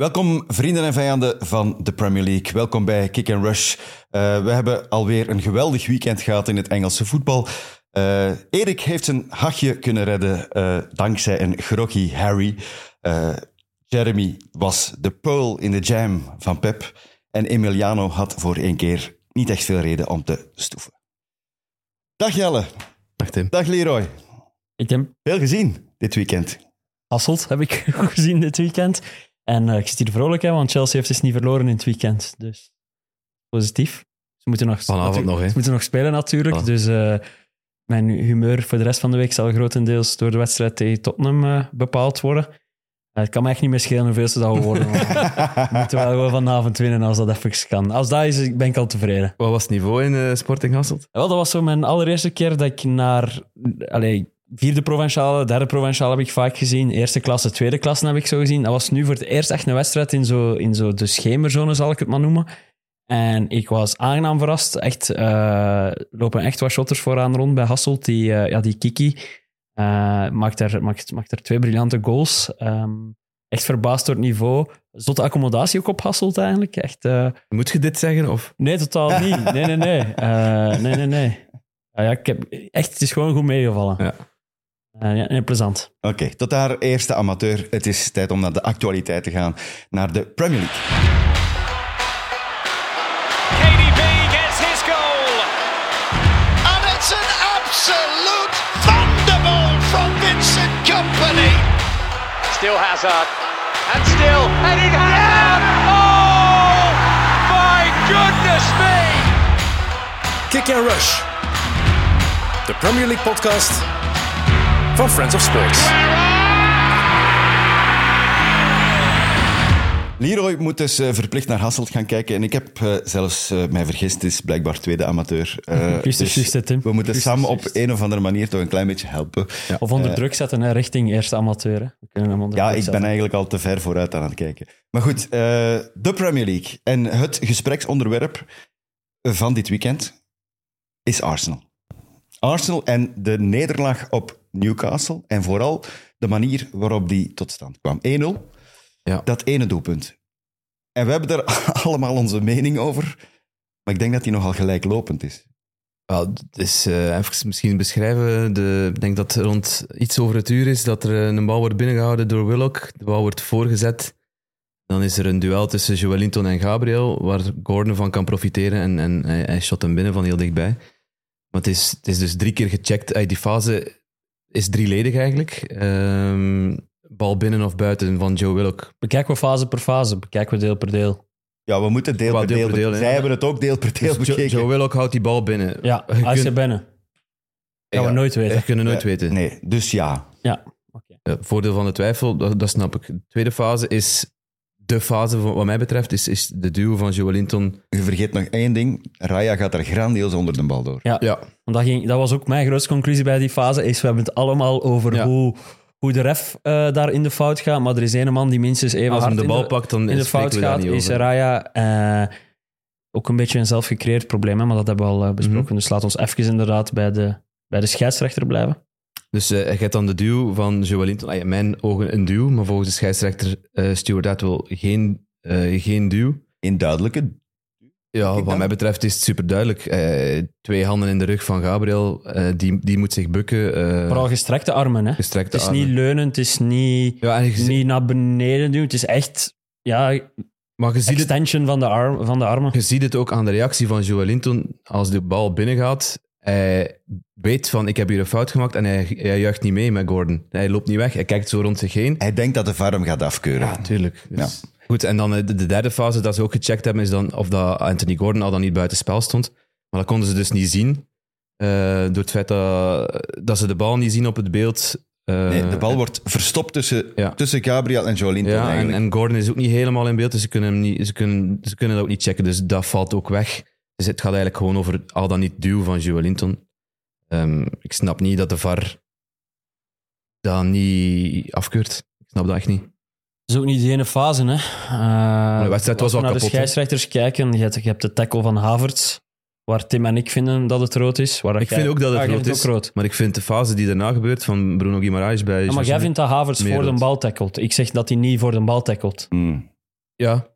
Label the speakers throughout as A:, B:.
A: Welkom vrienden en vijanden van de Premier League. Welkom bij Kick and Rush. Eh, we hebben alweer een geweldig weekend gehad in het Engelse voetbal. Eh, Erik heeft zijn hachje kunnen redden eh, dankzij een groggy Harry. Eh, Jeremy was de pearl in de jam van Pep. En Emiliano had voor één keer niet echt veel reden om te stoeven. Dag Jelle.
B: Dag Tim.
A: Dag Leroy.
C: Ik heb
A: Veel gezien dit weekend.
C: Hasselt heb ik goed gezien dit weekend. En eh, ik zit hier vrolijk, hè, want Chelsea heeft dus niet verloren in het weekend. Dus positief. Ze moeten nog,
B: Vanavond nog, hè?
C: Ze moeten nog spelen natuurlijk.
B: Voilà.
C: Dus eh, mijn humeur voor de rest van de week zal grotendeels door de wedstrijd tegen Tottenham eh, bepaald worden. Eh, het kan me echt niet meer schelen hoeveel ze dat worden. maar we moeten wel gewoon vanavond winnen als dat even kan. Als dat is, ben ik al tevreden.
B: Wat was het niveau in eh, Sporting Hasselt?
C: Wel, dat was zo mijn allereerste keer dat ik naar... Allee, vierde provinciale, derde provinciale heb ik vaak gezien. Eerste klasse, tweede klasse heb ik zo gezien. Dat was nu voor het eerst echt een wedstrijd in zo, in zo de schemerzone, zal ik het maar noemen. En ik was aangenaam verrast. Echt, eh, lopen echt wat shotters vooraan rond bij Hasselt. Die, eh, ja, die Kiki eh, maakt, er, maakt, maakt er twee briljante goals. Ehm, echt verbaasd door het niveau. Zotte accommodatie ook op Hasselt eigenlijk. Echt... eh,
B: Moet je dit zeggen? Of?
C: Nee, totaal niet. Nee, nee, nee. Eh, nee, nee, nee. Ah ja, ik heb, echt, het is gewoon goed meegevallen.
B: Ja.
C: Eh, ja, en plezant.
A: Oké, tot haar eerste amateur. Het is tijd om naar de actualiteit te gaan, naar de Premier League.
D: KDB gets his goal.
E: And it's an absolute thunderbolt from Vincent Company.
D: Still Hazard. And still Eden Hazard. Oh, my goodness me.
F: Kick and Rush. De Premier League podcast van Friends of Sports.
A: Leroy moet dus eh, verplicht naar Hasselt gaan kijken. En ik heb eh, zelfs eh, mij vergist, het is blijkbaar tweede amateur. Eh,
C: Juist, juist, hè, Tim.
A: We moeten
C: Juist,
A: Sam op
C: juist.
A: een of andere manier toch een klein beetje helpen. Ja,
C: Of onder druk zetten hè, richting eerste amateur. Hè. We kunnen hem onder druk
A: ik ben
C: zetten.
A: eigenlijk al te ver vooruit aan het kijken. Maar goed, eh, de Premier League. En het gespreksonderwerp van dit weekend is Arsenal. Arsenal en de nederlaag op Newcastle. En vooral de manier waarop die tot stand kwam. 1-0.
B: Ja.
A: dat ene doelpunt. En we hebben daar allemaal onze mening over. Maar ik denk dat die nogal gelijklopend is.
B: Wel, dus eh, even misschien beschrijven. De, ik denk dat rond iets over het uur is dat er eh, een bal wordt binnengehouden door Willock. De bal wordt voorgezet. Dan is er een duel tussen Joelinton en Gabriel, waar Gordon van kan profiteren en, en hij, hij shot hem binnen van heel dichtbij. Maar het is, het is dus drie keer gecheckt. Uit die fase is drieledig eigenlijk. Ehm, bal binnen of buiten van Joe Willock.
C: Bekijken we fase per fase, bekijken we deel per deel.
A: Ja, we moeten deel
B: Qua
A: per deel,
B: deel per
A: be-
B: deel, hè?
A: Zij hebben het ook deel per deel
B: Dus Jo-
A: bekeken.
B: Joe Willock houdt die bal binnen.
C: Ja,
B: Je
C: als je
B: kunt-
C: binnen. Gaan
B: Ja.
C: we nooit weten.
B: We kunnen nooit
A: Eh,
B: weten.
A: Nee, dus ja.
C: Ja.
B: Ja, voordeel van de twijfel, dat, dat snap ik. De tweede fase is, de fase van, wat mij betreft, is, is de duo van Joelinton.
A: Je vergeet nog één ding. Raya gaat er grandioos onder de bal door.
C: Ja.
B: Ja,
C: Want dat, ging, dat was ook mijn grootste conclusie bij die fase. Is we hebben het allemaal over
B: Ja.
C: hoe, hoe de ref eh, daar in de fout gaat. Maar er is ene man die minstens even
B: als
C: hard
B: hem de
C: in
B: bal pakt, dan
C: in de
B: spreken
C: fout
B: we daar
C: gaat,
B: niet
C: is
B: over.
C: Raya eh, ook een beetje een zelfgecreëerd probleem. Hè? Maar dat hebben we al eh, besproken.
B: Mhm.
C: Dus laat ons even inderdaad bij de, bij de scheidsrechter blijven.
B: Dus eh je hebt dan de duo van Joelinton. Ah, ja, in mijn ogen een duo, maar volgens de scheidsrechter eh Stuart Atwell geen, eh, geen duo.
A: In duidelijke...
B: Ja,
A: denk-
B: wat mij betreft is het super duidelijk. twee handen in de rug van Gabriel, eh, die, die moet zich bukken. eh,
C: Vooral gestrekte armen. Hè?
B: gestrekte
C: Het is
B: armen.
C: niet leunend, het is niet,
B: ja, en je zie-
C: niet naar beneden duwen. Het is echt ja,
B: maar je ziet het
C: extension van de, arm, van de armen.
B: Je ziet het ook aan de reactie van Joelinton als de bal binnengaat. Hij weet van, ik heb hier een fout gemaakt en hij, hij juicht niet mee met Gordon. Hij loopt niet weg, hij kijkt zo rond zich heen.
A: Hij denkt dat de VAR hem gaat afkeuren.
B: Tuurlijk. Dus- Goed, en dan eh, de, de derde fase dat ze ook gecheckt hebben, is dan of dat Anthony Gordon al dan niet buiten spel stond. Maar dat konden ze dus niet zien. eh, door het feit dat, dat ze de bal niet zien op het beeld. Eh,
A: Nee, de bal wordt verstopt tussen,
B: Ja.
A: tussen Gabriel en Jolinton
B: Ja, en,
A: eigenlijk.
B: en Gordon is ook niet helemaal in beeld, dus ze kunnen, hem niet, ze, kunnen, ze kunnen dat ook niet checken. Dus dat valt ook weg. Dus het gaat eigenlijk gewoon over al dan niet duw van Joelinton. Ehm ik snap niet dat de VAR dat niet afkeurt. Ik snap dat echt niet.
C: Het is ook niet de ene fase. Hè? Eh,
B: de wedstrijd was
C: als we
B: wel
C: naar
B: kapot,
C: de
B: hè?
C: scheidsrechters kijken, je hebt, je hebt de tackle van Havertz, waar Tim en ik vinden dat Ah, het rood is. Waar
B: Ik vind ook dat het rood is.
C: rood.
B: Maar ik vind de fase die daarna gebeurt van Bruno Guimaraes bij...
C: Ja, Ah, maar
B: José-
C: jij vindt dat Havertz
B: dus Meer
C: voor de
B: rood.
C: bal tackelt. Ik zeg dat hij niet voor de bal tackelt.
A: Hmm.
B: Ja,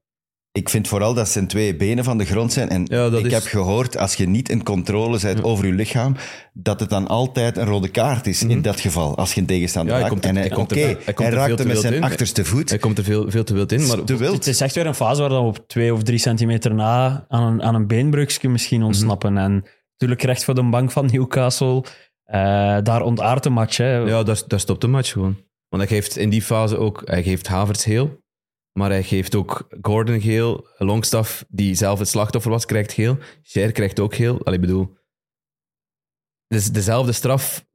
A: Ik vind vooral dat zijn twee benen van de grond zijn. En
B: Ja, dat
A: ik
B: is-
A: heb gehoord, als je niet in controle bent over je lichaam, dat het dan altijd een rode kaart is in dat geval. Als je een tegenstander
B: Mhm. Ja, hij
A: raakt.
B: komt er-
A: en hij,
B: hij komt
A: oké,
B: er- hij komt
A: hij
B: er veel
A: raakte
B: te
A: met
B: wild
A: zijn
B: in.
A: achterste voet.
B: hij komt er veel, veel te wild in. Maar
A: te wild.
C: Het is echt weer een fase waar we op twee of drie centimeter na aan een, aan een beenbreukje misschien ontsnappen. En natuurlijk recht voor de bank van Newcastle. Eh, daar ontaardt de match. Hè.
B: Ja, daar, daar stopt de match gewoon. Want hij geeft in die fase ook, hij geeft Havertz geel, maar hij geeft ook Gordon geel. Longstaff, die zelf het slachtoffer was, krijgt geel. Cher krijgt ook geel. Allee, ik bedoel, het is dezelfde straf,
C: Voor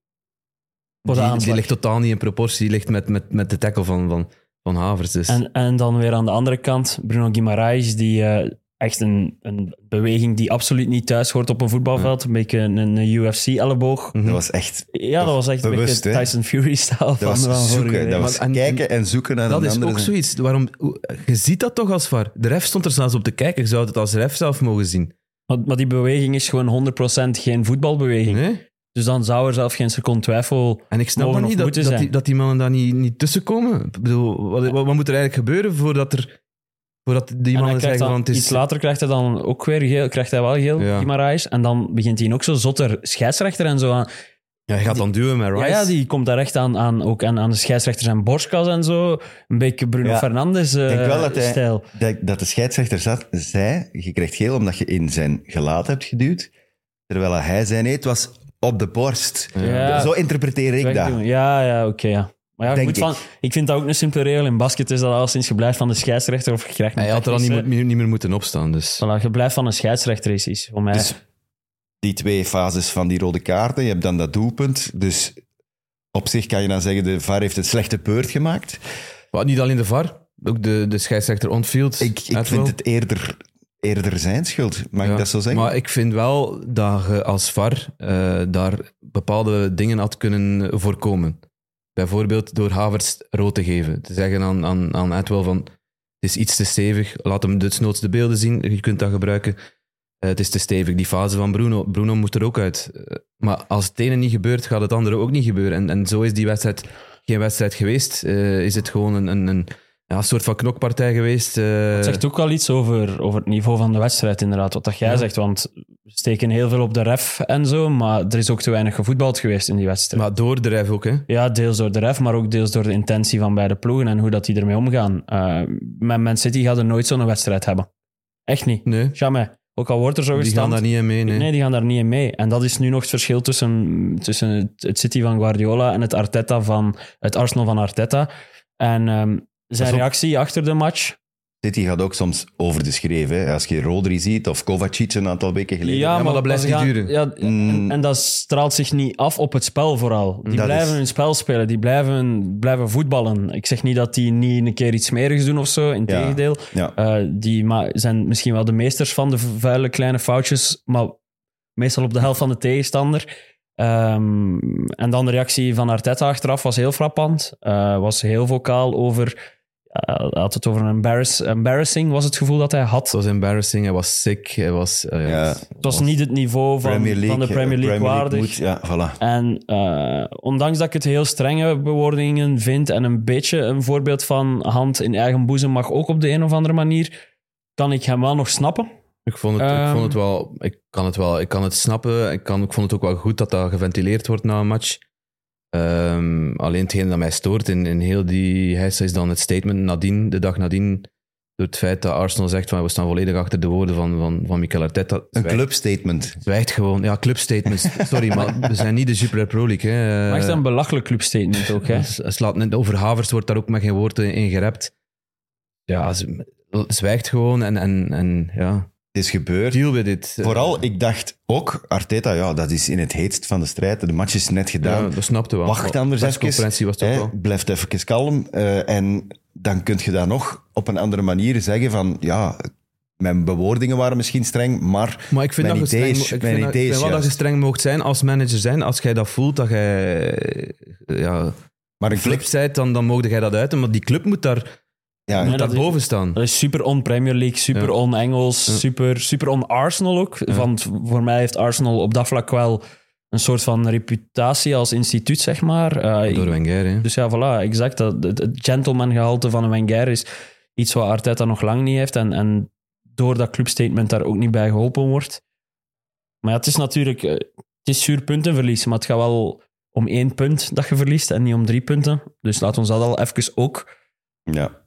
C: de
B: die, die
C: aanslag.
B: ligt totaal niet in proportie, die ligt met, met, met de tackle van, van, van Havertz. Dus.
C: En, en dan weer aan de andere kant Bruno Guimaraes, die eh, echt een, een beweging die absoluut niet thuis hoort op een
A: Mhm.
C: voetbalveld. Een beetje een, UFC-elleboog.
A: Dat was echt...
C: Ja, dat was echt
A: Mhm. Bewust,
C: een
A: hè?
C: beetje Tyson Fury-stijl.
A: Dat was zoeken. Dat was
B: Maar- en-
A: kijken en zoeken naar
B: dat
A: een
B: is
A: andere.
B: ook zoiets. Waarom, hoe- je ziet dat toch als var. De ref stond er zelfs op te kijken. Je zou het als ref zelf mogen zien.
C: Maar, maar die beweging is gewoon 100% geen voetbalbeweging.
B: Nee?
C: Dus dan zou er zelf geen seconde twijfel...
B: En ik snap
C: mogen
B: maar
C: of
B: niet dat,
C: moeten
B: dat,
C: zijn.
B: die, dat die mannen daar niet, niet tussenkomen. Ik bedoel, wat, wat, wat moet er eigenlijk gebeuren voordat, er, voordat die
C: En hij
B: mannen
C: krijgt
B: zeggen
C: dan-
B: van het is...
C: Iets later krijgt hij dan ook weer geel, krijgt hij wel geel,
B: Ja.
C: Guimaraes. En dan begint hij ook zo zotter scheidsrechter en zo aan.
B: Ja, je gaat dan duwen met Rice.
C: Ja, ja, die komt daar echt aan, aan, ook aan, aan de scheidsrechter zijn borstkas en zo. Een beetje Bruno
A: Ja.
C: Fernandes eh,
A: Ik denk wel dat hij-
C: stijl.
A: Dat, dat de scheidsrechter zat, zei, je krijgt geel omdat je in zijn gelaat hebt geduwd. Terwijl hij zei, nee, het was op de borst.
C: Ja.
A: Zo interpreteer ik dat.
C: Wegdoen. Ja, ja, oké, ja. Maar ja, ik,
A: Denk
C: moet van, ik vind dat ook een simpele regel. In basket is dat al sinds je blijft van de scheidsrechter of je krijgt een
B: Hij had er al niet,
C: technische.
B: moet- niet meer moeten opstaan, dus...
C: Voilà, je blijft van een scheidsrechter is iets voor mij.
A: Dus die twee fases van die rode kaarten, je hebt dan dat doelpunt. Dus op zich kan je dan zeggen, de VAR heeft een slechte beurt gemaakt.
B: Maar niet alleen de VAR, ook de, de scheidsrechter on-field.
A: Ik, ik
B: Atwell.
A: vind het eerder, eerder zijn schuld, mag
B: Ja.
A: ik dat zo zeggen?
B: Maar ik vind wel dat je als VAR eh, daar bepaalde dingen had kunnen voorkomen. Bijvoorbeeld door Havertz rood te geven. Te zeggen aan, aan, aan Atwell van, het is iets te stevig, laat hem desnoods de beelden zien, je kunt dat gebruiken. Eh, het is te stevig, die fase van Bruno. Bruno moet er ook uit. Eh, maar als het ene niet gebeurt, gaat het andere ook niet gebeuren. En, en zo is die wedstrijd geen wedstrijd geweest. Eh, is het gewoon een, een, een ja, soort van knokpartij geweest. eh.
C: Het zegt ook wel iets over, over het niveau van de wedstrijd, inderdaad. Wat dat jij
B: Ja.
C: zegt, want we steken heel veel op de ref en zo, maar er is ook te weinig gevoetbald geweest in die wedstrijd.
B: maar door de ref ook, hè.
C: Ja, deels door de ref, maar ook deels door de intentie van beide ploegen en hoe dat die ermee omgaan. Eh met Man City gaat er nooit zo'n wedstrijd hebben. Echt niet.
B: Nee,
C: Jamais. Ook al wordt er zo
B: die gaan
C: gestampt.
B: daar niet in mee, nee.
C: nee. die gaan daar niet in mee. En dat is nu nog het verschil tussen, tussen het, het City van Guardiola en het, Arteta van, het Arsenal van Arteta. En ehm, zijn
A: ook-
C: reactie achter de match,
A: City gaat ook soms over de schreef. Hè? Als je Rodri ziet of Kovacic een aantal weken geleden.
B: maar dat blijft
C: ze
B: niet
C: gaan-
B: duren.
C: Ja, en,
A: Mm.
C: en dat straalt zich niet af op het spel vooral. Die
A: Dat
C: blijven
A: is-
C: hun spel spelen, die blijven, blijven voetballen. Ik zeg niet dat die niet een keer iets smerigs doen of zo, in
A: Ja.
C: tegendeel.
A: Ja.
C: Eh, die ma- zijn misschien wel de meesters van de vuile kleine foutjes, maar meestal op de helft van de tegenstander. Ehm, en dan de reactie van Arteta achteraf was heel frappant. Eh, was heel vocaal over... eh, Hij had het over een embarrass, embarrassing, was het gevoel dat hij had.
B: Het was embarrassing, hij was sick, hij was... eh,
A: Ja.
B: het
C: Het was niet het niveau van,
A: Premier League,
C: van de Premier League waardig.
A: moet- ja, voilà.
C: En eh, ondanks dat ik het heel strenge bewoordingen vind en een beetje een voorbeeld van hand in eigen boezem mag ook op de een of andere manier, kan ik hem wel nog snappen.
B: Ik vond het, ik
C: Ehm.
B: vond het wel... Ik kan het wel, ik kan het snappen. Ik, kan, ik vond het ook wel goed dat dat geventileerd wordt na een match. Ehm, alleen hetgeen dat mij stoort in, in heel die heisa is dan het statement nadien, de dag nadien, door het feit dat Arsenal zegt van we staan volledig achter de woorden van, van, van Mikel Arteta.
A: Een
B: Zwijgt-
A: clubstatement.
B: Zwijgt gewoon. Ja, clubstatements. Sorry, maar we zijn niet de Super Pro League. Hè.
C: Maar echt een belachelijk clubstatement ook. Hè?
B: Ja, s- slaat net over Havers wordt daar ook met geen woord in in gerept. Ja, ze zwijgt gewoon en, en, en ja,
A: Het is gebeurd.
B: deal with it.
A: Vooral, ik dacht ook, Arteta, ja, dat is in het heetst van de strijd. De match is net
B: ja,
A: gedaan.
B: dat snapte wel.
A: Wacht anders
B: De conferentie was toch
A: Hè,
B: wel.
A: blijft even kalm. eh, en dan kun je dat nog op een andere manier zeggen van... Ja, mijn bewoordingen waren misschien streng, maar...
B: Maar ik vind, dat
A: mijn
B: je
A: idee
B: streng,
A: is-
B: mo- ik
A: mijn
B: vind, dat, ik
A: idee
B: vind
A: is
B: wel dat je
A: juist.
B: streng mocht zijn als manager zijn. Als jij dat voelt, dat jij eh, ja,
A: Maar een club...
B: flip bent, dan, dan mocht jij dat uiten. Maar die club moet daar,
A: Ja,
C: Nee, dat
B: daar
C: is-
B: boven staan.
C: Dat is super on-Premier League, super
B: Ja.
C: on-Engels,
B: Ja.
C: super, super on-Arsenal ook. Want voor mij heeft Arsenal op dat vlak wel een soort van reputatie als instituut, zeg maar. Eh,
B: Door Wenger, hè.
C: Dus ja, voilà, exact. Dat, het, het gentleman-gehalte van een Wenger is Iets wat Arteta nog lang niet heeft en, en door dat clubstatement daar ook niet bij geholpen wordt. Maar ja, het is natuurlijk... eh, Het is zuur puntenverlies, maar het gaat wel om één punt dat je verliest en niet om drie punten. Dus laat ons dat al even ook...
A: Ja.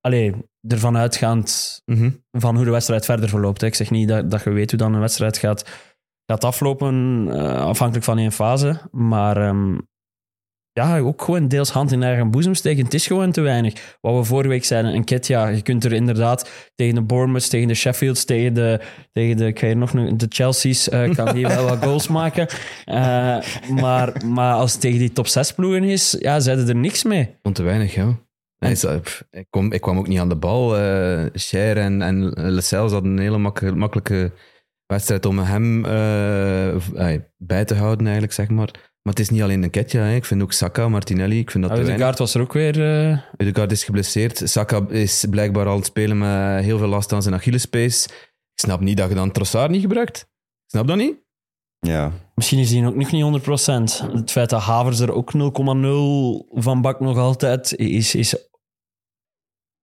C: Allee, ervan uitgaand
B: Mhm.
C: van hoe de wedstrijd verder verloopt. hè. Ik zeg niet dat, dat je weet hoe dan een wedstrijd gaat, gaat aflopen, eh, afhankelijk van één fase. Maar ehm, ja, ook gewoon deels hand in eigen boezem steken. Het is gewoon te weinig. Wat we vorige week zeiden, een kit, ja, je kunt er inderdaad tegen de Bournemouths, tegen de Sheffields, tegen de, tegen de ik ga hier nog een- de Chelsea's, eh, kan die wel wat goals maken. Eh, maar, maar als het tegen die top 6 ploegen is, ja, zeiden er niks mee.
B: Vond te weinig, ja. Nee, zo, pff, ik, kom, ik kwam ook niet aan de bal. eh Cher en, en Lecels hadden een hele makke- makkelijke wedstrijd om hem eh, v- ay, bij te houden, eigenlijk, zeg maar. Maar het is niet alleen een ketje. hè. Ik vind ook Saka, Martinelli, ik vind dat te weinig.
C: Odegaard was er ook weer... eh,
B: Udegaard is geblesseerd. Saka is blijkbaar al aan het spelen met heel veel last aan zijn Achillespees. Ik snap niet dat je dan Trossard niet gebruikt. Ik snap dat niet.
A: ja.
C: Misschien is die ook nog niet 100%. Het feit dat Havers er ook 0,0 van bak nog altijd is. is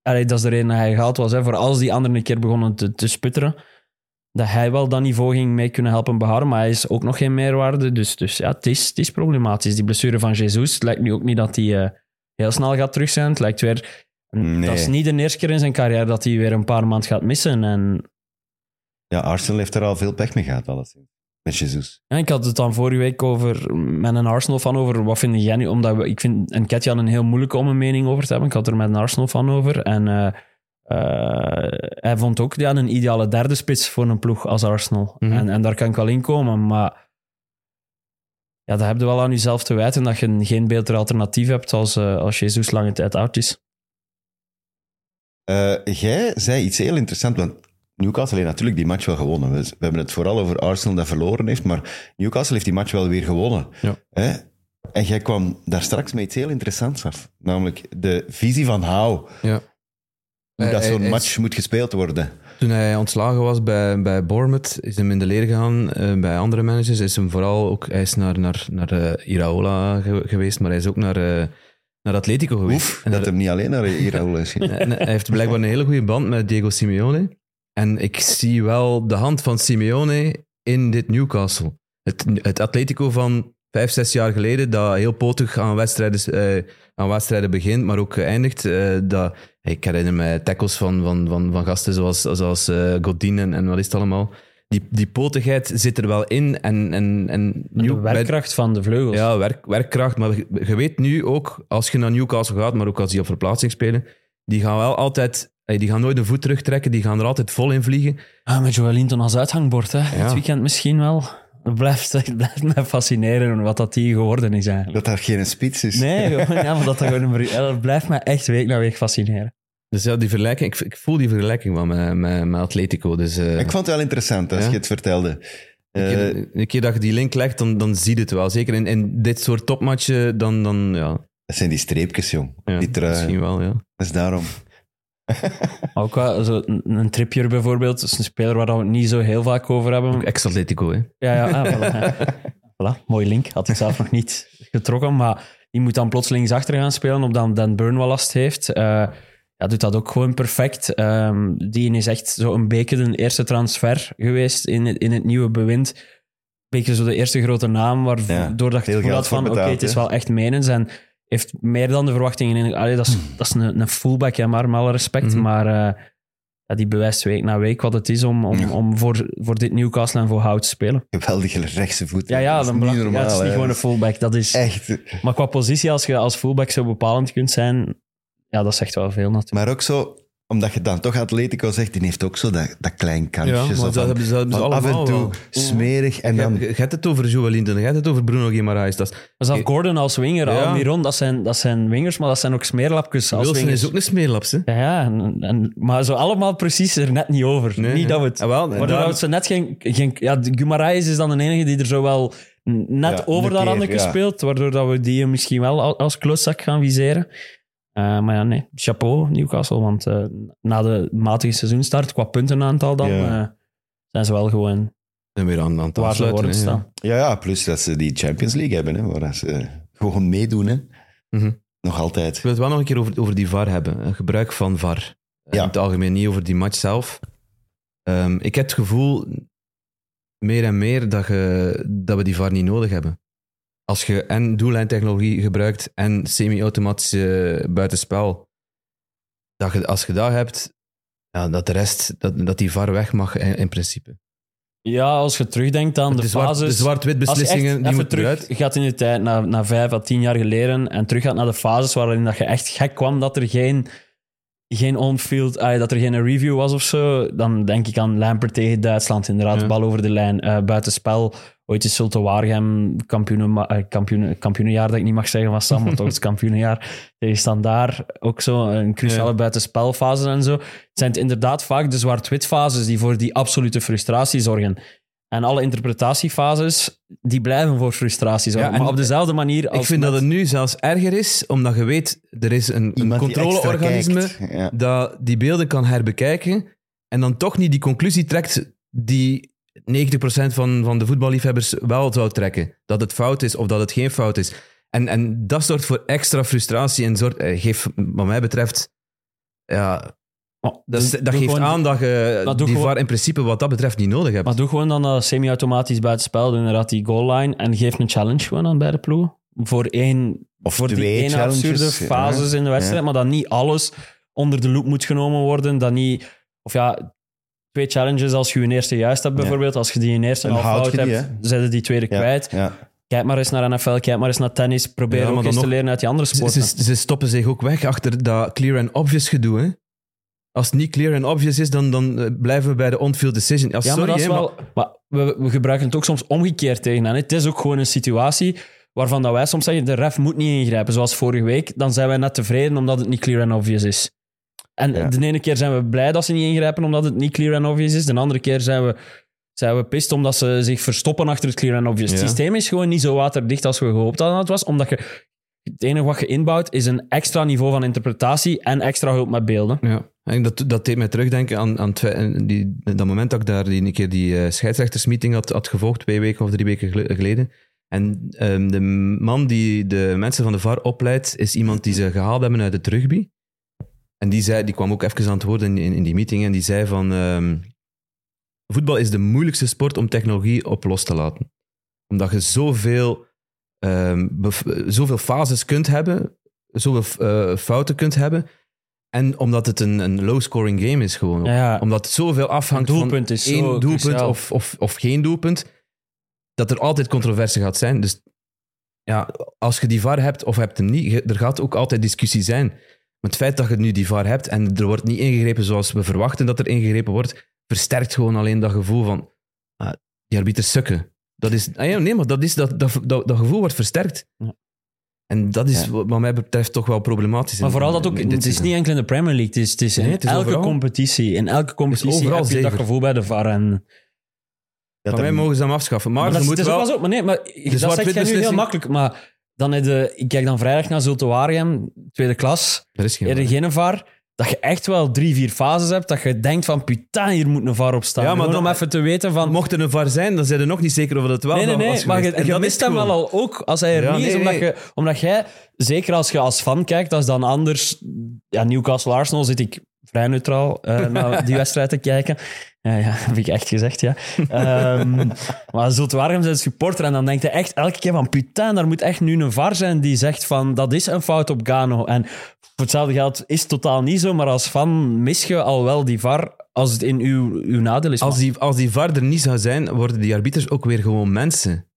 C: Allee, dat is de reden dat hij gehaald was. Hè. Voor als die anderen een keer begonnen te, te sputteren, dat hij wel dat niveau ging mee kunnen helpen behouden. Maar hij is ook nog geen meerwaarde. Dus, dus ja, het is, het is problematisch. Die blessure van Jesus, het lijkt nu ook niet dat hij eh, heel snel gaat terug zijn. Het lijkt weer.
A: Nee.
C: Dat is niet de eerste keer in zijn carrière dat hij weer een paar maanden gaat missen. En
A: ja, Arsenal heeft er al veel pech mee gehad, alleszins. Met Jesus.
C: Ja, ik had het dan vorige week over, met een Arsenal-fan over, wat vind jij nu? Omdat we, ik vind een Ketjan een heel moeilijke om een mening over te hebben. Ik had er met een Arsenal-fan over. En eh, eh, hij vond ook ja, een ideale derde spits voor een ploeg als Arsenal.
B: Mhm.
C: en, en daar kan ik wel in komen, maar ja, dat heb je wel aan jezelf te wijten dat je geen beter alternatief hebt als, eh, als Jesus lange tijd oud is.
A: Eh, jij zei iets heel interessants, want Newcastle heeft natuurlijk die match wel gewonnen. We, we hebben het vooral over Arsenal dat verloren heeft, maar Newcastle heeft die match wel weer gewonnen.
B: Ja.
A: Hè? En jij kwam daar straks met iets heel interessants af. Namelijk de visie van Hou.
B: Ja.
C: Eh,
A: Hoe dat
B: Hij-
A: zo'n
B: hij-
A: match moet gespeeld worden.
B: Toen hij ontslagen was bij, bij Bournemouth, is hem in de leer gegaan. eh, bij andere managers is hem vooral ook... Hij is naar, naar, naar eh, Iraola ge- geweest, maar hij is ook naar, eh, naar Atletico geweest.
A: Oef,
B: En
A: dat
B: daar-
A: hem niet alleen naar Iraola is. gegaan.
B: en eh, hij heeft blijkbaar een hele goede band met Diego Simeone. En ik zie wel de hand van Simeone in dit Newcastle. Het, het Atletico van vijf, zes jaar geleden, dat heel potig aan wedstrijden, eh, aan wedstrijden begint, maar ook eindigt. eh, dat, ik herinner me tackles van, van, van, van gasten zoals, zoals eh, Godin en, en wat is het allemaal. Die, die potigheid zit er wel in. En, en, en
C: De
B: New- bij-
C: werkkracht van de vleugels.
B: ja, werk, werkkracht. Maar je- je weet nu ook, als je naar Newcastle gaat, maar ook als die op verplaatsing spelen, die gaan wel altijd... eh, Die gaan nooit een voet terugtrekken, die gaan er altijd vol in vliegen.
C: Ah, met Joelinton als uithangbord, hè.
B: Ja.
C: Dit weekend misschien wel. Het blijft, het blijft mij fascineren wat dat die geworden is eigenlijk.
A: Dat daar geen spits is.
C: Nee, gewoon, ja, maar dat, dat, gewoon een, brie- dat blijft mij echt week na week fascineren.
B: Dus ja, die vergelijking, ik, ik voel die vergelijking wel met, met, met Atletico. Dus, eh,
A: Ik vond het wel interessant als
B: Ja.
A: je het vertelde.
B: een,
A: Eh,
B: keer, een keer dat je die link legt, dan, dan zie je het wel. Zeker in, in dit soort topmatchen, dan, dan ja,
A: dat zijn die streepjes, jong.
B: ja,
A: die trui.
B: misschien wel. Ja.
A: Dat is daarom.
C: Maar ook wel, zo een, een trippier bijvoorbeeld, dat is een speler waar we het niet zo heel vaak over hebben.
B: Ook ex-Atletico, hè.
C: Ja, ja, ah, voilà, ja. Voilà, mooie link. Had ik zelf nog niet getrokken. Maar die moet dan plotseling achter gaan spelen, omdat Dan Burn wel last heeft. Eh, ja, doet dat ook gewoon perfect. Ehm, die is echt zo'n beetje de eerste transfer geweest in het, in het nieuwe bewind. Een beetje zo de eerste grote naam,
A: Ja,
C: waardoor dat ik
A: veel
C: het gevoel
A: geld
C: had van
A: voor
C: oké,
A: betaald,
C: het is
A: hè?
C: wel echt menens. En heeft meer dan de verwachtingen. In, allee, dat is,
A: Hmm.
C: dat is een, een fullback, hè, maar met alle respect.
B: Mhm.
C: Maar eh, ja, die bewijst week na week wat het is om, om, om voor, voor dit Newcastle en voor Hout te spelen.
A: Geweldige rechtse voet.
C: Ja, ja,
A: dat is
C: dan
A: niet
C: belang- ja,
A: normaal.
C: het is niet
A: hè.
C: gewoon een fullback. Dat is,
A: Echt.
C: maar qua positie, als je als fullback zo bepalend kunt zijn, ja, dat zegt wel veel natuurlijk.
A: Maar ook zo, omdat je dan toch Atletico zegt, die heeft ook zo dat, dat klein kantje. zo van,
B: ze, dat
A: van af en toe smerig en dan...
B: Je hebt het over Joelinton, je hebt het over Bruno Guimaraes. Dat is-
C: Maar zelfs Gordon als winger,
B: Ja.
C: Almiron, dat zijn, dat zijn wingers, maar dat zijn ook smeerlapjes als
B: Wilson
C: wingers.
B: is ook een smeerlaps, hè?
C: Ja, ja en, en- maar zo allemaal precies er net niet over. niet
B: Nee, nee.
C: dat we het...
B: Ah, wel, nee.
C: waardoor
B: Daarom-
C: we ze net geen... geen ja, Gumarais is dan de enige die er zo wel n- net
A: Ja,
C: over
A: een
C: dat
A: keer,
C: randje
A: ja.
C: speelt, waardoor dat we die misschien wel al- als klootzak gaan viseren. Eh, maar ja, nee. Chapeau, Newcastle, want eh, na de matige seizoenstart, qua puntenaantal dan,
A: Ja.
C: eh, zijn ze wel gewoon
B: En weer aan, aan het
C: waar ze
B: afsluiten,
C: worden
B: hè, ja.
C: staan.
A: Ja, ja, plus dat ze die Champions League hebben, hè, waar dat ze eh, gewoon meedoen. Hè.
B: Mhm.
A: Nog altijd.
B: Ik wil het wel nog een keer over, over die VAR hebben. Eh, Gebruik van VAR.
A: Ja.
B: In het algemeen niet over die match zelf. Ehm, ik heb het gevoel meer en meer dat, je, dat we die VAR niet nodig hebben. Als je en doellijntechnologie gebruikt en semi-automatische buitenspel, dat je, als je dat hebt, ja, dat de rest, dat, dat die VAR weg mag in, in principe.
C: Ja, als je terugdenkt aan de,
B: De, zwart,
C: fases...
B: de zwart-wit
C: als je echt
B: beslissingen, die
C: even
B: moeten
C: terug
B: eruit.
C: gaat in de tijd, naar, naar vijf à tien jaar geleden, en terug gaat naar de fases waarin dat je echt gek kwam dat er geen, geen on-field, ah, dat er geen review was of zo, dan denk ik aan Lampert tegen Duitsland, inderdaad,
B: Ja.
C: bal over de lijn, eh buitenspel. Ooit is Zulte Waregem, kampioenen, ma- eh, kampioenen, kampioenenjaar dat ik niet mag zeggen van Sam, maar toch het kampioenenjaar. Tegen Standaar ook zo, een cruciale buitenspelfase en zo. Het zijn het inderdaad vaak de zwart-wit fases die voor die absolute frustratie zorgen. En alle interpretatiefases, die blijven voor frustratie zorgen.
B: Ja, en
C: maar op dezelfde manier als
B: Ik vind
C: met-
B: dat het nu zelfs erger is, omdat je weet, er is een, een
A: Iemand die
B: controleorganisme
A: extra kijkt. Ja.
B: dat die beelden kan herbekijken en dan toch niet die conclusie trekt die 90% van, van de voetballiefhebbers wel zou trekken. Dat het fout is of dat het geen fout is. En, en dat zorgt voor extra frustratie en zorgt, eh, geeft, wat mij betreft, ja,
C: Maar
B: dat, is-
C: doe-
B: dat
C: doe
B: geeft
C: gewoon-
B: aan dat je
C: Maar doe
B: die
C: gewoon-
B: VAR in principe wat dat betreft niet nodig hebt.
C: Maar doe gewoon dan dat semi-automatisch buitenspel, doe inderdaad die goal-line, en geef een challenge gewoon aan beide ploegen. Voor één,
A: Of
C: voor die
A: twee
C: ene
A: challenges,
C: absurde
A: ja.
C: fases in de wedstrijd, maar dat niet alles onder de loep moet genomen worden, dat niet... Of ja, twee challenges als je je eerste juist hebt bijvoorbeeld, als je die in eerste
A: Dan
C: half
A: houd
C: fout
A: je
C: hebt,
A: die,
C: zetten die tweede
A: Ja,
C: kwijt.
A: ja.
C: Kijk maar eens naar NFL, kijk maar eens naar tennis, probeer
B: Ja, maar
C: ook
B: dan
C: eens te
B: nog-
C: leren uit die andere
B: Ze,
C: sporten.
B: ze, ze stoppen zich ook weg achter dat clear and obvious gedoe. Hè? Als het niet clear and obvious is, dan, dan eh, blijven we bij de on-field decision. Ja,
C: Ja,
B: sorry,
C: maar dat
B: hè,
C: is
B: maar-
C: wel... Maar we, we gebruiken het ook soms omgekeerd tegen hen. hè. Het is ook gewoon een situatie waarvan dat wij soms zeggen, de ref moet niet ingrijpen. Zoals vorige week, dan zijn wij net tevreden omdat het niet clear and obvious is. En
A: Ja.
C: de ene keer zijn we blij dat ze niet ingrijpen omdat het niet clear and obvious is. De andere keer zijn we, zijn we pist omdat ze zich verstoppen achter het clear and obvious.
B: Ja.
C: Het systeem is gewoon niet zo waterdicht als we gehoopt hadden dat het was, omdat je... Het enige wat je inbouwt is een extra niveau van interpretatie en extra hulp met beelden.
B: Ja, en dat, dat deed mij terugdenken aan, aan het feit- en die, dat moment dat ik daar die, een keer die eh, scheidsrechtersmeeting had, had gevolgd, twee weken of drie weken gel- geleden. En ehm, de man die de mensen van de VAR opleidt, is iemand die ze gehaald hebben uit het rugby. En die, zei, die kwam ook even aan het woord in, in, in die meeting en die zei van... ehm, voetbal is de moeilijkste sport om technologie op los te laten. Omdat je zoveel, ehm, bev- zoveel fases kunt hebben, zoveel eh, fouten kunt hebben. En omdat het een, een low-scoring game is gewoon. ook.
C: Ja, ja.
B: Omdat het zoveel afhangt
C: Een doelpunt
B: van
C: is zo
B: één doelpunt
C: cruciaal.
B: of, of, of geen doelpunt. Dat er altijd controverse gaat zijn. Dus ja, als je die VAR hebt of hebt hem niet, je- er gaat ook altijd discussie zijn. Maar het feit dat je nu die VAR hebt en er wordt niet ingegrepen zoals we verwachten dat er ingegrepen wordt, versterkt gewoon alleen dat gevoel van ah, die arbiters sukken. Dat is, ah ja, nee, maar dat, is, dat, dat, dat, dat gevoel wordt versterkt.
C: Ja.
B: En dat is
A: Ja.
B: wat wat mij betreft toch wel problematisch.
C: Maar
B: in-
C: vooral dat
B: in
C: ook,
B: dit
C: het is
B: seizoen.
C: niet enkel in de Premier League, het is, het is in
B: Nee, het is
C: elke
B: overal.
C: competitie. In elke competitie
B: overal
C: heb je dat
B: zever.
C: gevoel bij de VAR. En,
A: Dat
B: Van mij
A: hem-
B: mogen ze hem afschaffen.
C: maar
B: Maar, ze
C: dat, is-
B: moeten
C: het is ook wel
B: wel...
C: zo, maar nee, maar dat
B: zwart-wit
C: zegt jij nu heel
B: beslissing-
C: makkelijk. Maar dan heb je, ik kijk dan vrijdag naar Zulte Waregem, tweede klas,
B: Er is geen
C: eerder geen VAR. Dat je echt wel drie, vier fases hebt, dat je denkt van, putain, hier moet een VAR op staan.
B: Ja, maar
C: Gewoon
B: dan-
C: om even te weten van...
B: VAR. Mocht er een VAR zijn, dan zijn er nog niet zeker of dat wel
C: Nee, nee,
B: dan was
C: nee, maar
B: geweest. En
C: je, je
B: dat
C: mist
B: is
C: hem
B: gewoon-
C: wel al ook als hij er
B: Ja,
C: niet is.
B: nee,
C: Omdat,
B: nee.
C: Je, omdat jij, zeker als je als fan kijkt, dat is dan anders. Ja, Newcastle-Arsenal zit ik vrij neutraal eh, naar die wedstrijd te kijken. Ja, ja, heb ik echt gezegd, ja. Ehm, maar Zulte Waregem zijn supporter en dan denkt hij echt elke keer van putain, daar moet echt nu een VAR zijn die zegt van dat is een fout op Gano. En voor hetzelfde geld is het totaal niet zo, maar als fan mis je al wel die VAR als het in uw, uw nadeel is.
B: Als die, als die VAR er niet zou zijn, worden die arbiters ook weer gewoon mensen.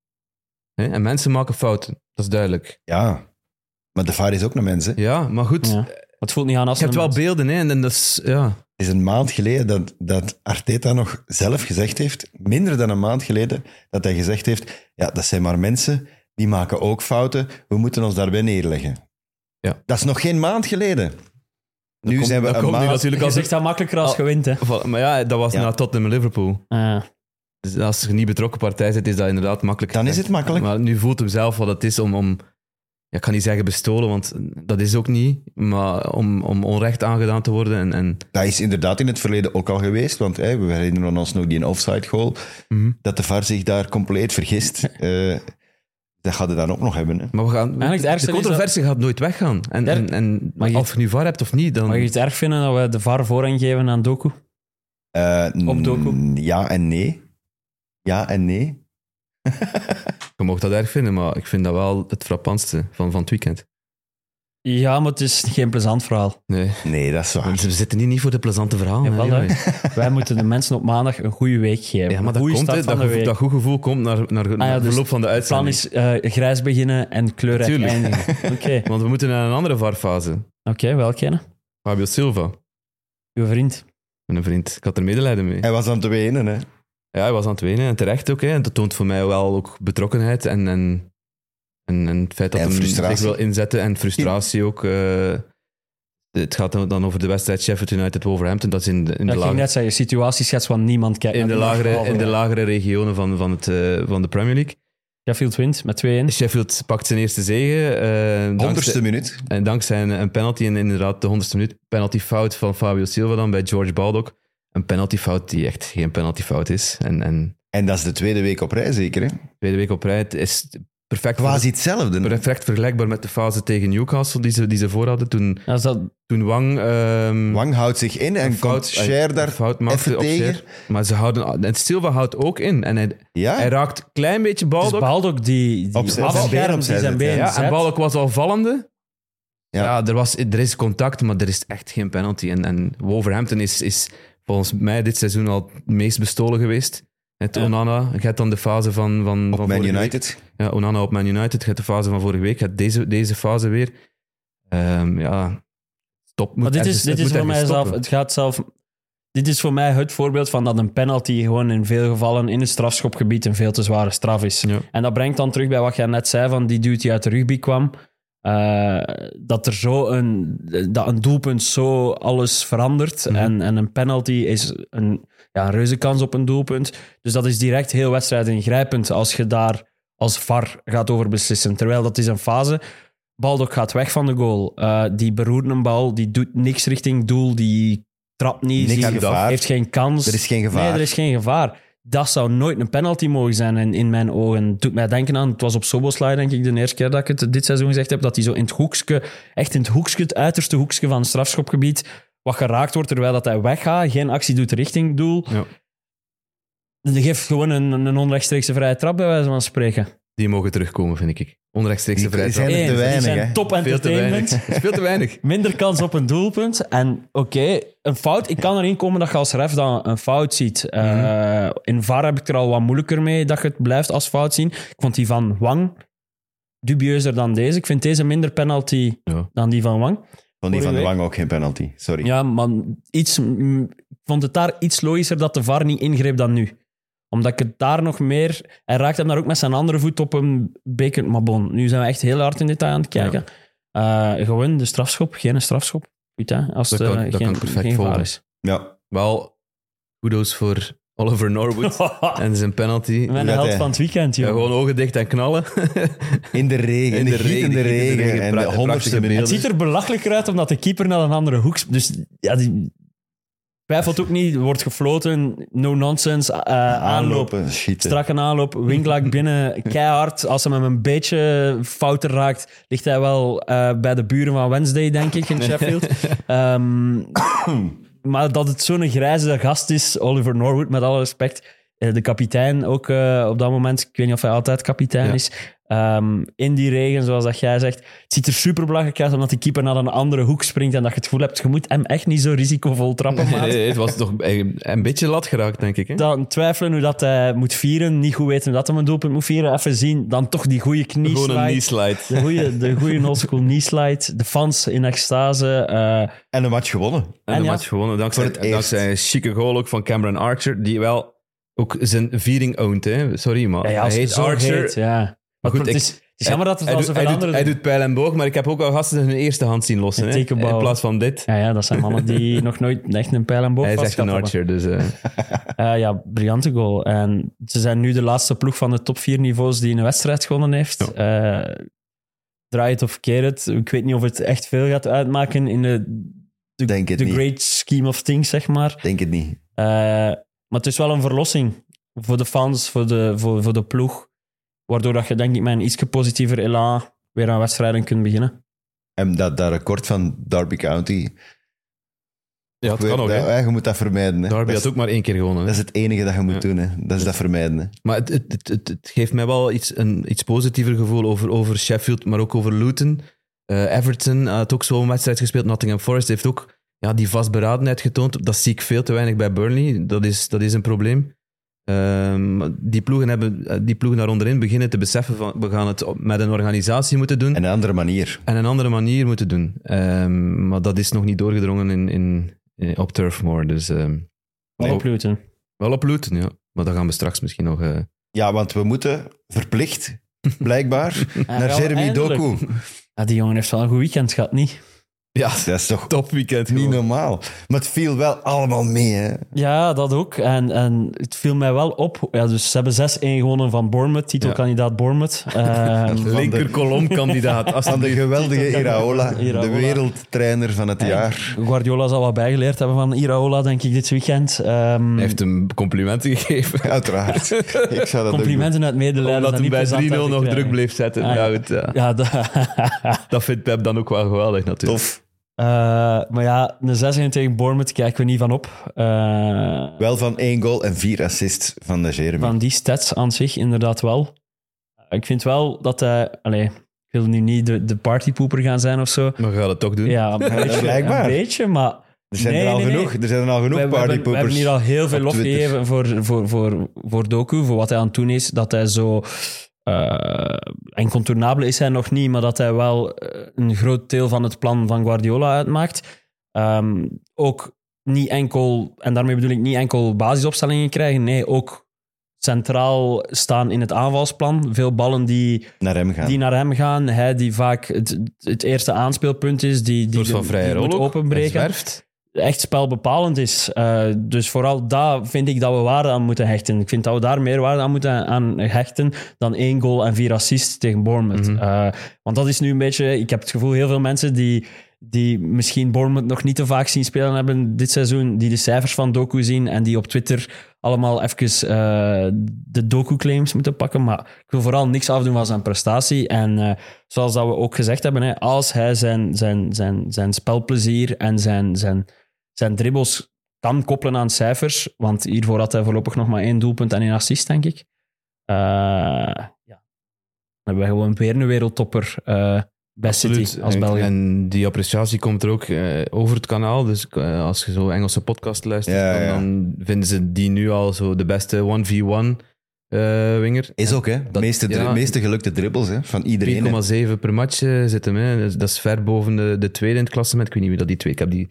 B: Hè? En mensen maken fouten, dat is duidelijk.
A: Ja. Maar de VAR is ook een mens. Hè.
B: Ja, maar goed.
C: Ja. Het voelt niet aan als
B: Je hebt
C: een
B: wel
C: mens.
B: beelden, hè? En, en dat is, ja.
A: Het is een maand geleden dat, dat Arteta nog zelf gezegd heeft, minder dan een maand geleden, dat hij gezegd heeft, ja, dat zijn maar mensen, die maken ook fouten, we moeten ons daarbij neerleggen.
B: Ja.
A: Dat is nog geen maand geleden. Nu
B: komt-
A: zijn we
B: dat
A: een
B: komt nu
A: maand...
B: natuurlijk
C: Je
B: als
C: zegt dat makkelijker als
B: Al-
C: je wint, hè.
B: Voilà, Maar ja, dat was
A: Ja.
B: na Tottenham en Liverpool. Dus als je niet betrokken partij zit, is dat inderdaad makkelijk.
A: Dan is het makkelijk.
B: Maar nu voelt hem zelf wat het is om, om ja, ik kan niet zeggen bestolen, want dat is ook niet, maar om, om onrecht aangedaan te worden. En, en
A: Dat is inderdaad in het verleden ook al geweest, want hè, we herinneren ons nog die offside goal,
B: Mhm.
A: dat de VAR zich daar compleet vergist. Eh, Dat gaat het dan ook nog hebben. Hè.
B: Maar we gaan,
C: het ergste
B: de
C: is
B: controversie gaat nooit weggaan. En,
C: Ja.
B: en, en
C: Maar je-
B: of je nu VAR hebt of niet, dan...
C: Mag je het erg vinden dat we de VAR voorrang geven aan Doku?
A: Eh, n-
C: Op docu.
A: Ja en nee. Ja en nee.
B: Je mag dat erg vinden, maar ik vind dat wel het frappantste van, van het weekend.
C: Ja, maar het is geen plezant verhaal.
B: Nee,
A: Nee, dat is
B: want
A: waar.
B: we zitten hier niet voor de plezante verhalen.
C: Jawel,
B: hè,
C: hè.
B: jongens.
C: Wij moeten de mensen op maandag een goede week geven.
B: ja, maar
C: een
B: dat,
C: goede
B: komt,
C: start
B: hè,
C: van
B: dat,
C: de
B: gevo-
C: week.
B: dat goed gevoel komt naar, naar, naar
C: ja,
B: het
C: dus
B: verloop van de
C: Het plan
B: uitzending.
C: is eh, grijs beginnen en kleurrijk
B: Tuurlijk.
C: eindigen. Oké, oké,
B: Want we moeten naar een andere varfase.
C: welke? hè?
B: Fabio Silva,
C: Uw vriend.
B: mijn vriend. Ik had er medelijden mee.
A: Hij was aan het wenen, hè.
B: Ja, hij was aan het wenen en terecht ook. Hè. En dat toont voor mij wel ook betrokkenheid en, en, en, en het feit dat
A: En
B: hij
A: frustratie.
B: zich wil inzetten en frustratie ook. eh. het gaat dan dan over de wedstrijd Sheffield United-Wolverhampton. Dat is in de, in de
C: Dat ging
B: lage-
C: net zeggen, situatieschets van niemand kijkt.
B: in
C: naar
B: de
C: die
B: lagere,
C: behalve-
B: in de lagere regionen van, van, het, eh, van de Premier League.
C: Sheffield wint met 2-1.
B: Sheffield pakt zijn eerste zege. eh,
A: Honderdste
B: dankzij,
A: minuut.
B: en dankzij een, een penalty en inderdaad de honderdste minuut penaltyfout van Fabio Silva dan bij George Baldock. Een penaltyfout die echt geen penaltyfout is. En, en
A: En dat is de tweede week op rij, zeker, hè.
B: tweede week op rij het is perfect,
A: Quasi hetzelfde.
B: perfect vergelijkbaar met de fase tegen Newcastle die ze, die ze voor hadden. Toen,
C: Ja, is dat,
B: toen Wang... ehm,
A: Wang houdt zich in en komt Cher
B: een
A: daar
B: fout maakte
A: even
B: op
A: tegen.
B: Cher. Maar ze houden... En Silva houdt ook in. En hij, hij
A: Ja,
B: raakt een klein beetje
C: het is
B: Baldock.
C: Baldock die, die
A: Op zijn-
C: afschermt,
A: zijn been
C: die
A: opzij
C: zijn
A: zet, ja.
C: been
B: Ja, en
C: zet.
B: Balk was al vallende.
A: Ja.
B: Ja, er, was, er is contact, maar er is echt geen penalty. En, en Wolverhampton is, is volgens mij dit seizoen al het meest bestolen geweest. Het
C: Ja.
B: Onana, je hebt dan de fase van... van
A: op
B: van
A: Man
B: vorige
A: United.
B: week. Ja, Onana op Man United. Je hebt de fase van vorige week. Je hebt deze, deze fase weer. Ehm, ja, stop. Moet
C: Maar dit
B: ergens-
C: is, dit
B: het
C: is
B: moet
C: voor mij
B: ergens
C: zelf,
B: stoppen.
C: het gaat zelf... Dit is voor mij het voorbeeld van dat een penalty gewoon in veel gevallen in het strafschopgebied een veel te zware straf is.
B: Ja.
C: En dat brengt dan terug bij wat jij net zei van die dude die uit de rugby kwam. Eh, dat er zo een, dat een doelpunt zo alles verandert.
B: Mhm.
C: en, en een penalty is een, ja, een reuze kans op een doelpunt. Dus dat is direct heel wedstrijdingrijpend als je daar als VAR gaat over beslissen. Terwijl dat is een fase. Baldock gaat weg van de goal. Eh, die beroert een bal, die doet niks richting doel, die trapt niet,
A: Niks
C: die
A: aan gevaar.
C: heeft geen kans.
A: Er is geen gevaar.
C: Nee, er is geen gevaar. Dat zou nooit een penalty mogen zijn in, in mijn ogen. Het doet mij denken aan, het was op Soboslai denk ik de eerste keer dat ik het dit seizoen gezegd heb, dat hij zo in het hoekje, echt in het hoekje, het uiterste hoekje van het strafschopgebied, wat geraakt wordt terwijl dat hij weggaat, geen actie doet richting doel.
B: Ja.
C: Die geeft gewoon een, een onrechtstreekse vrije trap bij wijze van spreken.
B: Die mogen terugkomen, vind ik. Onrechtstreekse
A: Die
B: vrijheid.
A: zijn er te
C: Eén, die
A: weinig,
C: zijn
A: hè.
C: top
B: Veel te weinig.
C: entertainment.
B: Het is Veel te weinig.
C: Minder kans op een doelpunt. En oké, een fout. Ik kan erin komen dat je als ref dan een fout ziet. Eh, In VAR heb ik er al wat moeilijker mee dat je het blijft als fout zien. Ik vond die van Wang dubieuzer dan deze. Ik vind deze minder penalty
B: Ja.
C: dan die van Wang.
A: Van die van de
C: week.
A: Wang ook geen penalty. Sorry.
C: Ja, maar iets, mm, ik vond het daar iets logischer dat de VAR niet ingreep dan nu. Omdat ik het daar nog meer... Hij raakt hem daar ook met zijn andere voet op een beker. Maar bon, nu zijn we echt heel hard in detail aan het kijken. Eh, gewoon de strafschop, geen strafschop. Goed, hè? Als
B: Dat
C: het, eh,
B: kan- dat
C: geen,
B: kan perfect
C: geen VAR
B: volgen.
C: is.
A: Ja.
B: Wel, kudos voor Oliver Norwood en zijn penalty.
C: Mijn
A: dat
C: held
A: hij-
C: van het weekend,
B: Ja,
C: joh.
B: gewoon ogen dicht en knallen.
A: In de regen, in de regen, in de regen,
B: regen,
A: en
B: pra-
A: de honderdste
B: prachtige
A: minuut.
C: het ziet er belachelijker uit omdat de keeper naar een andere hoek... sp- Dus ja, die twijfelt ook niet. Wordt gefloten, no-nonsense, eh, aanloop.
A: Aanlopen, schieten.
C: Strakke aanloop, winklaak binnen, keihard. Als hij hem een beetje fouten raakt, ligt hij wel eh, bij de buren van Wednesday, denk ik, in Sheffield. Ehm, maar dat het zo'n grijze gast is, Oliver Norwood, met alle respect. eh, De kapitein ook eh, op dat moment, ik weet niet of hij altijd kapitein
B: Ja.
C: is. Ehm, in die regen, zoals dat jij zegt. Het ziet er super belachelijk uit omdat de keeper naar een andere hoek springt en dat je het gevoel hebt, je moet hem echt niet zo risicovol trappen.
B: Nee,
C: maat.
B: nee, het was toch een een beetje lat geraakt, denk ik. Hè?
C: dan twijfelen hoe dat hij moet vieren, niet goed weten hoe dat hij een doelpunt moet vieren, even zien, dan toch die goede
B: Gewoon een knee
C: knieslide. De
B: slide.
C: goede, de goede oldschool knieslide, de fans in extase. eh,
A: En de match gewonnen.
B: En,
C: En
B: de
C: ja.
B: match gewonnen. eh, Dankzij,
A: Voor het eerst.
B: dankzij een chique goal ook van Cameron Archer, die wel ook zijn viering owned. Hè? Sorry, maar
C: ja, ja, als
B: hij
C: het
B: heet
C: zo
B: Archer.
C: heet, ja. Maar,
B: goed,
C: het,
B: ik-
C: is, het is jammer dat het
B: hij,
C: al
B: doet,
C: zoveel
B: hij, doet,
C: anderen
B: hij
C: doen.
B: doet pijl en boog, maar ik heb ook al gasten hun eerste hand zien lossen.
C: Een
B: Hè?
C: tekenbal.
B: In plaats van dit.
C: Ja, ja, dat zijn mannen die nog nooit echt een pijl en boog
B: hij is echt een
C: vastgappen.
B: Archer, dus... eh,
C: Eh, ja, briljante goal. En ze zijn nu de laatste ploeg van de top vier niveaus die een wedstrijd gewonnen heeft. Eh, draai het of keer het. Ik weet niet of het echt veel gaat uitmaken in de, de,
A: Denk het
C: de
A: niet.
C: great scheme of things, zeg maar.
A: Denk het niet.
C: Eh, maar het is wel een verlossing voor de fans, voor de, voor, voor de ploeg. Waardoor dat je denk ik met een iets positiever elan weer aan wedstrijden kunt beginnen.
A: En dat, dat record van Derby County.
B: Ja, dat kan ook.
A: dat-
B: hè.
A: ja, je moet dat vermijden. Hè.
B: Derby
A: dat,
B: had
A: is,
B: ook maar één keer gewonnen. hè.
A: dat is het enige dat je moet doen. Hè. Dat is dat vermijden. hè.
B: Maar het, het, het, het- het geeft mij wel iets, een iets positiever gevoel over, over Sheffield, maar ook over Luton. Eh, Everton had ook zo'n wedstrijd gespeeld. Nottingham Forest heeft ook ja, die vastberadenheid getoond. Dat zie ik veel te weinig bij Burnley. Dat is, dat is een probleem. Ehm, die, ploegen hebben, eh, die ploegen daar onderin beginnen te beseffen van we gaan het op- met een organisatie moeten doen
A: En een andere manier.
B: en een andere manier moeten doen. Ehm, maar dat is nog niet doorgedrongen in, in, in- op Turfmoor. Dus ehm,
C: Nee.
B: Oh.
C: Op Luton.
B: wel op Luton, ja. Maar daar gaan we straks misschien nog... eh,
A: Ja, want we moeten verplicht, blijkbaar, naar
C: wel,
A: Jeremy
C: eindelijk.
A: Doku.
C: Ja, die jongen heeft wel een goed weekend gehad, niet?
B: ja,
A: Dat is toch
B: topweekend.
A: niet
B: gewoon.
A: normaal. Maar het viel wel allemaal mee. Hè.
C: Ja, dat ook. En, en het viel mij wel op. Ja, dus ze hebben 6-1 gewonnen van Bournemouth, titelkandidaat Bournemouth. Ehm,
A: Van de-
B: Linkerkolomkandidaat. Als
A: Van de geweldige Iraola, de
C: Iraola.
A: wereldtrainer van het jaar.
C: Guardiola zal wat bijgeleerd hebben van Iraola, denk ik, dit weekend. Ehm,
B: Hij heeft hem complimenten gegeven.
A: Uiteraard. Ik zou dat ook doen.
C: complimenten uit medelijden.
B: Omdat
C: dat
B: hij
C: niet
B: bij 3-0
C: plezant uit te
B: nog
C: krijgen.
B: druk bleef zetten.
C: Ah,
B: ja.
C: ja.
B: goed, ja.
C: Ja, dat-
B: Dat vindt Pep dan ook wel geweldig natuurlijk.
A: Tof.
C: Eh, maar ja, een 6-1 tegen Bournemouth kijken we niet van op. Eh,
A: Wel van één goal en vier assists van de Jeremy.
C: van die stats aan zich inderdaad wel. Eh, Ik vind wel dat hij... Allee, ik wil nu niet de, de partypoeper gaan zijn of zo.
B: Maar we gaan het toch doen.
C: Ja, een beetje.
A: blijkbaar.
C: Een beetje, maar...
A: er zijn
C: Nee,
A: er al
C: nee, nee.
A: genoeg. Er zijn er al genoeg
C: We, we hebben, we
A: partypoepers.
C: hebben hier al heel veel
A: op
C: lof
A: Twitter.
C: gegeven voor, voor, voor, voor Doku, voor wat hij aan het doen is. Dat hij zo... eh, incontournabel is hij nog niet, maar dat hij wel eh, een groot deel van het plan van Guardiola uitmaakt. Ehm, ook niet enkel, en daarmee bedoel ik niet enkel basisopstellingen krijgen, nee, ook centraal staan in het aanvalsplan. Veel ballen die,
A: naar hem gaan.
C: die naar hem gaan, hij die vaak het, het eerste aanspeelpunt is, die, die,
B: Een soort van
C: de-
B: vrije
C: die
B: rol
C: moet
B: ook.
C: openbreken
B: Hij zwerft.
C: echt spelbepalend is. Eh, dus vooral daar vind ik dat we waarde aan moeten hechten. Ik vind dat we daar meer waarde aan moeten aan hechten dan één goal en vier assists tegen Bournemouth.
B: Mhm.
C: Eh, want dat is nu een beetje... Ik heb het gevoel, heel veel mensen die, die misschien Bournemouth nog niet te vaak zien spelen hebben dit seizoen, die de cijfers van Doku zien en die op Twitter allemaal even eh, de Doku-claims moeten pakken. Maar ik wil vooral niks afdoen van zijn prestatie. En eh, zoals dat we ook gezegd hebben, hè, als hij zijn, zijn, zijn, zijn spelplezier en zijn, zijn, zijn dribbles kan koppelen aan cijfers, want hiervoor had hij voorlopig nog maar één doelpunt en één assist, denk ik. Eh, ja. Dan hebben we gewoon weer een wereldtopper eh bij City als
B: En-
C: België.
B: En die appreciatie komt er ook eh, over het kanaal. Dus eh, als je zo Engelse podcast luistert,
A: Ja,
B: dan,
A: ja.
B: dan vinden ze die nu al zo de beste 1v1 eh winger.
A: Is ook, hè? De
B: Dat-
A: meeste, dri-
B: ja.
A: meeste gelukte dribbles hè? van iedereen. hè.
B: 4,7 per match eh, zit hem. Hè. Dus Dat is ver boven de, de tweede in het klassement. Ik weet niet wie dat die twee... Ik heb die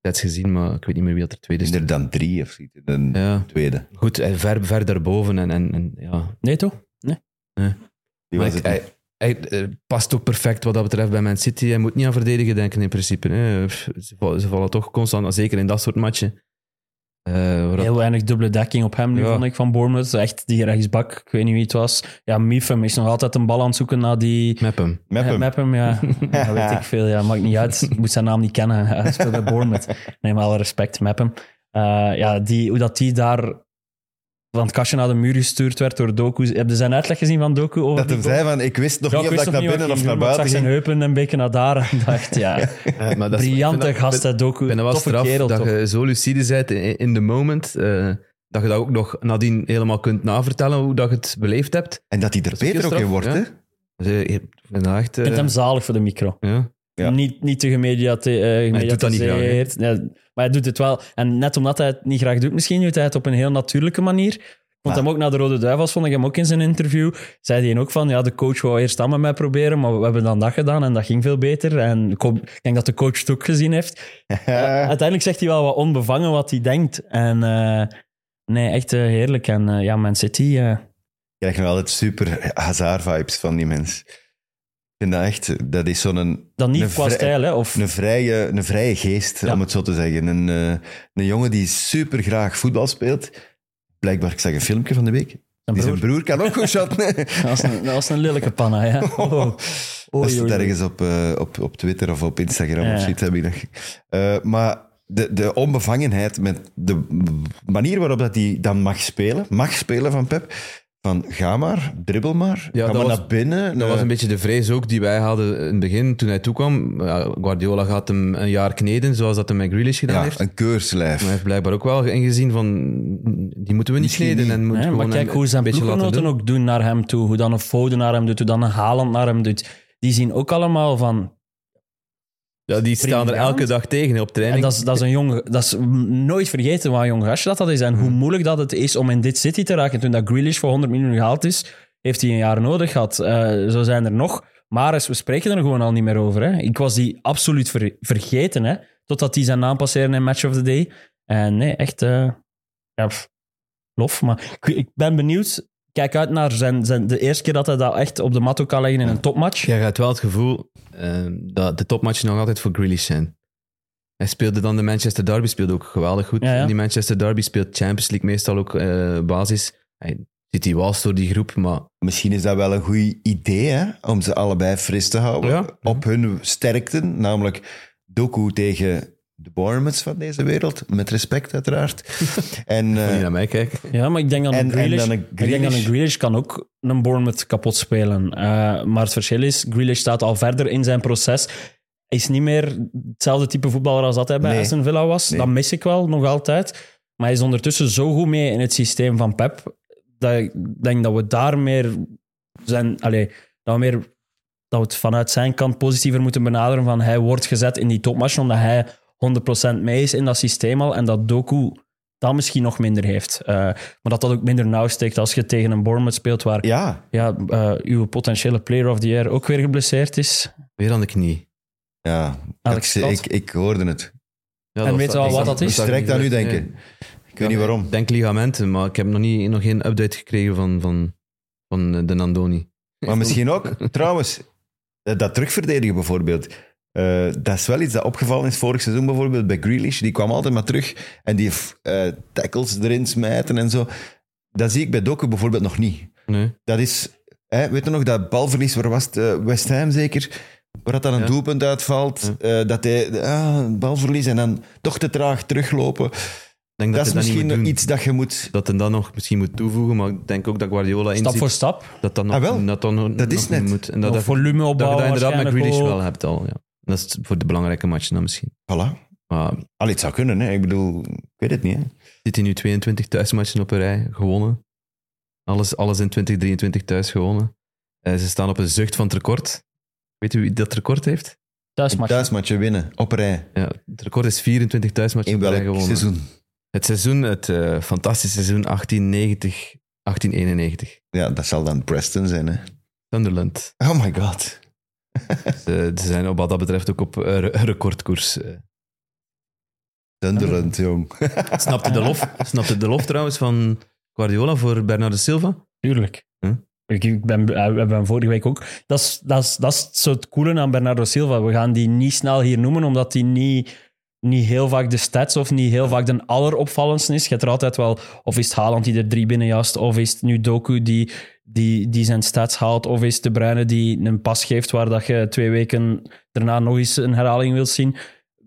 B: net gezien, maar ik weet niet meer wie dat er tweede
A: Is
B: is.
A: er dan drie of zoiets? Dan
B: Ja,
A: tweede.
B: goed. eh, Ver, ver daarboven. En, en, en, ja.
C: Nee, toch? Nee.
A: Die was
B: Maar ik-
A: het
B: hij,
A: niet.
B: hij, eh, past ook perfect wat dat betreft bij Man City. Hij moet niet aan verdedigen denken in principe. Hè. Pff, Ze, vallen, ze vallen toch constant, zeker in dat soort matchen. Eh, waar dat-
C: Heel weinig dubbele dekking op hem nu,
B: Ja.
C: vond ik, van Bournemouth. Echt, die rechtsbak, ik weet niet wie het was. Ja, Miefem is nog altijd een bal aan het zoeken naar die... Eh,
B: met hem.
A: Mep hem.
C: Mepham, ja. dat weet ik veel. Ja, maakt niet uit. Ik moet zijn naam niet kennen. Hij speelt bij Bournemouth. Neem alle respect, Mepham. Eh ja, die, hoe dat die daar van het kastje naar de muur gestuurd werd door Doku. Heb je zijn uitleg gezien van Doku? Over
A: Dat
C: die
A: hem
C: goal?
A: zei van, ik wist nog
C: Ja,
A: niet
C: ik
A: of dat
C: wist
A: ik
C: nog
A: naar binnen
C: niet wat ik
A: of
C: ging
A: naar
C: doen, maar
A: buiten
C: Ik zag
A: ging.
C: zijn heupen een beetje naar daar en dacht, ja,
B: Eh, maar dat is- ik
C: briljante
B: vind dat-
C: gast, hè, Doku.
B: Ik ben er wel
C: Toffe
B: straf
C: kerel,
B: dat
C: toch?
B: je zo lucide bent in, in the moment, eh, dat je dat ook nog nadien helemaal kunt navertellen hoe dat je het beleefd hebt.
A: En dat hij er
B: Dat is ook
A: beter ook
B: heel
A: in
B: straf,
A: wordt,
B: ja.
A: hè?
B: Dus, eh, ik vind dat
C: Ik
B: echt... eh,
C: vind hem zalig voor de micro.
B: ja.
A: Ja.
C: Niet, niet te gemediate- eh,
B: doet dat niet graag, hè?
C: gemediatiseerd. Ja, maar hij doet het wel. En net omdat hij het niet graag doet, misschien doet hij het op een heel natuurlijke manier. Ik vond
A: Maar-
C: hem ook naar de Rode Duivels, vond ik hem ook in zijn interview. Zei hij ook van, ja, de coach wou eerst dat met mij proberen, maar we hebben dan dat gedaan en dat ging veel beter. En ik, hoop- ik denk dat de coach het ook gezien heeft.
A: Eh.
C: Uiteindelijk zegt hij wel wat onbevangen wat hij denkt. En eh, nee, echt eh, heerlijk. En eh, ja, Man City... eh,
A: Ik krijg nog altijd super Hazard-vibes van die mens. Ik vind dat echt... Dat is zo'n... Een
C: dan niet
A: Een
C: qua
A: vrij-
C: stijl, hè. Of,
A: vrije, een vrije geest,
C: Ja.
A: om het zo te zeggen. Een, eh, een jongen die super graag voetbal speelt. Blijkbaar, ik zag een filmpje van de week.
C: zijn
A: Die
C: broer.
A: zijn broer kan ook goed shotten.
C: Dat was een, dat was een lelijke panna, ja. Oh.
A: Als
C: Oei,
A: het
C: oei, oei.
A: ergens op, eh, op, op Twitter of op Instagram
C: Ja.
A: of zoiets heb ik dat. Eh, maar de, de onbevangenheid met de manier waarop dat hij dan mag spelen, mag spelen van Pep, van ga maar, dribbel maar,
B: Ja,
A: ga
B: dat
A: maar
B: was-
A: naar binnen.
B: Dat
A: Eh,
B: was een beetje de vrees ook die wij hadden in het begin toen hij toekwam. Ja, Guardiola gaat hem een jaar kneden, zoals dat hij met Grealish gedaan
A: ja,
B: heeft. Maar
A: een keurslijf.
B: hij heeft blijkbaar ook wel ingezien van, die moeten we niet
A: Misschien
B: kneden.
A: niet.
B: En moet
C: Hè,
B: gewoon
C: maar
B: hem
C: kijk hoe
B: een
C: zijn
B: beetje laten
C: ploeggenoten
B: doen.
C: ook doen naar hem toe. Hoe dan een Foden naar hem doet, hoe dan een Haaland naar hem doet. Die zien ook allemaal van...
B: Ja, die staan er
C: Briljant.
B: elke dag tegen op
C: En
B: training.
C: dat is, dat is een jonge... Dat is m- nooit vergeten wat een jong gastje dat dat is. En hoe moeilijk dat het is om in dit city te raken. Toen dat Grealish voor 100 miljoen gehaald is, heeft hij een jaar nodig gehad. Eh, zo zijn er nog. Maar we spreken er gewoon al niet meer over. Hè. Ik was die absoluut ver- vergeten. Hè. Totdat die zijn naam passeren in Match of the Day. En nee, echt... eh, ja, pff, lof. Maar ik, ik ben benieuwd. Kijk uit naar zijn, zijn, de eerste keer dat hij dat echt op de mat ook kan leggen in een topmatch.
B: Je hebt wel het gevoel eh, dat de topmatchen nog altijd voor Grealish zijn. Hij speelde dan de Manchester Derby, speelde ook geweldig goed.
C: Ja, ja.
B: Die Manchester Derby speelt Champions League meestal ook eh, basis. Hij zit die was door die groep, maar
A: Misschien is dat wel een goed idee hè, om ze allebei fris te houden
B: Ja.
A: op hun sterkten, namelijk Doku tegen de Bournemouths van deze wereld, met respect uiteraard. en, eh,
B: moet je naar mij kijken.
C: Ja, maar ik denk dat een
A: En- en
C: Grealish,
A: dan een
C: Ik denk dat een
A: Grealish-
C: Grealish kan ook een Bournemouth kapot spelen. Eh, maar het verschil is, Grealish staat al verder in zijn proces. Hij is niet meer hetzelfde type voetballer als dat hij bij
A: Nee.
C: Aston Villa was.
A: Nee.
C: Dat mis ik wel, nog altijd. Maar hij is ondertussen zo goed mee in het systeem van Pep, dat ik denk dat we daar meer zijn... Allee, dat we meer... Dat we het vanuit zijn kant positiever moeten benaderen van hij wordt gezet in die topmatch omdat hij 100% mee is in dat systeem al en dat Doku dat misschien nog minder heeft. Eh, maar dat dat ook minder nauw steekt als je tegen een Bournemouth speelt waar
A: ja,
C: ja, eh, uw potentiële player of the year ook weer geblesseerd is.
B: Weer aan de knie.
A: ja ik
C: Alex
A: had-
C: Scott.
A: ik, ik hoorde het.
B: Ja,
C: En
B: dat
C: weet
B: was-
C: je wel
B: ik
C: wat
B: zag-
C: dat is?
B: ik zag
A: Direct
B: niet
A: aan u
B: direct,
A: denken.
B: nee.
A: Ik weet niet waarom.
B: Ik denk ligamenten, maar ik heb nog niet, nog geen update gekregen van, van, van eh, de Nandoni.
A: Maar misschien ook, trouwens, eh, dat terugverdedigen bijvoorbeeld. Eh, dat is wel iets dat opgevallen is vorig seizoen bijvoorbeeld bij Grealish. Die kwam altijd maar terug en die eh, tackles erin smijten en zo. Dat zie ik bij Doku bijvoorbeeld nog niet.
B: Nee.
A: Dat is, hè, weet je nog, dat balverlies, waar was het, eh, West Ham zeker? Waar dat dan een
B: Ja.
A: doelpunt uitvalt. eh, dat hij, ah, balverlies en dan toch te traag teruglopen.
B: Ik denk
A: Dat,
B: dat,
A: is
B: hij dat
A: misschien
B: niet moet doen.
A: iets dat je moet...
B: Dat hij dat nog misschien moet toevoegen, maar ik denk ook dat Guardiola
C: Stap
B: inziet
C: voor stap.
B: dat dat nog,
A: Ah, wel.
B: dat dat nog,
A: Dat is
B: nog
A: net.
B: niet moet. En dat
C: Dat
B: dat-
C: volume
B: Dat je
C: opbouwen
B: dat inderdaad met
C: waarschijnlijk
B: Grealish
C: ook.
B: wel hebt al. Ja. Dat is voor de belangrijke matchen dan misschien.
A: Voilà.
B: Maar
A: Allee, het zou kunnen, hè. Ik bedoel, ik weet het niet, hè.
B: zit hij nu 22 thuismatchen op een rij, gewonnen. Alles, alles in 2023 thuis gewonnen. Eh, ze staan op een zucht van het record. Weet u wie dat record heeft?
C: Thuismatch.
A: Thuismatje winnen, op rij.
B: Ja, het record is 24 thuismatchen
A: In
B: op een rij
A: welk
B: gewonnen.
A: seizoen?
B: Het seizoen, het eh, fantastische seizoen 1890, 1891.
A: Ja, dat zal dan Preston zijn, hè.
B: Sunderland.
A: Oh my god.
B: Ze, ze zijn op wat dat betreft ook op eh, re- recordkoers. eh.
A: Sunderland, jong.
B: Snapte de lof? Snapte de lof trouwens van Guardiola voor Bernardo Silva?
C: Tuurlijk.
B: Hm?
C: Ik, ik ben, eh, we hebben hem vorige week ook. Dat is, dat, is, dat is zo het coole aan Bernardo Silva. We gaan die niet snel hier noemen, omdat die niet, niet heel vaak de stats of niet heel vaak de alleropvallendste is. Je hebt er altijd wel, of is het Haaland die er drie binnenjast, of is het nu Doku die, die, die zijn stats haalt, of is het De Bruyne die een pas geeft waar dat je twee weken daarna nog eens een herhaling wilt zien.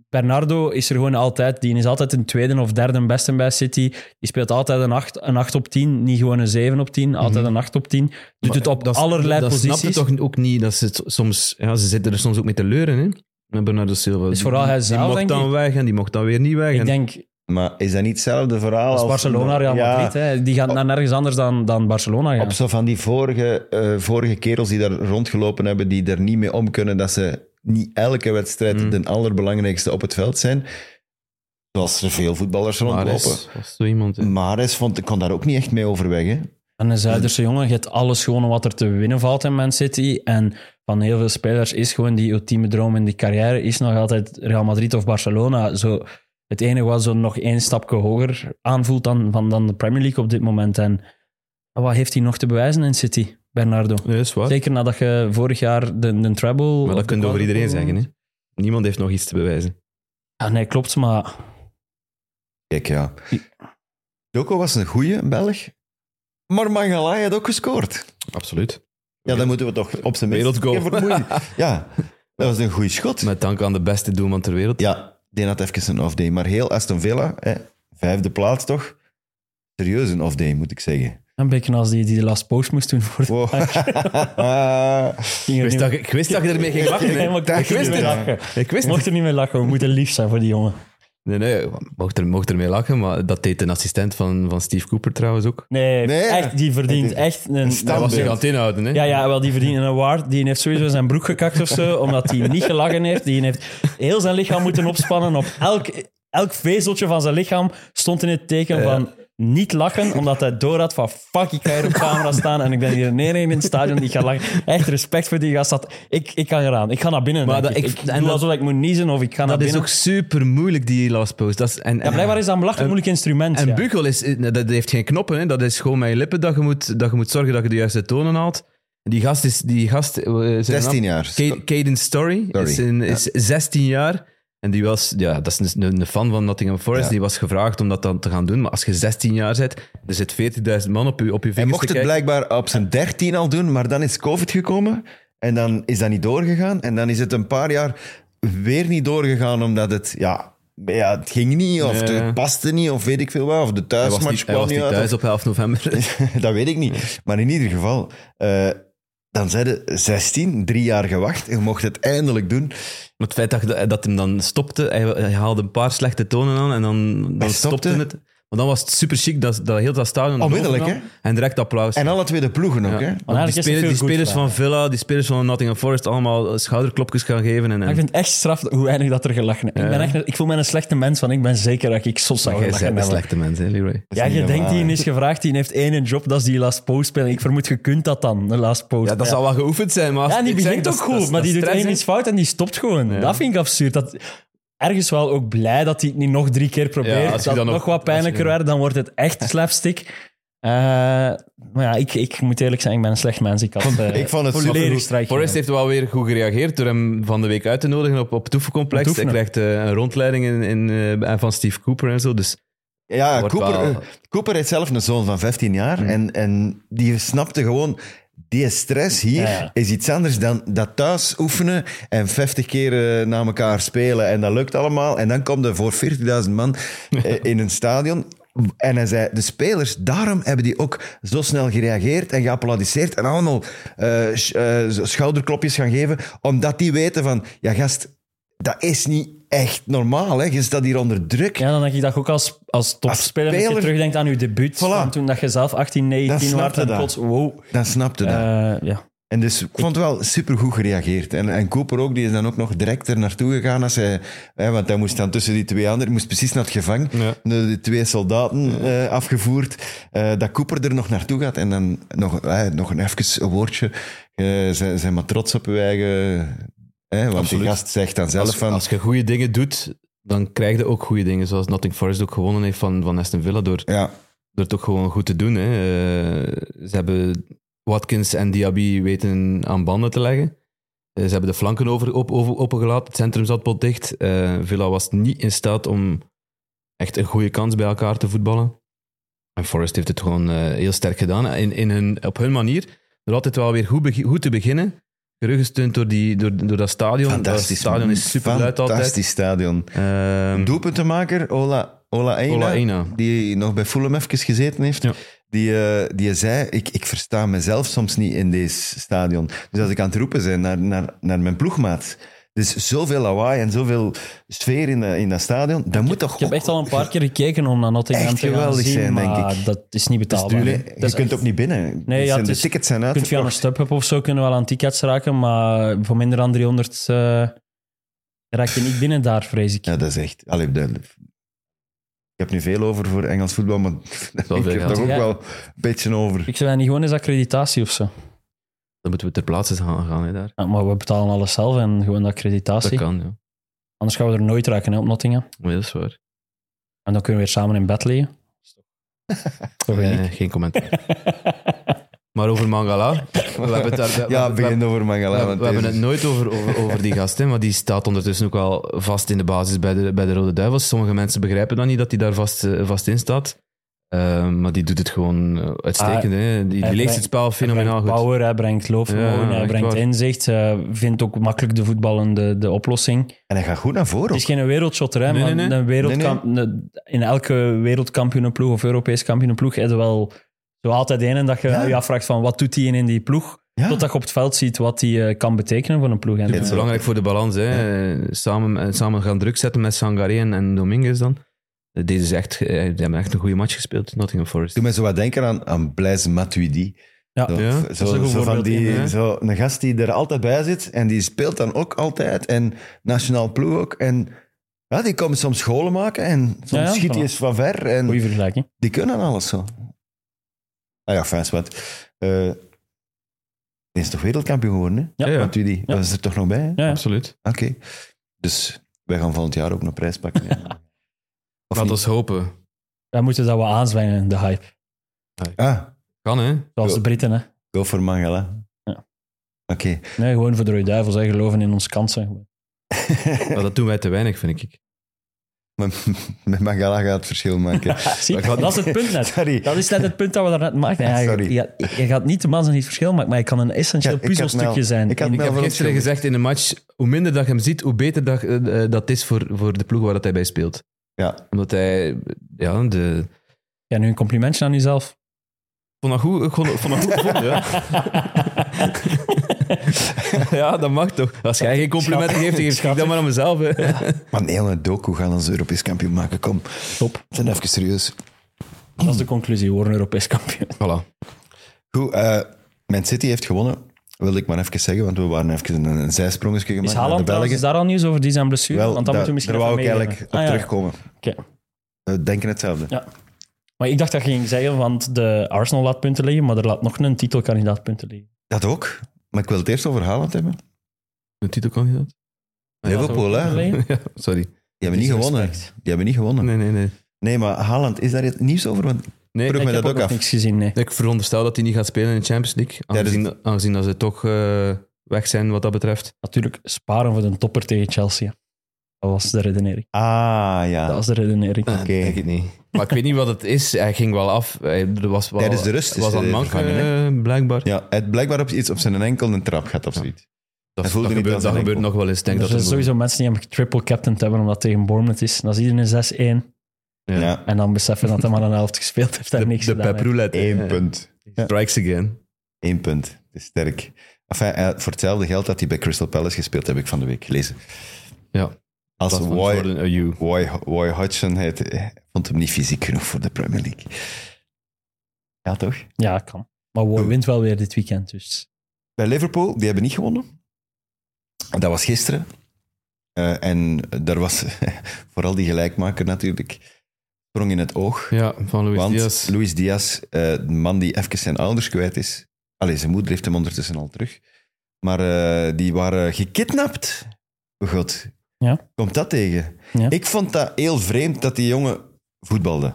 C: Bernardo is er gewoon altijd, die is altijd een tweede of derde beste bij City. Die speelt altijd een 8, een 8 op 10, niet gewoon een 7 op 10, altijd een 8 op 10. Doet
B: Mhm. Maar
C: het op
B: dat-
C: allerlei
B: dat
C: posities.
B: snapt het toch ook niet. Dat ze, het soms, ja, ze zitten er soms ook mee te leuren, hè? Met Bernardo Silva.
C: Dus vooral hij
B: Die-
C: zelf,
B: Die mocht
C: denk
B: dan
C: ik.
B: weg en die mocht dan weer niet weg.
C: Ik
B: en
C: denk,
A: Maar is dat niet hetzelfde verhaal
C: als
A: als...
C: Barcelona, Real
A: Ja,
C: Madrid, hè, die gaan naar nergens anders dan, dan Barcelona gaan.
A: Op zo van die vorige, eh, vorige kerels die daar rondgelopen hebben, die er niet mee om kunnen dat ze niet elke wedstrijd
B: Mm.
A: de allerbelangrijkste op het veld zijn. Zoals er veel voetballers
B: maar
A: rondlopen.
B: is, was zo iemand. hè.
A: Mares vond, kon daar ook niet echt mee overweg. Hè?
C: En een Zuiderse jongen, je hebt alles gewonnen wat er te winnen valt in Man City. En van heel veel spelers is gewoon die ultieme droom in die carrière is nog altijd Real Madrid of Barcelona. Zo, het enige wat zo nog één stapje hoger aanvoelt dan, van, dan de Premier League op dit moment. En wat heeft hij nog te bewijzen in City, Bernardo?
B: Nee, is waar.
C: Zeker nadat je vorig jaar de, de treble...
B: Maar
C: of
B: dat
C: de
B: kun je over iedereen
C: quadruple-
B: zeggen, hè? Niemand heeft nog iets te bewijzen.
C: Ja, nee, klopt, maar...
A: Kijk, ja.
C: Ja.
A: Doko was een goeie Belg, maar Mangala had ook gescoord.
B: Absoluut.
A: Ja, dan moeten we toch op zijn minst
B: Wereldgoal.
A: een keer vermoeien. Ja, dat was een goede schot.
B: Met dank aan de beste doelman ter wereld.
A: Ja, die had even een off day. Maar heel Aston Villa, hè, vijfde plaats toch? serieus een off-day, moet ik zeggen.
C: Een beetje als die die de last post moest doen voor de
A: Wow.
B: Ik wist, dat, ik- ik wist dat je ermee ging lachen. hè.
C: Helemaal
A: Ik
C: ik
A: wist
C: wist
A: het.
C: lachen.
B: Ik wist
C: We
B: het.
C: mochten niet meer lachen, we moeten lief zijn voor die jongen.
B: Nee, nee, mocht, er, mocht ermee lachen, maar dat deed een assistent van, van Steve Cooper trouwens ook.
C: Nee,
A: Nee,
C: echt, die verdient
A: dat is-
C: echt een...
B: Hij was
A: Standbeeld.
B: zich aan het inhouden, hè?
C: Ja, ja, wel, die verdient een award. Die heeft sowieso zijn broek gekakt of zo, omdat hij niet gelachen heeft. Die heeft heel zijn lichaam moeten opspannen. Op elk, elk vezeltje van zijn lichaam stond in het teken van niet lachen, omdat hij door had van fuck, ik ga hier op camera staan en ik ben hier nee, nee, in het stadion, ik ga lachen. Echt respect voor die gast. Dat, ik, ik kan eraan. Ik ga naar binnen.
B: Maar
C: denk
B: dat-
C: ik,
B: ik-
C: ik,
B: en
C: doe
B: dat-
C: alsof ik moet niezen of ik ga naar
B: Dat is
C: binnen.
B: ook super moeilijk, die last post. Dat is, en,
C: ja,
B: en-
C: blijkbaar is dat een belachelijk moeilijk instrument.
B: En
C: ja.
B: bugel is, eh, dat heeft geen knoppen. Hè? Dat is gewoon met je lippen dat je moet, dat je moet zorgen dat je de juiste tonen haalt. Die gast is... Die gast, eh, zijn
A: 16
B: naam-
A: jaar.
B: Ca- Caden Story
A: Story,
B: is, in, is 16 jaar. En die was... Ja, dat is een, een fan van Nottingham Forest.
A: Ja.
B: Die was gevraagd om dat dan te gaan doen. Maar als je 16 jaar bent, er zit 40.000 man op je, op je vingers
A: Hij mocht
B: te
A: het
B: kijken.
A: blijkbaar op zijn 13 al doen, maar dan is COVID gekomen en dan is dat niet doorgegaan. En dan is het een paar jaar weer niet doorgegaan omdat het, ja, ja het ging niet of
B: Nee.
A: het paste niet of weet ik veel wat. Of de
B: Hij was
A: thuismatch
B: niet, hij was
A: kwam
B: niet
A: niet uit.
B: thuis op 11 november.
A: dat weet ik niet. Maar in ieder geval, eh, dan zeiden 16, drie jaar gewacht en je mocht het eindelijk doen.
B: Maar het feit dat, je- dat hem dan stopte, hij, hij haalde een paar slechte tonen aan en dan, dan
A: stopte?
B: stopte het. Maar dan was het super chic dat, dat heel dat stadion.
A: Onmiddellijk,
B: overnam. En direct applaus.
A: En alle twee de ploegen ook,
B: Ja.
A: hè?
B: Want
C: eigenlijk
B: die
C: is er
B: spelers,
C: veel
B: die
C: goed
B: spelers
C: van.
B: van Villa, die spelers van Nottingham Forest, allemaal schouderklopjes gaan geven. En, en,
C: Maar ik vind het echt straf hoe weinig dat er gelachen is. Ik, ben echt, een- ik voel me een slechte mens, want ik ben zeker dat ik zot zou
B: Oh, jij
C: gelachen
B: bent een
C: hebben.
B: slechte mens, hè, Leroy.
A: is
C: Ja,
A: niet
C: je denkt,
A: normaal,
C: die
A: hè.
C: is gevraagd, die heeft één job, dat is die last post spelen. Ik vermoed, je kunt dat dan, de last post.
B: Ja, dat zal wel geoefend zijn, maar... als-
C: Ja, en die
B: ik zeg,
C: begint
B: dat
C: ook
B: is-
C: goed,
B: dat is-
C: maar
B: dat
C: die
B: is
C: doet
B: stress,
C: één
B: hè.
C: iets fout en die stopt gewoon. Dat vind ik absurd. Dat, ergens wel ook blij dat hij het niet nog drie keer probeert.
B: Ja, als
C: dat
B: je
C: het
B: dan
C: nog
B: nog-
C: wat pijnlijker
B: als je-
C: werd, dan wordt het echt slapstick. Eh, maar ja, ik, ik moet eerlijk zijn, ik ben een slecht mens. Ik, had, eh,
A: ik vond het
C: volledig
A: goed.
C: strijk.
B: Forrest heeft wel weer goed gereageerd door hem van de week uit te nodigen op, op Toefencomplex.
C: Op
B: Hij
C: Toefenen.
B: krijgt eh, een rondleiding in, in, eh, van Steve Cooper en zo, dus...
A: Ja,
B: Wordt
A: Cooper,
B: wel-
A: eh, Cooper heeft zelf een zoon van 15 jaar
C: Hmm.
A: en, en die snapte gewoon, die stress hier
C: Ja, ja.
A: is iets anders dan dat thuis oefenen en 50 keer eh, na elkaar spelen en dat lukt allemaal. En dan komt er voor 40.000 man eh, in een stadion. En hij zei, de spelers, daarom hebben die ook zo snel gereageerd en geapplaudisseerd en allemaal eh, sch- eh, schouderklopjes gaan geven, omdat die weten van, ja gast, dat is niet echt normaal. Hè? Je staat hier onder druk.
C: Ja, dan denk ik dat je ook als, als topspeler, als
A: speler-
C: je terugdenkt aan je debuut,
A: Voilà.
C: van toen dat je zelf 18,
A: Dan
C: 19
A: snap
C: was
A: je
C: en
A: dat.
C: plots, wow.
A: Dan snapte dat.
C: Eh, ja.
A: En dus ik vond het wel supergoed gereageerd. En, en Cooper ook, die is dan ook nog direct er naartoe gegaan. Als hij, hè, want hij moest dan tussen die twee anderen, moest precies naar het gevangen.
B: Ja.
A: De, de twee soldaten eh, afgevoerd. Eh, dat Cooper er nog naartoe gaat en dan nog, eh, nog een even een woordje. Eh, zijn, zijn maar trots op uw eigen. hè, want die gast zegt dan zelf ehm,
B: Als,
A: van.
B: als je goede dingen doet, dan krijg je ook goede dingen. Zoals Notting Forest ook gewonnen heeft van, van Aston Villa door,
A: ja,
B: door het ook gewoon goed te doen. Hè. Eh, ze hebben Watkins en Diaby weten aan banden te leggen. Eh, ze hebben de flanken over, op, over, opengelaten. Het centrum zat potdicht. dicht. Eh, Villa was niet in staat om echt een goede kans bij elkaar te voetballen. En Forest heeft het gewoon eh, heel sterk gedaan. In, in hun, op hun manier. Door altijd wel weer goed, begi- goed te beginnen. Gerugsteund door, die, door, door dat stadion.
A: fantastisch.
B: Dat stadion is super luid altijd.
A: Fantastisch stadion.
B: Ehm,
A: Doelpuntenmaker, Ola, Ola Eina.
B: Ola Eina.
A: die nog bij Fulham even gezeten heeft,
B: Ja.
A: die, eh, die zei, ik, ik versta mezelf soms niet in deze stadion. Dus als ik aan het roepen ben naar, naar, naar mijn ploegmaat, er is zoveel lawaai en zoveel sfeer in, eh, in dat stadion, dat moet toch...
C: Ik heb echt al een paar keer gekeken om naar Nottingham
A: Echt
C: te gaan
A: geweldig
C: zien,
A: zijn, denk
C: maar
A: ik.
C: dat is niet betaalbaar.
A: Jullie,
C: hè.
A: je
C: Dat is
A: kunt
C: echt-
A: ook niet binnen.
C: Nee,
A: Dus
C: ja,
A: zijn-
C: het
A: de
C: is-
A: tickets zijn
C: Je kunt via een
A: uitverkocht.
C: StubHub of zo kunnen we wel aan tickets raken, maar voor minder dan 300 eh, raak je niet binnen daar, vrees ik.
A: Ja, dat is echt... Allee, duidelijk. Ik heb nu veel over voor Engels voetbal, maar
B: wel
A: ik
B: veel
A: heb
B: geld.
A: daar ook
C: Ja.
A: wel een beetje over.
C: Ik zou niet gewoon eens accreditatie of zo.
B: Dan moeten we ter plaatse gaan, gaan hè, daar.
C: Ja, maar we betalen alles zelf en gewoon de
B: Dat
C: accreditatie.
B: kan, ja.
C: Anders gaan we er nooit raken hè, op Nottingham.
B: Maar dat is waar.
C: En dan kunnen we weer samen in bed liggen. Toch
B: Eh,
C: niet?
B: geen commentaar. maar over Mangala. We hebben het daar... we-
A: Ja,
B: we- we-
A: begin over Mangala.
B: we,
A: want
B: we hebben het
A: deze-
B: nooit over, over, over die gast, hè, maar die staat ondertussen ook wel vast in de basis bij de, bij de Rode Duivels. Sommige mensen begrijpen dat niet, dat hij daar vast, eh, vast in staat. Eh, maar die doet het gewoon eh, uitstekend. hè. Die, die
C: Ah, hij
B: leest het
C: brengt-
B: spel fenomenaal
C: brengt
B: goed.
C: power, hij brengt loopvermogen,
B: Ja,
C: hij
B: echt
C: brengt
B: waar.
C: inzicht. Hij vindt ook makkelijk de voetballende de oplossing.
A: En hij gaat goed naar voren.
C: Het is geen wereldshotter, hè,
B: Nee,
C: maar
B: nee, nee.
C: Een wereldkamp, een- in elke wereldkampioenenploeg of Europees kampioenenploeg heb je wel zo altijd één en dat je
A: Ja.
C: je afvraagt van wat doet hij in die ploeg,
A: Ja.
C: totdat je op het veld ziet wat hij kan betekenen voor een ploeg. En
A: Dit
B: Het is
A: zo.
B: belangrijk voor de balans. Hè. Eh, Samen, eh, samen gaan druk zetten met Sangaré en, en Dominguez dan. Eh, Deze is echt, eh, die hebben echt een goede match gespeeld, Nottingham Forest.
A: Doe mij zo wat denken aan, aan Blaise Matuidi.
C: Ja.
A: Zo,
B: Ja,
A: zo-
B: dat
C: een
A: zo
C: goed
A: van
C: voorbeeld
A: die,
B: in, hè?
A: zo een gast die er altijd bij zit en die speelt dan ook altijd. En nationaal ploeg ook. En ja, die komen soms scholen maken en soms
C: Ja, ja,
A: schiet
C: voilà.
A: hij eens van ver. En
C: Goeie vergelijking.
A: die kunnen alles zo. Ah ja, fijn, wat. Eh die is toch wereldkampioen geworden, hè?
C: Ja.
B: Ja, ja.
A: Matuidi, dat is er toch nog bij, hè?
C: Ja, ja.
B: Absoluut.
A: Oké. Dus wij gaan volgend jaar ook een prijs pakken. ja. Of
B: Laat
A: niet?
B: ons hopen.
C: Wij moeten dat wel aanzwijnen, de hype.
A: Ah,
B: Kan, hè?
C: Zoals
A: Ja.
C: de Britten, hè.
A: go voor Mangala.
C: Ja.
A: Oké.
C: Nee, gewoon voor de Rode Duivels, hè. geloven in ons kansen.
B: Maar dat doen wij te weinig, vind ik.
A: Met Mangala gaat het verschil maken.
C: Zie,
A: We gaan-
C: dat is het punt net.
A: Sorry.
C: Dat is net het punt dat we daarnet maakten. Ja,
A: Sorry.
C: Je, je- je gaat niet de man zijn die het verschil maken, maar je kan een essentieel
A: Ja, ik had
C: puzzelstukje
A: mij al-
C: zijn.
A: ik had nou- mij
C: in-
B: Ik
A: Ja,
B: heb
A: waarom
B: gisteren
A: zo?
B: gezegd in de match, hoe minder dat je hem ziet, hoe beter dat, eh, eh, dat is voor, voor de ploeg waar dat hij bij speelt.
A: Ja.
B: Omdat hij, eh, ja, de...
C: ja, nu een complimentje aan jezelf.
B: Vond dat goed, ik vond, vond dat goed gevonden, ja. ja, dat mag toch. Als jij geen complimenten geeft, dan geef ik dat maar aan mezelf. Hè.
A: Maar een hele docu gaan ons Europees kampioen maken. Kom,
C: Top.
A: zijn even serieus.
C: Dat is de conclusie. We worden Europees kampioen.
B: Voilà.
A: Goed, eh Man City heeft gewonnen. Wilde ik maar even zeggen, want we waren even een, een zijsprongetje gemaakt.
C: Is
A: naar
C: Haaland
A: de
C: trouwens, is
A: Belgen.
C: daar al nieuws over? Die zijn blessure?
A: Wel,
C: Want dan
A: daar-
C: moeten we misschien
A: daar
C: even
A: wou ik eigenlijk
C: meegeven.
A: op
C: Ah, ja.
A: terugkomen.
C: Oké.
A: We denken hetzelfde.
C: Ja. Maar ik dacht dat je ging zeggen, want de Arsenal laat punten liggen, maar er laat nog een titelkandidaat punten liggen.
A: Dat ook. Maar ik wil het eerst over Haaland hebben.
B: Een titelkandidaat?
A: Liverpool, hè?
C: Punten
A: Die
C: liggen?
B: Ja, sorry.
A: hebben niet gewonnen. Die
C: Disrespect.
A: hebben niet gewonnen. Nee,
B: Nee, nee, nee.
A: maar Haaland, is daar het nieuws over? Want
B: nee
A: Vroeg
B: ik,
A: mij dat
C: heb
A: ook
C: nog
A: af.
C: niks gezien, nee.
B: ik veronderstel dat hij niet gaat spelen in de Champions League.
A: Tijdens-
B: Aangezien, aangezien dat ze toch eh, weg zijn wat dat betreft.
C: Natuurlijk sparen voor de topper tegen Chelsea. Dat was de redenering.
A: Ah, ja.
C: Dat was de redenering.
A: Ah, Oké.
B: Eh, Denk ik niet. Maar ik weet niet wat het is. Hij ging wel af. Hij, er was wel,
A: Tijdens de rust is
B: was
A: hij
B: aan mank,
A: vervangen, hè?
B: eh, blijkbaar.
A: Ja, hij had blijkbaar op iets op zijn enkel een trap gaat of zoiets.
B: Dat,
A: voelde
B: dat,
A: niet aan
B: gebeurt,
A: zijn
B: dat gebeurt
A: enkel.
B: nog wel eens. Ik Denk
C: er
B: dat
C: zijn
B: er-
C: sowieso mensen die hem triple captain hebben omdat het tegen Bournemouth is. Dan is iedereen 6-1
A: Ja,
B: Ja.
C: en dan beseffen dat hij maar een helft gespeeld heeft en
B: De,
C: niks
B: de
C: gedaan
B: Pep
C: heeft.
B: Roulette.
A: één
B: eh,
A: punt.
B: Strikes again.
A: Eén punt. Het is sterk. Enfin, eh, voor hetzelfde geld dat hij bij Crystal Palace gespeeld heb ik van de week gelezen.
B: Ja.
A: Als
B: Dat was eh,
A: Roy,
B: Jordan Ayew.
A: Roy, Roy Hodgson heet, eh, vond hem niet fysiek genoeg voor de Premier League. Ja, toch?
C: Ja, kan. Maar Wooi wint wel weer dit weekend, dus...
A: Bij Liverpool, die hebben niet gewonnen. Dat was gisteren. Eh, en daar was vooral die gelijkmaker natuurlijk sprong in het oog.
B: Ja, van Luis
A: Want
B: Diaz.
A: Luis Diaz, eh, de man die even zijn ouders kwijt is. Allee, zijn moeder heeft hem ondertussen al terug. Maar eh, die waren gekidnapt. Oh god.
C: Ja.
A: Komt dat tegen?
C: Ja.
A: Ik vond dat heel vreemd dat die jongen voetbalde.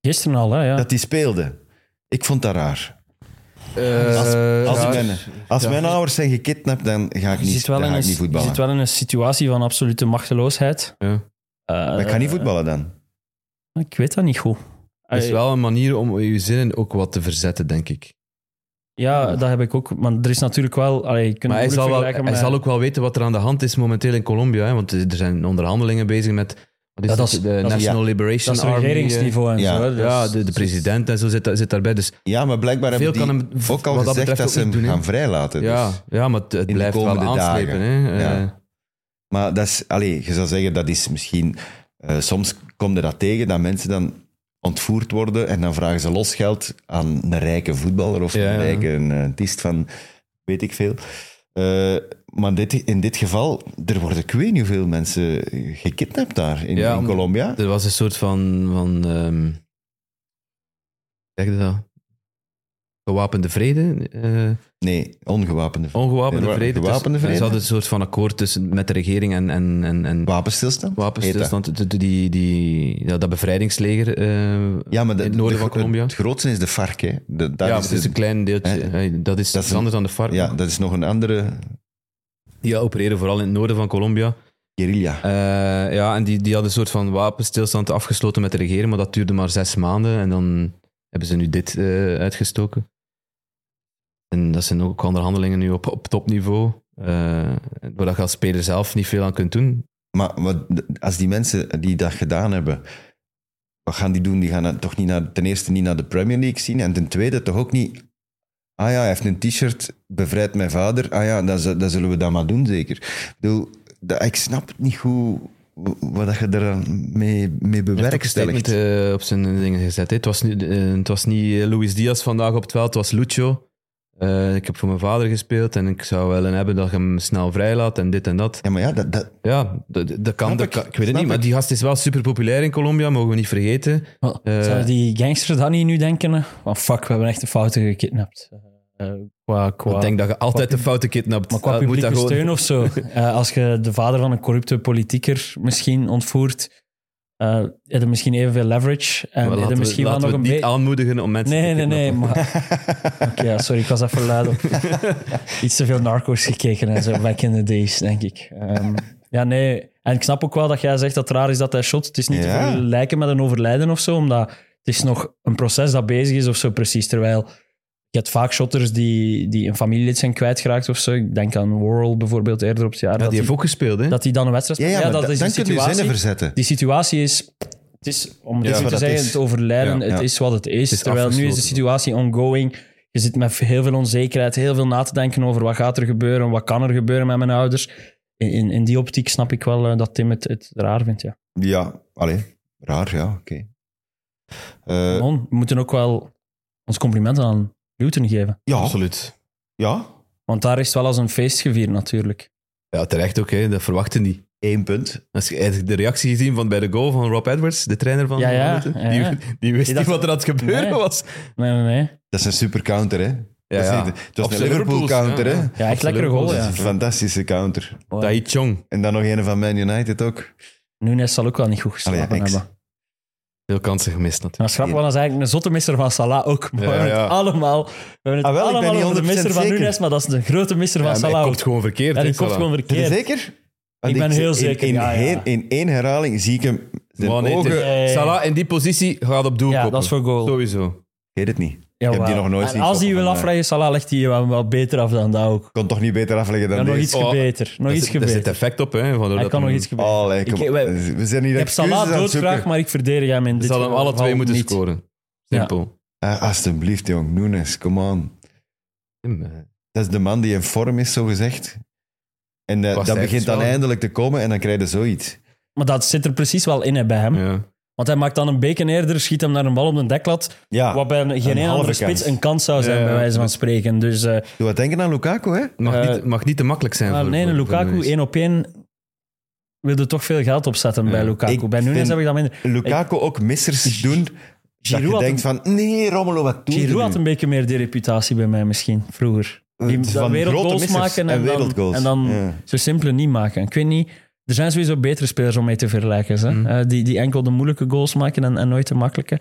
C: Gisteren al, hè? Ja.
A: Dat die speelde. Ik vond dat raar.
B: Eh,
A: Als,
B: ja,
A: mijn, als mijn ouders zijn gekidnapt, dan ga ik
C: je,
A: niet,
C: zit wel
A: dan
C: in
A: ga
C: een,
A: ik niet
C: je
A: voetballen.
C: zit wel in een situatie van absolute machteloosheid.
B: Ja.
C: Eh,
A: Maar ik ga niet voetballen dan.
C: Ik weet dat niet goed.
B: Het is
C: Eh,
B: wel een manier om je zinnen ook wat te verzetten, denk ik.
C: Ja, dat heb ik ook. Maar er is natuurlijk wel... Allee, je kunt
B: Maar
C: het
B: hij zal,
C: moeilijk vergelijken
B: wel, hij
C: met-
B: zal ook wel weten wat er aan de hand is momenteel in Colombia. Hè? Want er zijn onderhandelingen bezig met wat is
C: Ja, dat
B: dat
C: is-
B: de
C: dat is-
B: National Liberation
C: Dat is
B: Army. eh,
C: regeringsniveau en
A: ja.
C: zo. hè, dus-
B: Ja, de, de president en zo zit, da- zit daarbij. Dus
A: Ja, maar blijkbaar
B: Veel
A: hebben die
B: kan hem v-
A: ook al
B: wat dat
A: gezegd dat,
B: betreft ook
A: ze hem
B: niet doen, hè?
A: gaan vrijlaten.
B: ja,
A: Dus.
B: ja, maar het, het
A: de
B: blijft wel
A: komende
B: aanslepen.
A: dagen.
B: Hè? Eh,
A: Ja. Maar dat is, allee, je zou zeggen, dat is misschien... eh, soms komt er dat tegen, dat mensen dan ontvoerd worden en dan vragen ze losgeld aan een rijke voetballer of
B: Ja, ja.
A: een rijke een, eh, artiest van weet ik veel. Eh, maar dit, in dit geval, er worden ik weet niet hoeveel mensen gekidnapt daar in,
B: Ja,
A: in
B: om-
A: Colombia.
B: Eh, Er was een soort van... van ehm, zeg je dat? Gewapende vrede? eh,
A: Nee, ongewapende.
B: Ongewapende
A: Nee,
B: vrede.
A: gewapende
B: tussen-
A: vrede.
B: Ze hadden een soort van akkoord tussen, met de regering en, en, en, en
A: wapenstilstand?
B: wapenstilstand. De- de- Die, die, ja, dat bevrijdingsleger eh,
A: Ja, maar de-
B: in het noorden
A: de-
B: van Colombia.
A: Het grootste is de FARC. Hè. De, dat
B: ja,
A: is
B: het is
A: de-
B: een klein deeltje.
A: Eh,
B: Eh, dat is
A: dat
B: dat
A: is
B: anders dan de FARC.
A: ja, dat is nog een andere
B: Die opereren vooral in het noorden van Colombia.
A: Guerrilla.
B: Eh, ja, en die, die hadden een soort van wapenstilstand afgesloten met de regering, maar dat duurde maar zes maanden. En dan hebben ze nu dit eh, uitgestoken. En dat zijn ook onderhandelingen nu op, op topniveau, eh, waar dat je als speler zelf niet veel aan kunt doen.
A: Maar, maar d- als die mensen die dat gedaan hebben, wat gaan die doen? Die gaan dan toch niet naar, ten eerste niet naar de Premier League zien en ten tweede toch ook niet... Ah ja, hij heeft een t-shirt, bevrijdt mijn vader. Ah ja, dat, z- dat zullen we dan maar doen zeker. Ik bedoel, dat, ik snap het niet goed w- wat dat je er dan mee, mee bewerkstelligt.
B: Hij heeft ook een statement, eh, op zijn dingen gezet. hè. Het was, niet- eh, het was niet Luis Diaz vandaag op het veld, het was Lucho. Eh, ik heb voor mijn vader gespeeld en ik zou willen hebben dat je hem snel vrijlaat en dit en dat.
A: Ja, maar ja, dat, dat,
B: Ja, dat, dat kan.
A: Snap
B: Dat
A: ik,
B: kan- ik weet het
A: snap
B: niet, maar
A: ik.
B: die gast is wel super populair in Colombia, mogen we niet vergeten.
C: Wel,
B: Eh,
C: Zouden die gangsters dat niet nu denken? eh? Van fuck, we hebben echt de fouten gekidnapt. Eh, qua, qua,
B: Ik denk dat je altijd de foute kidnapt.
C: maar qua
B: Dat Eh, moet
C: publieke
B: dat gewoon-
C: steun of zo. Eh, als je de vader van een corrupte politieker misschien ontvoert, eh heb je misschien evenveel leverage. En
B: Maar
C: heb je
B: laten we,
C: misschien wel
B: laten
C: nog
B: we
C: een
B: het niet
C: beetje...
B: aanmoedigen om mensen
C: Nee,
B: te
C: nee, nee.
B: kidnappen.
C: Maar... Oké, ja, sorry, ik was even luid op. Iets te veel narco's gekeken en zo, back in the days, denk ik. Ehm, ja, nee. En ik snap ook wel dat jij zegt dat het raar is dat hij shot. Het is
A: Ja.
C: niet te vergelijken met een overlijden of zo, omdat het is nog een proces dat bezig is of zo precies. Terwijl je hebt vaak shotters die, die een familielid zijn kwijtgeraakt of zo. Ik denk aan Worrell bijvoorbeeld eerder op het jaar.
B: Ja,
C: dat,
B: die
C: die,
B: heeft ook gespeeld, hè?
C: dat die dan een wedstrijd
A: ja, ja, maar
C: dat
A: da-
C: is
A: dan
C: een
A: kun je zinnen
C: situatie.
A: verzetten.
C: Die situatie is... Het is, om het
A: Ja,
C: zo
A: wat
C: te
A: dat
C: zeggen,
A: is.
C: het overlijden,
A: Ja, ja.
C: het is wat het is.
B: is
C: Terwijl nu is de
B: afgesloten.
C: situatie ongoing. Je zit met heel veel onzekerheid, heel veel na te denken over wat gaat er gebeuren, wat kan er gebeuren met mijn ouders. In, in, in die optiek snap ik wel eh, dat Tim het, het raar vindt, ja.
A: Ja, allee, raar, ja, oké. Eh,
C: Mon, we moeten ook wel ons complimenten aan Luton geven.
A: ja,
B: Absoluut.
A: ja,
C: Want daar is het wel als een feest gevierd, natuurlijk.
B: Ja, terecht ook, hè? Dat verwachten die.
A: één punt.
B: Als je eigenlijk de reactie gezien van bij de goal van Rob Edwards, de trainer van
C: Ja, ja,
B: Hamilton,
C: ja, ja.
B: Die, die wist
C: Die
B: niet
C: dacht-
B: wat er aan het gebeuren
C: Nee.
B: was.
C: Nee, nee, nee.
A: Dat is een super counter, hè.
B: Ja,
A: dat is
B: ja.
A: niet- het was
B: Op
A: een
B: zijn
A: Liverpool
B: Liverpools,
A: counter,
B: ja,
A: hè.
B: ja.
C: Ja, echt lekkere goal,
A: Dat is
C: ja.
A: een fantastische counter.
B: Tai Chong,
A: En dan nog een van Man United ook.
C: Nunes zal ook wel niet goed geslapen
A: Allee, ja, ex.
C: hebben.
B: veel kansen gemist natuurlijk.
C: En dat is grappig, want dat is eigenlijk een zotte misser van Salah ook. Maar we
B: Ja,
C: hebben
B: ja.
C: het allemaal, we hebben het
A: Ah, wel, ik ben
C: allemaal
A: niet
C: over de
A: 100%
C: misser van
A: zeker.
C: Nunes, maar dat is de grote misser van
B: Ja, maar hij
C: Salah ook.
B: komt gewoon verkeerd.
C: Ja,
B: hè,
C: die komt
B: Salah.
C: gewoon
A: Ben je
C: verkeerd.
A: zeker? Want
C: ben heel zeker,
A: In, in,
C: ja, ja.
A: één- in één herhaling zie ik hem zijn
B: Maar nee,
A: ogen...
B: dit-
A: Ik
C: Nee.
B: Salah in die positie gaat op doel
C: Ja,
B: koppen.
C: dat is voor goal.
B: Sowieso.
A: weet het niet.
C: Jawel.
A: Ik heb die nog nooit
C: En
A: zien
C: als hij
A: koppen,
C: wil
A: maar-
C: afleggen, Salah legt hij wel wel beter af dan dat ook.
A: Ik kon toch niet beter afleggen dan
C: Ja, nog
A: deze.
C: iets
B: Oh,
C: beter. Nog
B: Daar
C: iets
B: zit- Daar zit
C: beter.
B: effect op, hè? waardoor
C: Hij
B: dat
C: kan nog
B: hem-
C: iets gebeuren.
A: Allee, Oh, kom
C: Ik-
A: op.
C: wij-
A: we zijn hier
C: Ik heb
A: Oh, excuses
C: Salah
A: aan het zoeken.
C: doodgraag, maar ik verdedig hem in
B: Ze
C: dit
B: hadden hem alle
C: geval
B: twee moeten
C: niet.
B: scoren. Simpel.
A: Ah, alsjeblieft, jong. Nunes, come on.
B: Tim, eh,
A: Dat is de man die in vorm is, zogezegd. En eh,
B: Was
A: dat
B: hij
A: begint dan
B: wel-
A: eindelijk te komen en dan krijg je zoiets.
C: Maar dat zit er precies wel in hè, bij hem.
B: Ja.
C: Want hij maakt dan een beken eerder, schiet hem naar een bal op de deklat.
A: Ja,
C: Wat bij een- geen
A: Ah, een
C: ene
A: halve
C: andere spits
A: kans.
C: een kans zou zijn,
B: Ja,
C: bij
B: ja.
C: wijze van spreken. Dus eh,
A: doe wat denken aan Lukaku, hè?
B: Mag,
C: Eh,
B: niet, mag niet te makkelijk zijn.
C: maar
B: voor,
C: Ah, nee, een
B: voor- voor
C: Lukaku
B: Nunes.
C: één op één wilde toch veel geld opzetten bij
B: Ja.
C: Lukaku.
A: Ik
C: bij Nunes
A: vind-
C: heb ik dat minder.
A: Lukaku ook missers doen. Dat
C: Giroud
A: je
C: had
A: denkt van, nee, Romelu, wat doe je
C: Giroud
A: nu?
C: had een beetje meer die reputatie bij mij misschien, vroeger. Die
A: Het is
C: dat
A: Eh, van grote
C: wereldgoals
A: missers
C: maken
A: en
C: en, dan,
A: wereldgoals.
C: en dan
A: Ja.
C: zo simpele niet maken. Ik weet niet, er zijn sowieso betere spelers om mee te vergelijken. Hè?
A: Mhm.
C: Eh, die, die enkel de moeilijke goals maken en, en nooit de makkelijke.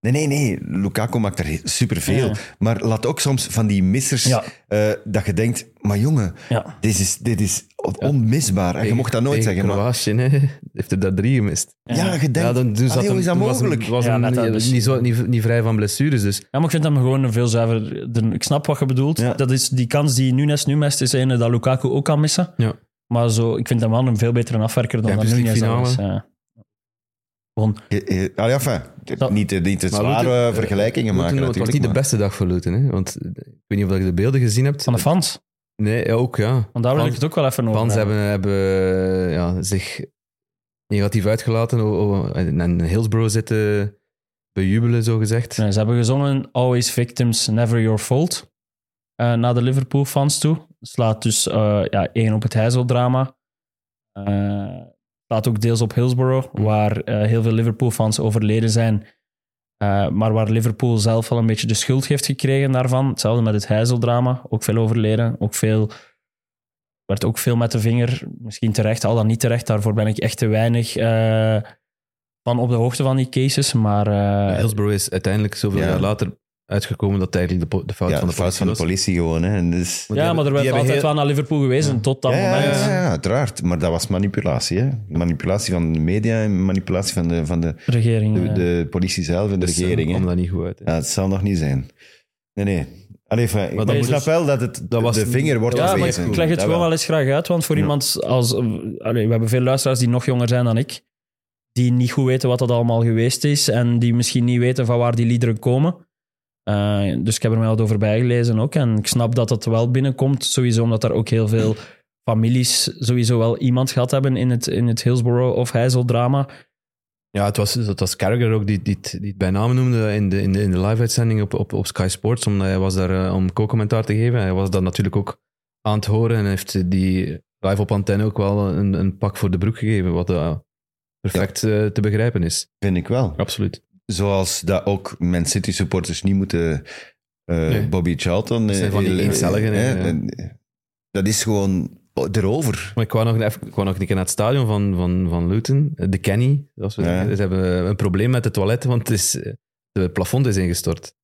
A: Nee, nee, nee. Lukaku maakt er superveel.
C: Ja.
A: Maar laat ook soms van die missers
C: Ja.
A: eh, dat je denkt, maar jongen,
C: Ja.
A: dit is, dit is on- onmisbaar. En Eh, je mocht dat nooit
B: Tegen
A: zeggen. Maar,
B: Kroatië, hè, heeft er daar drie gemist.
A: ja, je denkt,
B: Ja, dan doen ze
A: allee, Ah, hoe
B: hem-
A: is dat
B: toen was hem-
A: mogelijk?
B: Was
C: Ja,
B: hem
C: net dat
B: niet-
C: dus.
B: niet, zo, niet, niet vrij van blessures, dus
C: Ja, maar ik vind hem gewoon een veel zuiverder... Ik snap wat je bedoelt.
A: Ja.
C: Dat is die kans die Nunes nu mist, is ene dat Lukaku ook kan missen.
B: Ja.
C: Maar zo, ik vind hem wel een veel betere afwerker dan dat
B: Champions
C: Nunes.
B: League
C: dat was,
B: finale.
C: ja. Gewoon,
A: Je- je- allee, enfin, d-
C: Dat-
A: niet, niet te
B: Maar eh,
A: zware
B: Luton-
A: vergelijkingen
B: Luton,
A: maken
B: Het was
A: natuurlijk.
B: niet de
A: maar-
B: beste dag voor Luton, hè? want eh, ik weet niet of dat je de beelden gezien hebt.
C: van de fans.
B: Nee, ja, ook, ja.
C: Want daar wil ik
B: Fans-
C: het ook wel even over
B: Fans
C: hebben.
B: hebben, hebben eh, ja, zich negatief uitgelaten o- o- en en Hillsborough zitten bejubelen, zogezegd.
C: Nee, ze hebben gezongen Always Victims, Never Your Fault. eh, naar de Liverpool-fans toe. Slaat dus eh, ja, één op het Heizel-drama. Eh, slaat ook deels op Hillsborough, waar eh, heel veel Liverpool-fans overleden zijn. Eh, maar waar Liverpool zelf al een beetje de schuld heeft gekregen daarvan. Hetzelfde met het Heizel-drama. Ook veel overleden. Ook veel, werd ook veel met de vinger. Misschien terecht, al dan niet terecht. Daarvoor ben ik echt te weinig eh, van op de hoogte van die cases. Maar eh,
B: Hillsborough is uiteindelijk zoveel
A: Ja.
B: jaar later uitgekomen dat het eigenlijk de, po- de fout
A: Ja,
B: van
A: de
B: de
A: fout
B: politie
A: van de
B: was.
A: politie gewoon. Hè. En dus,
B: die
C: ja, maar
B: hebben-
C: er werd
B: die
C: altijd
B: hebben heel-
C: wel naar Liverpool gewezen tot dat
A: ja, ja,
C: moment.
A: ja, ja, uiteraard. Maar dat was manipulatie. Hè. Manipulatie van de media en manipulatie van de, van de,
C: Regering. eh.
A: de,
C: ja.
A: de politie zelf en de
B: Dus, eh,
A: regering. hè.
B: kwam dat niet goed uit. hè.
A: Ja, het zal nog niet zijn. Nee, nee. Allee, enfin, ik
B: dat
A: ik
B: is
A: snap
B: dus-
A: wel dat het
B: dat was
A: de
B: niet-
A: vinger wordt
C: Ja, maar
A: gewezen.
C: ik leg het
A: Dat
C: gewoon
A: wel.
C: wel eens graag uit, want voor iemand als... eh, allee, we hebben veel luisteraars die nog jonger zijn dan ik, die niet goed weten wat dat allemaal geweest is en die misschien niet weten van waar die liederen komen. Eh, dus ik heb er mij wat over bijgelezen ook. En ik snap dat het wel binnenkomt, sowieso omdat daar ook heel veel families sowieso wel iemand gehad hebben in het, in het Hillsborough of Heysel drama.
B: Ja, het was, het was Carragher ook die, die, het- die het bij naam noemde in de, in de, in de live-uitzending op, op, op Sky Sports. Omdat hij was daar eh, om co-commentaar te geven. Hij was dat natuurlijk ook aan het horen en heeft eh, die live op antenne ook wel een, een pak voor de broek gegeven. Wat eh, perfect eh, te begrijpen is.
A: Vind ik wel.
B: Absoluut.
A: Zoals dat ook Man City supporters niet moeten eh,
B: Nee.
A: Bobby Charlton... eh,
B: zijn van die
A: eh,
B: eencelligen,
A: eh,
B: hè,
A: eh, Dat is gewoon erover.
B: Maar ik kwam nog, even, ik wou nog een keer naar het stadion van, van, van Luton. Eh, De Kenny, zoals we
A: Ja.
B: zeggen. Ze hebben een probleem met de toiletten, want het is, eh, het plafond is ingestort.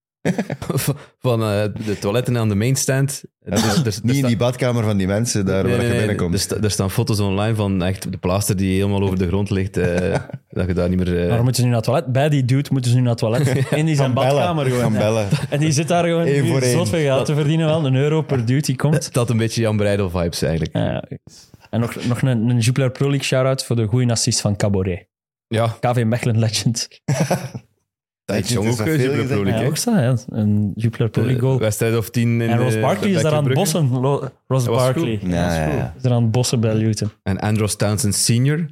B: van eh, de toiletten aan de mainstand.
A: Dat is dus niet in die badkamer van die mensen daar waar je binnenkomt.
B: Er, sta- er staan foto's online van echt de plaster die helemaal over de grond ligt. eh, dat je daar niet meer... eh,
C: Waarom moeten ze nu naar het toilet? Bij die dude moeten ze nu naar het toilet. In die zijn badkamer gewoon.
A: Gaan
C: Ja.
A: bellen.
C: En die zit daar gewoon
A: Eén voor
C: nu
A: één.
C: zot van geld te verdienen. Wel een euro per dude die komt.
B: dat had een beetje Jan Breidel vibes eigenlijk.
C: Ja, ja. En nog, nog een, een Jupiler Pro League shout-out voor de goede assist van Cabaret.
B: Ja,
C: KV Mechelen Legend.
A: Dat
B: ik
A: is
B: jong
A: dat
B: ook
A: veel
B: eh, Jupiler
A: gezegd.
C: Ja,
B: Pro League.
C: ook zo, ja. Een Jupiler Pro League goal.
B: Eh, Wedstrijd of tien in
C: en Ross
B: eh,
C: Barkley is
B: bij
C: daar aan het
B: Club Brugge.
C: bossen. Ro- Ross
B: Dat was
C: Barkley
A: Ja, ja, ja.
C: is daar aan het bossen bij Luton.
B: En Andros Townsend senior.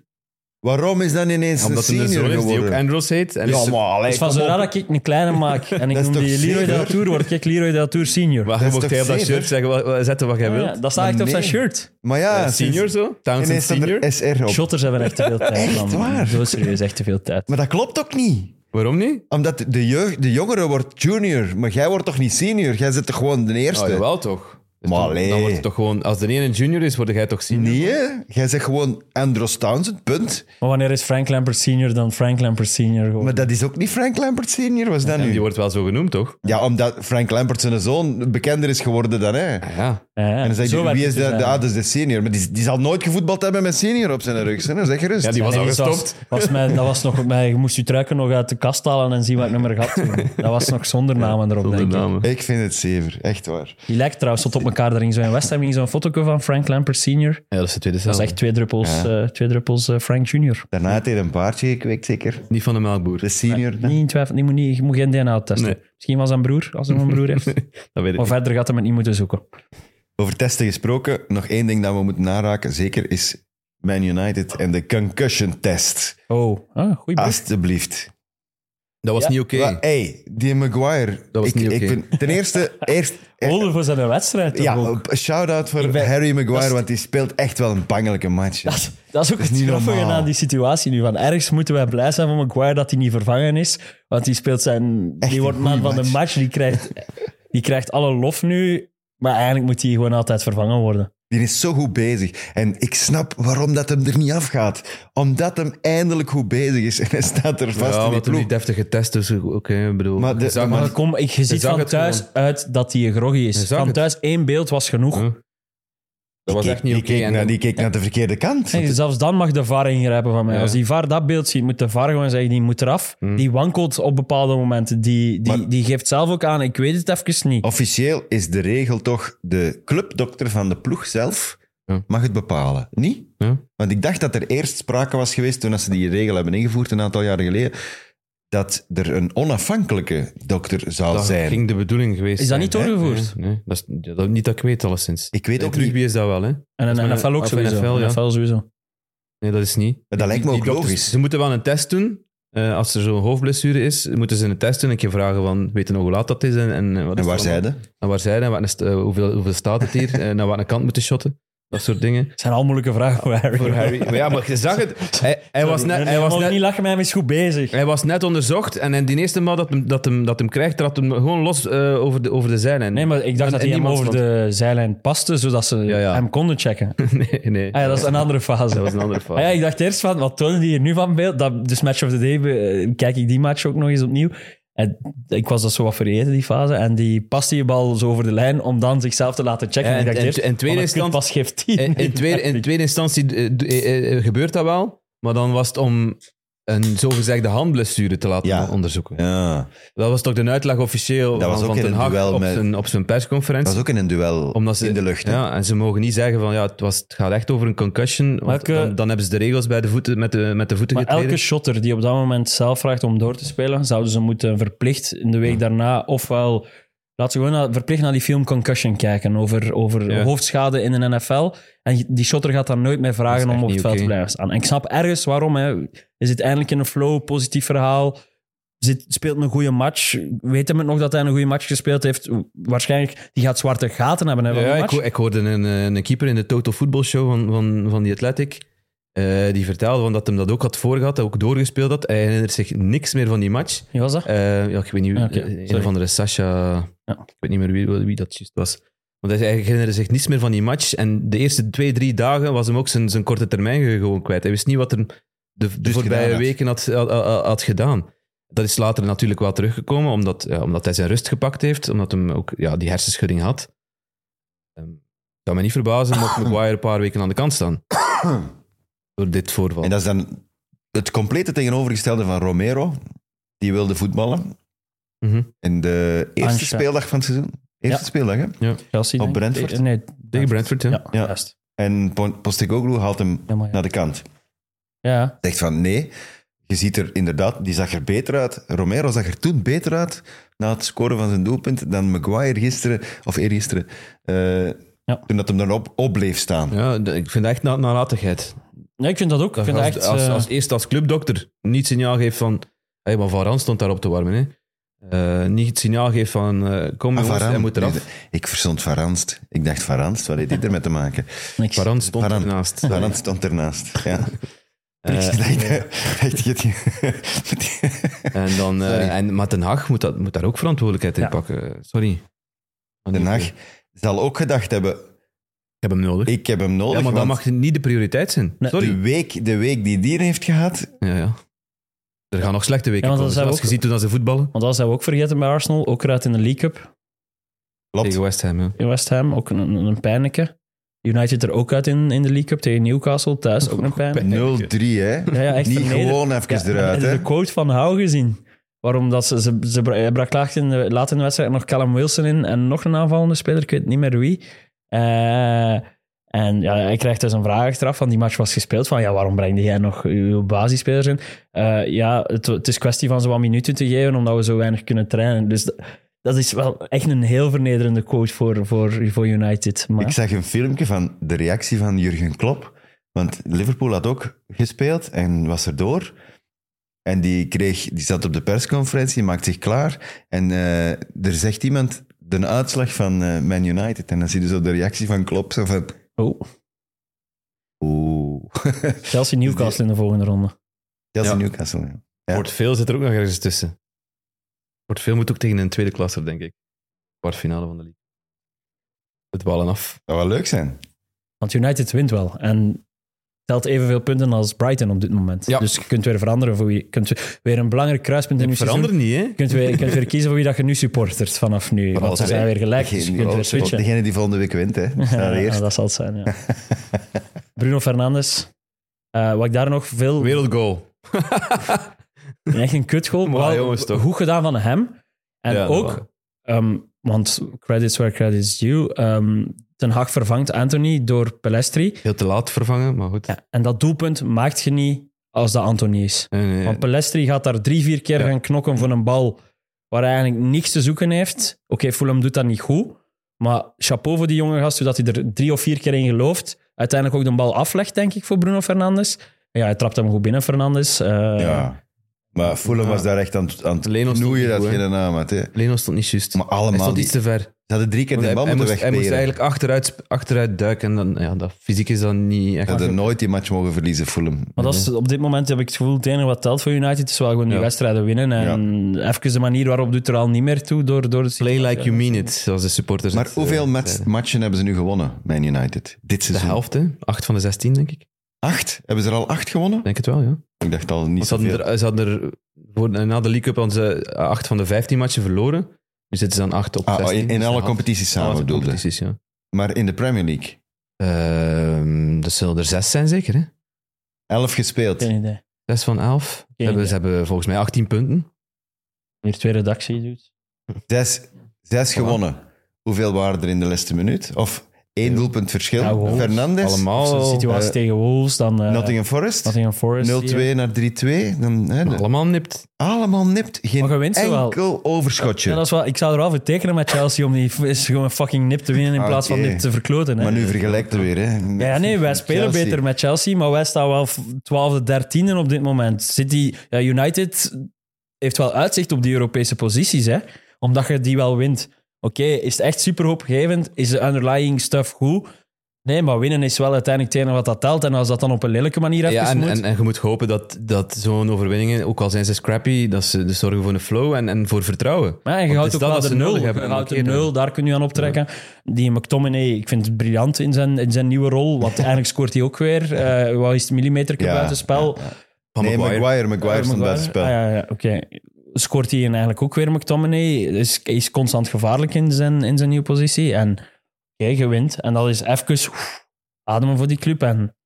A: Waarom is dan ineens
B: Omdat
A: een
B: hij een
A: senior
B: zoon is die ook
A: geworden?
B: Andros heet. En is-
A: Ja, maar allee,
C: Dus van
A: kom
C: zodra
A: op.
C: dat ik een kleine maak en ik
A: Dat is
C: noem die
A: toch
C: Leroy
A: zeker?
C: Deltour, word ik Leroy Deltour senior.
B: Maar
A: Dat
B: je
A: is
B: mocht
A: toch
B: hij op dat
A: zeker?
B: shirt zeggen, wat- wat- zetten wat jij
C: Ja,
B: wilt.
C: dat staat
A: Maar
C: echt op zijn
A: nee.
C: shirt.
A: Maar ja,
B: Eh, Senior
A: sinds-
B: zo? Townsend
A: dus- ineens staat
B: senior?
A: er SR op.
C: Shotters hebben echt te veel tijd.
A: Echt
C: man.
A: waar?
C: Zo serieus, echt te veel tijd.
A: Maar dat klopt ook niet.
B: Waarom niet?
A: Omdat de, jeugd, de jongere wordt junior, maar jij wordt toch niet senior? Jij zit toch gewoon de eerste?
B: Nou, jawel toch. Dus
A: Maar
B: dan-
A: allee.
B: dan wordt het toch gewoon, als de ene een junior is, word jij toch senior?
A: Nee, jij zegt gewoon Andros Townsend, punt.
C: Maar wanneer is Frank Lampert senior dan Frank Lampert senior? Gewoon.
A: Maar dat is ook niet Frank Lampert senior, was dat
B: Die
A: nu?
B: wordt wel zo genoemd, toch?
A: Ja, omdat Frank Lampert zijn zoon bekender is geworden dan hij. En
B: Ja.
C: Ja,
A: dan zeg
C: Eh, zo
A: je,
C: werkt
A: wie is de,
C: het dus
A: de,
C: eigenlijk.
A: ah, dat is de senior? Maar die, die zal nooit gevoetbald hebben met senior op zijn rug, hè? zeg gerust.
B: Ja, die was
C: Nee,
B: al
C: nee, dat
B: gestopt.
C: Was, was mijn, dat was nog, mijn, je moest je truiken nog uit de kast halen en zien wat ik nummer had. toen. Dat was nog zonder namen erop, denk ik.
A: Ik vind het zever, echt waar.
C: Die lijkt trouwens tot op elkaar. Er ging zo'n West Ham ging zo'n foto van Frank Lampert senior.
B: Ja, dat is de tweede
C: Dat
B: zelf.
C: is echt twee druppels, eh, twee druppels eh, Frank junior.
A: Daarna heeft hij een paardje gekweekt, zeker.
B: Niet van de melkboer.
A: De senior. dan.
C: Niet in twijfel, die moet, niet, je moet geen DNA testen.
B: Nee.
C: Misschien was zijn broer, als hij een broer heeft.
B: Dat weet ik
C: Maar
B: niet.
C: verder gaat hij het niet moeten zoeken.
A: Over testen gesproken, nog één ding dat we moeten naraken, zeker is Man United en de concussion test.
C: Oh, ah, goeie broer.
A: Alsjeblieft.
B: Dat was
C: Ja.
B: niet oké.
A: Wa- hey, die Maguire.
B: Dat was
A: ik,
B: niet
A: ik
B: oké.
A: vind- ten eerste, eerst... eh,
C: Holder voor zijn wedstrijd. toch
A: ja,
C: ook?
A: een shout-out voor
C: Ik ben-
A: Harry Maguire,
C: dat is-
A: want die speelt echt wel een bangelijke match. hè.
C: Dat, dat is ook het
A: niet
C: grappige
A: normaal.
C: aan die situatie nu. Van ergens moeten wij blij zijn van Maguire dat hij niet vervangen is. Want die speelt zijn...
A: Echt
C: die
A: een
C: wordt man
A: goeie
C: van de
A: match.
C: match. Die krijgt, die krijgt alle lof nu. Maar eigenlijk moet hij gewoon altijd vervangen worden.
A: Die is zo goed bezig. En ik snap waarom dat hem er niet afgaat. Omdat hem eindelijk goed bezig is. En hij staat er vast
B: ja,
A: in die
B: omdat hij
A: ploeg.
B: niet deftig getest is. Oké, dus ik bedoel...
A: Maar de-
B: je zag
A: maar-
C: Maar
B: het.
C: kom, ik, je ziet
B: zag
C: van
B: het
C: thuis
B: gewoon.
C: uit dat hij groggy is.
B: zag
C: Van
B: het.
C: thuis één beeld was genoeg.
B: Ja. dat was
A: Die-
B: echt niet
A: die
B: oké.
A: keek
B: En
A: naar-
B: dan-
A: Die keek naar de verkeerde kant.
C: En zelfs dan mag de VAR ingrijpen van mij.
B: Ja.
C: Als die VAR dat beeld ziet, moet de VAR gewoon zeggen, die moet eraf. Die wankelt op bepaalde momenten. Die, die,
A: Maar-
C: die geeft zelf ook aan, ik weet het even niet.
A: Officieel is de regel toch de clubdokter van de ploeg zelf
B: Ja.
A: mag het bepalen. Niet?
B: Ja.
A: Want ik dacht dat er eerst sprake was geweest toen dat ze die regel hebben ingevoerd een aantal jaren geleden, dat er een onafhankelijke dokter zou
B: dat
A: zijn.
B: ging de bedoeling geweest
C: Is dat
B: zijn,
C: niet
B: hè?
C: doorgevoerd?
B: Nee, nee. dat is ja, dat, niet dat ik weet, alleszins.
A: Ik weet ook
B: Terug
A: niet.
B: wie is dat wel, hè?
C: En
B: Dat is
C: een
B: maar-
C: NFL ook
B: of NFL,
C: sowieso.
B: ja.
C: NFL sowieso.
B: Nee, dat is niet.
A: Maar dat lijkt me
B: Die
A: ook
B: dokters-
A: logisch.
B: Ze moeten wel een test doen. Eh, als er zo'n hoofdblessure is, moeten ze een test doen. Een keer vragen van, weten nog hoe laat dat is en, en, eh, wat
A: En
B: is
A: waar
B: het
A: zij
B: allemaal?
A: de?
B: En waar zij en wat, een st- eh, hoeveel, hoeveel staat het hier? Eh, naar wat een kant moeten shotten? Dat soort dingen.
C: Het zijn al moeilijke vragen voor Harry.
B: Voor Harry. Maar ja, maar je zag het. Hij, hij, was, net,
C: Nee,
B: hij,
C: je
B: was,
C: mag niet
B: net,
C: lachen, maar hij is goed bezig.
B: hij was net onderzocht en, en die eerste maal dat hem, dat hem, dat hem krijgt, trapt hem gewoon los eh, over, de, over de zijlijn.
C: Nee, maar ik dacht
B: En-
C: dat
B: en
C: hij hem
B: niemand
C: over
B: stond-
C: de zijlijn paste, zodat ze
B: Ja, ja.
C: hem konden checken.
B: Nee, nee.
C: Ah ja, dat is een andere fase.
B: Dat was een andere
C: Ah ja,
B: fout.
C: ik dacht eerst van, wat tonen die hier nu van beeld? Dat, dus Match of the Day, be- eh, kijk ik die match ook nog eens opnieuw. En ik was dat zo wat vergeten, die fase. En die past die bal zo over de lijn om dan zichzelf te laten checken.
B: Ja, en-
C: ik dacht
B: en-
C: eerst,
B: en tweede
C: "Oh, dat
B: instantie-
C: kutpas geeft die.
B: In, in, tweede, in tweede instantie eh, do- eh, eh, gebeurt dat wel, maar dan was het om een zogezegde handblessure te laten
A: Ja.
B: onderzoeken.
A: Ja.
B: Dat was toch de uitleg officieel
A: Dat was
B: van,
A: ook
B: van
A: in
B: Ten
A: een
B: Hag
A: duel
B: op,
A: met-
B: zijn, op zijn
A: Dat
B: persconferentie.
A: was ook in een duel
B: omdat ze,
A: in de lucht. hè?
B: Ja, en ze mogen niet zeggen van ja, het, was, het gaat echt over een concussion. want
C: Welke-
B: dan, dan hebben ze de regels bij de voeten, met, de, met de voeten
C: eh, Maar
B: getreden.
C: elke shotter die op dat moment zelf vraagt om door te spelen, zouden ze moeten verplicht in de week daarna ofwel... Laten we gewoon naar- verplicht naar die film Concussion kijken over, over
B: Ja.
C: hoofdschade in de NFL. En die shotter gaat daar nooit meer vragen
B: Dat
C: om
B: is echt
C: op het
B: niet
C: veld te
B: oké.
C: blijven staan. En ik snap ergens waarom. Hè. Is het eindelijk in een flow, positief verhaal? Zit, speelt een goede match? Weet hem het nog dat hij een goede match gespeeld heeft? Waarschijnlijk, die gaat zwarte gaten hebben hè, van
B: Ja,
C: die
B: ik,
C: match.
B: ho- ik hoorde een, eh, een keeper in de Total Football Show van, van, van die Athletic. eh, die vertelde van dat hem dat ook had voorgehad, dat ook doorgespeeld had. Hij herinnert zich niks meer van die match.
C: Wie was dat?
B: Eh, ja, ik weet niet,
C: Ah, oké,
B: eh, een
C: sorry.
B: of andere Sasha, ik weet niet meer wie, wie dat juist was. Want hij hij herinnerde zich niets meer van die match. En de eerste twee, drie dagen was hem ook zijn, zijn korte termijn ge- gewoon kwijt. Hij wist niet wat er de, de
A: Dus
B: voorbije
A: gedaan had.
B: weken had, had, had- had gedaan. Dat is later natuurlijk wel teruggekomen, omdat, ja, omdat hij zijn rust gepakt heeft. Omdat hij ook ja, die hersenschudding had. Ehm, Het zou me niet verbazen mocht Maguire een paar weken aan de kant staan. Door dit voorval.
A: En dat is dan het complete tegenovergestelde van Romero. Die wilde voetballen.
B: Mhm.
A: In de eerste
C: Ancha.
A: speeldag van het seizoen. Eerste
C: Ja.
A: speeldag, hè?
C: Chelsea,
A: op
C: denk ik.
A: Brentford?
C: Nee,
B: Tegen Brentford, ja.
C: ja,
A: Ja.
C: juist.
A: En Pon- Postecoglou haalt hem
C: Helemaal, ja.
A: naar de kant.
B: Nou,
C: ja.
A: Zegt van nee, je ziet er inderdaad, die zag er beter uit. Romero zag er toen beter uit na het scoren van zijn doelpunt dan Maguire gisteren, of eergisteren, eh,
C: Ja.
A: toen dat hem erop op bleef staan.
B: Ja, de- ik vind dat echt na nalatigheid.
C: Ja, ik vind dat ook. Ik vind
B: als,
C: dat echt,
B: als,
C: eh,
B: als eerst als clubdokter niet het signaal geeft van... Hey, maar Varane stond daar op te warmen. Hè. Eh, niet het signaal geeft van... eh, kom
A: Ah,
B: jongens,
A: Varane.
B: hij moet eraf.
A: Nee, ik verstond Varanst. Ik dacht Varanst, wat heeft dit ermee te maken?
C: niks.
B: Varane stond
A: Varane.
B: ernaast.
A: Varanst stond ernaast. Ja.
B: Eh, en dan, eh,
A: Sorry.
B: en, maar Ten Hag moet, dat, moet daar ook verantwoordelijkheid in
C: Ja.
B: pakken. Sorry. Maar
A: Den
B: niet-
A: Haag
B: Ik
A: zal ook gedacht hebben,
B: heb hem nodig.
A: ik heb hem nodig.
B: ja, maar dat
A: want
B: mag niet de prioriteit zijn.
C: Nee.
B: Sorry.
A: de, week, de week die die heeft gehad,
B: Ja, ja. Er gaan nog slechte weken
C: Ja, want dat zijn
B: komen.
C: we
B: Zoals je
C: ook-
B: ziet toen dat ze voetballen.
C: Want dat zijn we ook vergeten bij Arsenal. Ook eruit in de League Cup
A: klopt.
B: Tegen West Ham, ja.
C: in West Ham. Ook een, een een pijnlijke. United er ook uit in, in de League Cup tegen Newcastle. Thuis ook een pijn.
A: 0-3, hè?
C: Ja, ja, echt
A: Niet
C: vernederd.
A: gewoon even
C: Ja,
A: eruit,
C: en
A: hè?
C: de quote van Hou gezien. Waarom dat ze, ze, ze bra- hij brak laat in de, laat in de wedstrijd nog Callum Wilson in en nog een aanvallende speler, ik weet niet meer wie. Eh, en ja, hij krijgt dus een vraag achteraf, van die match was gespeeld, van ja, waarom brengde jij nog uw basisspelers in? Eh, ja, het, het is kwestie van zo wat minuten te geven, omdat we zo weinig kunnen trainen. Dus dat, dat is wel echt een heel vernederende quote voor, voor, voor United. Maar,
A: Ik zag een filmpje van de reactie van Jurgen Klopp. Want Liverpool had ook gespeeld en was erdoor. En die, kreeg, die zat op de persconferentie, maakt zich klaar. En eh, er zegt iemand de uitslag van eh, Man United. En dan zie je zo de reactie van Klopp. Zo van,
C: oh,
A: oeh.
C: Chelsea Newcastle in de volgende ronde.
A: Chelsea
B: Ja.
A: Newcastle. ja. Ja.
B: Port Veel zit er ook nog ergens tussen. Port Veel moet ook tegen een tweede klasser, denk ik. Kwartfinale van de league. Het ballen af.
A: Dat zou wel leuk zijn.
C: Want United wint wel. En telt evenveel punten als Brighton op dit moment.
B: Ja.
C: Dus je kunt weer veranderen. Voor wie, je kunt weer een belangrijk kruispunt in je
B: Het verandert
C: seizoen.
B: niet, hè?
C: Je kunt, weer, je kunt weer kiezen voor wie dat je nu supportert vanaf nu.
A: Van
C: want ze
A: alle
C: zijn
A: twee.
C: weer gelijk. Dus je
A: Degene,
C: kunt
A: die,
C: weer switchen.
A: degene die volgende week wint, hè. Die staat
C: Ja,
A: eerst.
C: dat zal het zijn, ja. Bruno Fernandes. Eh, wat ik daar nog veel...
B: Wereldgoal.
C: Echt een kutgoal.
B: Maar
C: Wel
B: jongens, toch.
C: Goed gedaan van hem. En
B: Ja,
C: ook,
B: maar-
C: ehm, want credits where credits due, ehm, Ten Hag vervangt Anthony door Pelestri.
B: Heel te laat vervangen, maar goed.
C: Ja, en dat doelpunt maakt je niet als dat Anthony is.
B: Nee, nee, nee.
C: Want Pelestri gaat daar drie, vier keer
B: Ja.
C: gaan knokken voor een bal waar hij eigenlijk niks te zoeken heeft. Oké, Fulham doet dat niet goed. Maar chapeau voor die jonge gast, zodat hij er drie of vier keer in gelooft. Uiteindelijk ook de bal aflegt, denk ik, voor Bruno Fernandes. Ja, hij trapt hem goed binnen, Fernandes. Eh,
A: Ja. Maar Fulham
B: Ja.
A: was daar echt aan, het- aan het
B: Leno stond
A: knoeien
B: niet
A: dat
B: goed, hè.
A: geen naam had. Hè.
B: Leno stond niet juist.
A: Maar
B: Hij
A: allemaal...
B: stond
A: Die,
B: iets te ver.
A: ze hadden drie keer
B: Want
A: de
B: Hij,
A: bal
B: hij
A: moeten
B: moest, hij moest
A: wegspelen.
B: eigenlijk achteruit, sp- achteruit duiken. En dan, ja, dat, fysiek is dan niet echt...
A: Ze hadden nooit die match mogen verliezen, Fulham.
C: Maar dat is, op dit moment heb ik het gevoel, het enige wat telt voor United is wel gewoon die
B: Ja.
C: wedstrijden winnen. En even de manier waarop doet er al niet meer toe door, door de
B: Play like you mean it, zoals de supporters
A: Maar
B: het, eh,
A: hoeveel mat-
B: zeiden.
A: matchen hebben ze nu gewonnen, Man United? Dit
B: De
A: seizoen?
B: helft, hè? Acht van de zestien, denk ik.
A: Acht? Hebben ze er al acht gewonnen?
B: Denk het wel, ja.
A: Ik dacht al niet
B: Ze hadden,
A: zoveel.
B: er, ze hadden er voor, na de League Cup hadden ze 8 van de 15 matchen verloren. Nu zitten ze dan 8 op
A: Ah,
B: 16.
A: in, in
B: Dus
A: alle
B: de helft.
A: competities samen
B: Alle
A: bedoelde.
B: competities, ja.
A: Maar in de Premier League.
B: Ehm, dat zullen er 6 zijn zeker, hè?
A: Elf gespeeld.
C: Geen idee.
B: 6 van 11. Ze hebben, ze hebben volgens mij 18 punten.
C: Hier twee redactie doet.
A: Zes, zes gewonnen. Hoeveel waren er in de laatste minuut? Of één doelpunt verschil.
C: Ja, wow.
A: Fernandes,
C: Als de
B: Allemaal,
C: situatie
A: eh,
C: tegen Wolves, dan eh,
A: Nottingham Forest.
C: Nottingham Forest.
A: 0-2 naar 3-2. Dan, hè, de-
B: allemaal nipt.
A: allemaal nipt.
C: Maar je
A: Geen
C: wint ze wel.
A: enkel overschotje.
C: Ja, dat is wel, ik zou er wel voor tekenen met Chelsea om die f- is gewoon fucking nip te winnen in
A: Ah,
C: plaats van
A: oké.
C: nip te verkloten. Hè.
A: maar nu vergelijkt het weer. Hè.
C: ja, ja, nee, wij spelen
A: Chelsea.
C: beter met Chelsea, maar wij staan wel 12e, 13e op dit moment. City, ja, United heeft wel uitzicht op die Europese posities, hè? omdat je die wel wint. Oké, is het echt super hoopgevend? Is de underlying stuff goed? Nee, maar winnen is wel uiteindelijk het enige wat dat telt. En als dat dan op een lelijke manier even
B: Ja, en,
C: moet...
B: en, en je moet hopen dat, dat zo'n overwinningen, ook al zijn ze scrappy, dat ze dus zorgen voor een flow en, en voor vertrouwen.
C: Maar ja,
B: Want
C: je
B: het
C: houdt
B: is
C: ook
B: dat
C: wel de
B: wat ze
C: nul.
B: nodig
C: Je
B: hebben.
C: houdt de
B: Markeren.
C: nul, daar kun je aan optrekken. Die McTominay, ik vind het briljant in zijn, in zijn nieuwe rol. Want eigenlijk scoort hij ook weer. eh wat is het, millimeter
A: Ja,
C: buitenspel?
B: Van
A: Nee,
B: Maguire.
A: Maguire. Maguire stond buiten spel.
C: Ah, ja, ja, oké. Scoort hij eigenlijk ook weer McTominay? Is, is constant gevaarlijk in zijn, in zijn nieuwe positie. En oké, je wint. En dat is even oef, ademen voor die club. En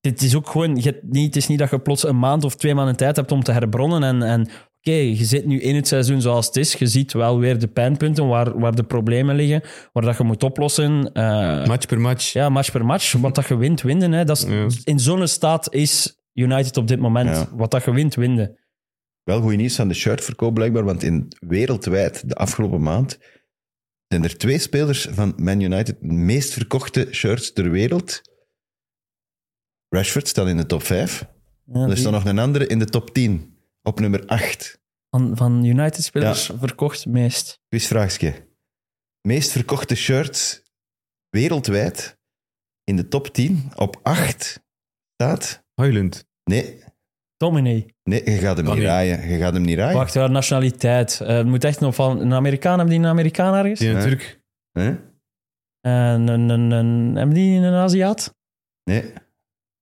C: dit is ook gewoon, je, hebt niet, het is niet dat je plots een maand of twee maanden tijd hebt om te herbronnen. En, en oké, je zit nu in het seizoen zoals het is. Je ziet wel weer de pijnpunten waar, waar de problemen liggen, waar dat je moet oplossen. Eh,
B: Match per match.
C: ja, match per match. Wat dat je wint, winnen. Hè. Dat is,
B: Ja.
C: In zo'n staat is United op dit moment.
A: Ja.
C: Wat dat je wint, winnen.
A: Wel goed nieuws aan de shirtverkoop blijkbaar, want in wereldwijd de afgelopen maand zijn er twee spelers van Man United de meest verkochte shirts ter wereld. Rashford staat in de top 5.
C: Ja,
A: Er is
C: die
A: dan nog een andere in de top 10, op nummer 8.
C: van, van United-spelers verkocht meest.
A: Quizvraagje. Meest verkochte shirts wereldwijd in de top 10, op 8 staat...
B: Highland.
A: Nee,
C: Dominee.
A: nee je gaat hem
B: Kan
A: niet
B: niet.
A: raaien. Je gaat hem niet raaien.
C: Wacht, wel, nationaliteit. Eh, het moet echt nog van een Amerikaan. Hebben die een Amerikaan ergens?
B: Die
A: Ja.
B: natuurlijk.
A: Hè?
C: En een, een, een, hebben die een Aziat?
A: Nee.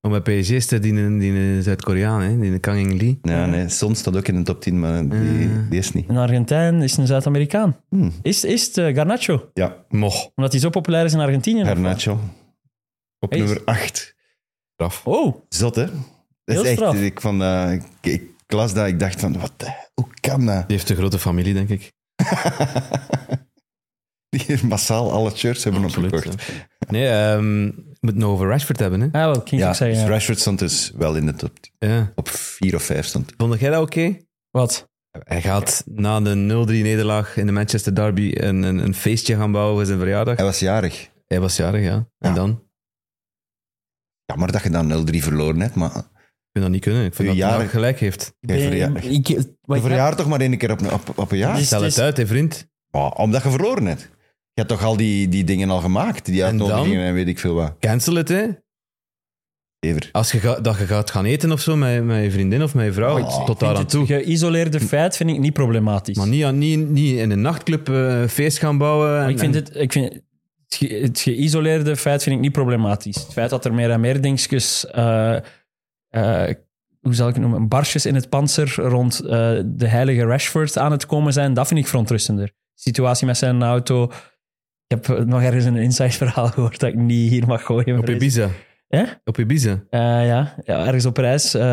B: Maar bij PSG is er die, die, die Zuid-Koreaan, hè, die Kang In Lee.
A: Ja, nee, Son staat ook in de top 10, maar die,
B: Eh.
A: die is niet.
C: Een Argentijn is een Zuid-Amerikaan.
A: Hmm.
C: Is, is het eh, Garnacho?
A: Ja,
B: Moch.
C: Omdat hij zo populair is in Argentinië. of wat?
A: Garnacho. Op
C: Hey.
A: nummer 8.
C: Oh,
A: Zot, hè? Dat is
C: Heel
A: echt...
C: straf.
A: Ik, vond, dat- ik, ik las dat, ik dacht van, wat de- hoe kan dat?
B: Die heeft een grote familie, denk ik.
A: Die hier massaal alle shirts hebben opgekocht.
B: ja. Nee, ehm, we moeten het nog over Rashford hebben, hè?
C: ah, wel, ik ging
A: Ja,
C: het ook
A: dus
C: zeggen. ja.
A: Rashford stond dus wel in de top
B: Ja.
A: Op 4 of 5 stond
B: Vond jij dat oké?
C: Wat?
B: Hij gaat na de 0-3 nederlaag in de Manchester Derby een, een, een feestje gaan bouwen voor zijn verjaardag.
A: Hij was jarig.
B: Hij was jarig, ja. En
A: Ja.
B: dan?
A: Jammer dat je dan 0-3 verloren hebt, maar
B: Ik vind dat niet kunnen. Ik vind
A: Uw
B: dat hij
A: jarig-
B: gelijk heeft.
A: je verjaar-
C: Ik- ik- wat
A: je
C: ik-
A: verjaart toch maar één keer op, een- op, op een jaar?
C: Dus-
B: Stel
C: het
B: het
C: is-
B: uit, hè, vriend.
A: Maar omdat je verloren hebt. Je hebt toch al die, die dingen al gemaakt? Die
B: En dan?
A: uitnodigingen en weet ik veel wat.
B: Cancel het, hè.
A: Ever.
B: Als je, ga- dat je gaat gaan eten of zo met, met je vriendin of met je vrouw,
A: Oh,
B: tot daar aan
C: het
B: toe.
C: geïsoleerde feit vind ik niet problematisch.
B: Maar niet, aan- niet, niet in een nachtclub eh, een feest gaan bouwen.
C: Maar
B: en-
C: ik vind
B: en-
C: het, ik vind, het, ge- het geïsoleerde feit vind ik niet problematisch. Het feit dat er meer en meer dingetjes, eh, eh, hoe zal ik het noemen, barsjes in het panzer rond eh, de heilige Rashford aan het komen zijn, dat vind ik verontrustender. De situatie met zijn auto. Ik heb nog ergens een insideverhaal gehoord dat ik niet hier mag gooien.
B: Op Ibiza.
C: Ja?
B: Op Ibiza.
C: Eh, ja. ja, ergens op reis eh,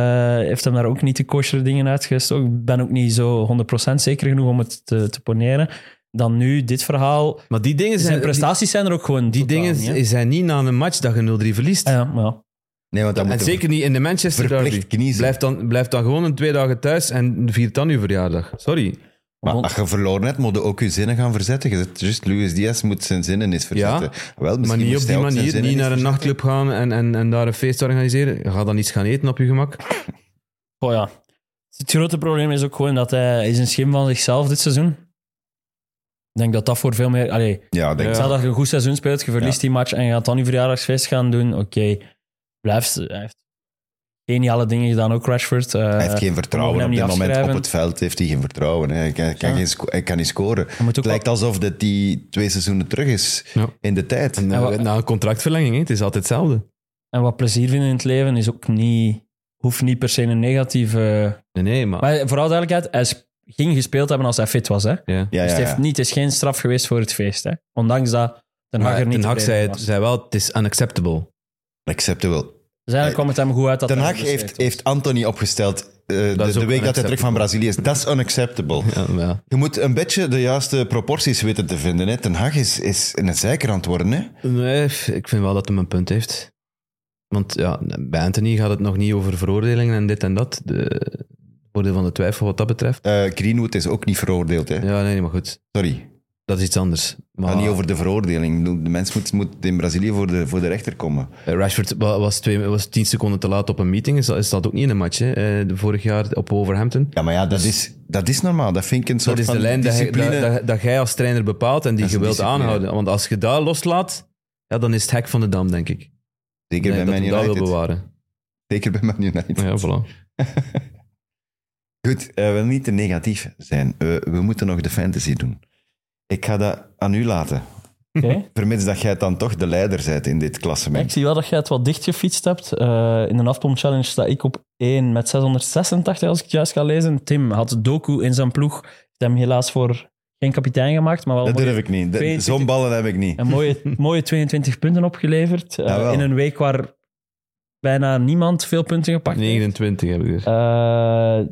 C: heeft hem daar ook niet de kosher dingen uitgestoken. Ik ben ook niet zo 100% zeker genoeg om het te, te poneren. Dan nu dit verhaal.
B: Maar die dingen
C: Zijn
B: zijn... die-
C: prestaties zijn er ook gewoon.
B: die dingen
C: Niet, hè?
B: zijn niet na een match dat je 0-3 verliest.
C: Ah ja, maar ja.
A: Nee, want dat
B: en
A: moet
B: zeker niet in de Manchester
A: verplicht
B: Derby.
A: kniezen.
B: Blijf dan, blijf dan gewoon een twee dagen thuis en viert dan je verjaardag. Sorry.
A: Maar
C: Want-
A: als je verloren hebt, moet je ook je zinnen gaan verzetten. Je zegt, juist Luis Diaz moet zijn zinnen eens verzetten. Wel,
B: Ja,
A: misschien
B: Maar niet
A: moest
B: op die
A: hij ook zijn
B: manier.
A: zinnen
B: Niet
A: eens
B: naar een
A: verzetten.
B: nachtclub gaan en, en, en daar een feest organiseren. Ga dan iets gaan eten op je gemak.
C: Oh ja. Het grote probleem is ook gewoon dat hij is een schim van zichzelf dit seizoen. Ik denk dat dat voor veel meer... Allee,
A: Ja, denk ik.
C: stel dat je een goed seizoen speelt, je verliest die match en je gaat dan je verjaardagsfeest gaan doen. Oké, blijft... Hij heeft geniale dingen gedaan, ook Rashford. Eh,
A: Hij heeft geen vertrouwen
C: hem
A: op dit
C: niet
A: moment. Op
C: afschrijven.
A: het veld heeft hij geen vertrouwen. hè. Hij kan, hij kan,
C: Ja.
A: geen sco- hij kan niet scoren.
C: je moet ook
A: Het lijkt alsof dat die twee seizoenen terug is
B: Ja.
A: in de tijd.
B: En,
C: En
B: eh,
C: wat-
B: na een contractverlenging, hè. het is altijd hetzelfde.
C: En wat plezier vinden in het leven is ook niet... hoeft niet per se een negatieve...
B: Nee, nee, maar...
C: Maar vooral duidelijkheid, hij sp- ging gespeeld hebben als hij fit was. Hè?
B: ja.
A: Ja,
C: dus
A: ja,
C: het,
A: ja.
C: heeft niet, het is geen straf geweest voor het feest. Hè? Ondanks dat Den Haag
B: Maar
C: er niet
B: Ten Hag
C: tevreden
B: zei,
C: mee
B: het-
C: was.
B: zei wel, het is unacceptable.
A: Acceptable.
C: Dus eigenlijk kwam het hem goed uit dat
A: Den
C: hij
A: Haag
C: geblesseerd
A: heeft,
C: was.
A: heeft Anthony opgesteld eh, de,
B: is
A: de
B: ook
A: week dat hij terug van
B: unacceptable.
A: Brazilië is. Dat is unacceptable.
B: Ja, maar ja.
A: Je moet een beetje de juiste proporties weten te vinden. Hè. Ten Hag is, is een zeiker aan het worden. Hè.
B: Nee, ik vind wel dat hij een punt heeft. Want ja, bij Anthony gaat het nog niet over veroordelingen en dit en dat. De voordeel van de twijfel wat dat betreft.
A: Eh, Greenwood is ook niet veroordeeld. Hè.
B: Ja, Ah. nee, maar goed.
A: Sorry.
B: Dat is iets anders.
A: Het
B: Maar
A: gaat niet over de veroordeling. Ik bedoel, De mens moet, moet in Brazilië voor de, voor de rechter komen.
B: eh, Rashford wa- was, twee, was tien seconden te laat op een meeting. Is dat, is dat ook niet in een match, hè? Eh, de vorig jaar op Wolverhampton.
A: Ja, maar ja, dat, is, dat is normaal. Dat vind ik een soort
B: dus Dat is
A: van
B: de lijn dat, hij-
A: discipline.
B: dat, dat, dat jij als trainer bepaalt en die
A: Dat
B: je
A: is
B: wilt
A: discipline.
B: aanhouden. Want als je daar loslaat, ja, dan is het hek van de dam, denk ik.
A: Zeker
B: Ik denk
A: bij
B: dat
A: Man
B: hij dat wil
A: United.
B: bewaren.
A: Zeker bij Man United.
B: Ja, voilà.
A: Goed, eh, we willen niet te negatief zijn. Eh, we moeten nog de fantasy doen. Ik ga dat aan u laten.
C: Oké.
A: Vermits dat jij dan toch de leider bent in dit
C: Ik
A: klassement.
C: zie wel dat jij het wat dicht gefietst hebt. Eh, in de afpomp challenge sta ik op 1 met 686, als ik het juist ga lezen. Tim had Doku in zijn ploeg. Heeft hem helaas voor geen kapitein gemaakt, maar wel
A: Dat
C: mooi-
A: durf ik niet. De-
C: 22.
A: Zo'n ballen heb ik niet.
C: een mooie, mooie 22 punten opgeleverd. Eh,
A: Jawel.
C: in een week waar bijna niemand veel punten gepakt heeft.
B: 29 heb ik er.
C: Eh,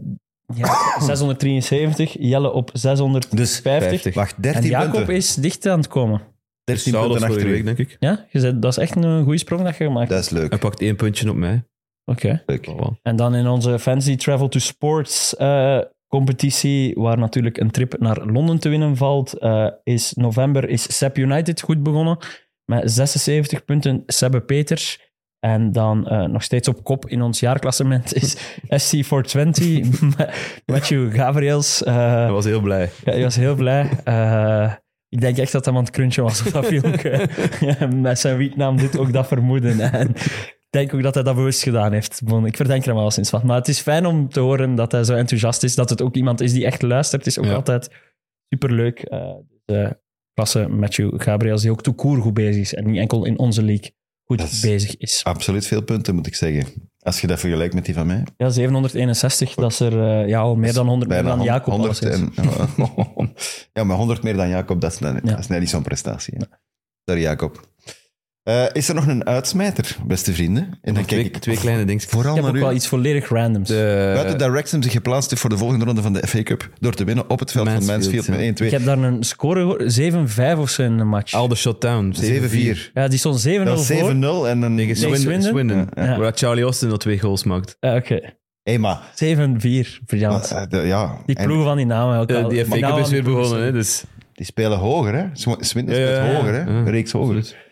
C: ja, 673, Jelle op 650.
A: Dus
B: 50.
A: Wacht, 13
C: En Jacob
A: punten.
C: is dicht aan het komen.
A: 13
B: Zou dat
A: punten
B: vorige
A: achter u.
B: week, denk ik.
C: Ja, je zei- dat is echt een goede sprong dat je gemaakt
A: Dat
C: hebt.
A: is leuk.
B: Hij pakt één puntje op mij.
C: Oké.
A: leuk.
B: Oh, wow.
C: En dan in onze Fantasy Travel to Sports eh, competitie, waar natuurlijk een trip naar Londen te winnen valt, eh, is november is Sep United goed begonnen. Met 76 punten, Sebbe Peters. En dan eh, nog steeds op kop in ons jaarklassement is SC420. met Matthew Gabriels. Eh,
B: Hij was heel blij.
C: ja, ik was heel blij. Eh, ik denk echt dat hij aan het crunchen was op dat filmpje. Ja, Met zijn wietnaam doet ook dat vermoeden. En ik denk ook dat hij dat bewust gedaan heeft. Bon, Ik verdenk er hem wel sinds van. Maar het is fijn om te horen dat hij zo enthousiast is. Dat het ook iemand is die echt luistert. is ook
B: Ja.
C: altijd superleuk. Eh de klasse Matthew Gabriels, die ook to koer goed bezig is. En niet enkel in onze league goed
A: Dat is- Ah.
C: bezig is.
A: Absoluut veel punten, moet ik zeggen. Als je dat vergelijkt met die van mij.
C: Ja, 761, dat is er eh, ja, al meer dan 100 meer
A: Bijna
C: dan
A: hon-
C: Jacob.
A: 100
C: alleszins.
A: en, ja, maar 100 meer dan Jacob, dat is, net-
C: Ja.
A: dat is net niet zo'n prestatie. hè. Sorry, Jacob. Eh, is er nog een uitsmijter, beste vrienden? En dan kijk
B: Twee,
A: ik
B: twee kleine dingetjes. Eh,
A: vooral
C: Ik heb
A: naar
C: ook
A: u.
C: wel iets eh, volledig randoms.
B: De-
A: Buiten dat Wrexham zich geplaatst heeft voor de volgende ronde van de FA Cup door te winnen op het veld
B: Mansfield,
A: van
B: ja.
A: Mansfield
C: Ik heb
A: met 1-2.
C: daar een score gehoord, 7-5 of zo in de match.
B: Aldershot Town.
A: 7-4.
C: Ja, die stond 7-0
A: Dat was 7-0
C: voor.
A: en dan...
B: Tegen
C: Tegen
B: Swin-
C: Swindon?
B: Swindon.
C: Ja, ja.
B: Waar Charlie Austin al twee goals maakt.
C: Ja, Oké,
A: Hé, maar...
C: 7-4, briljant.
A: eh, de- ja,
C: Die
A: en
C: ploegen van die namen. Ook
B: De,
C: wel.
B: Eh, die FA Cup
C: Nou,
B: is weer
C: aan de
B: begonnen, hè,
C: ploegen.
B: dus...
A: die spelen hoger, hè? Sw- Swindon
B: Ja, ja,
A: speelt
B: ja, ja.
A: hoger, hè?
B: Ja,
A: Een reeks hoger.
B: absoluut.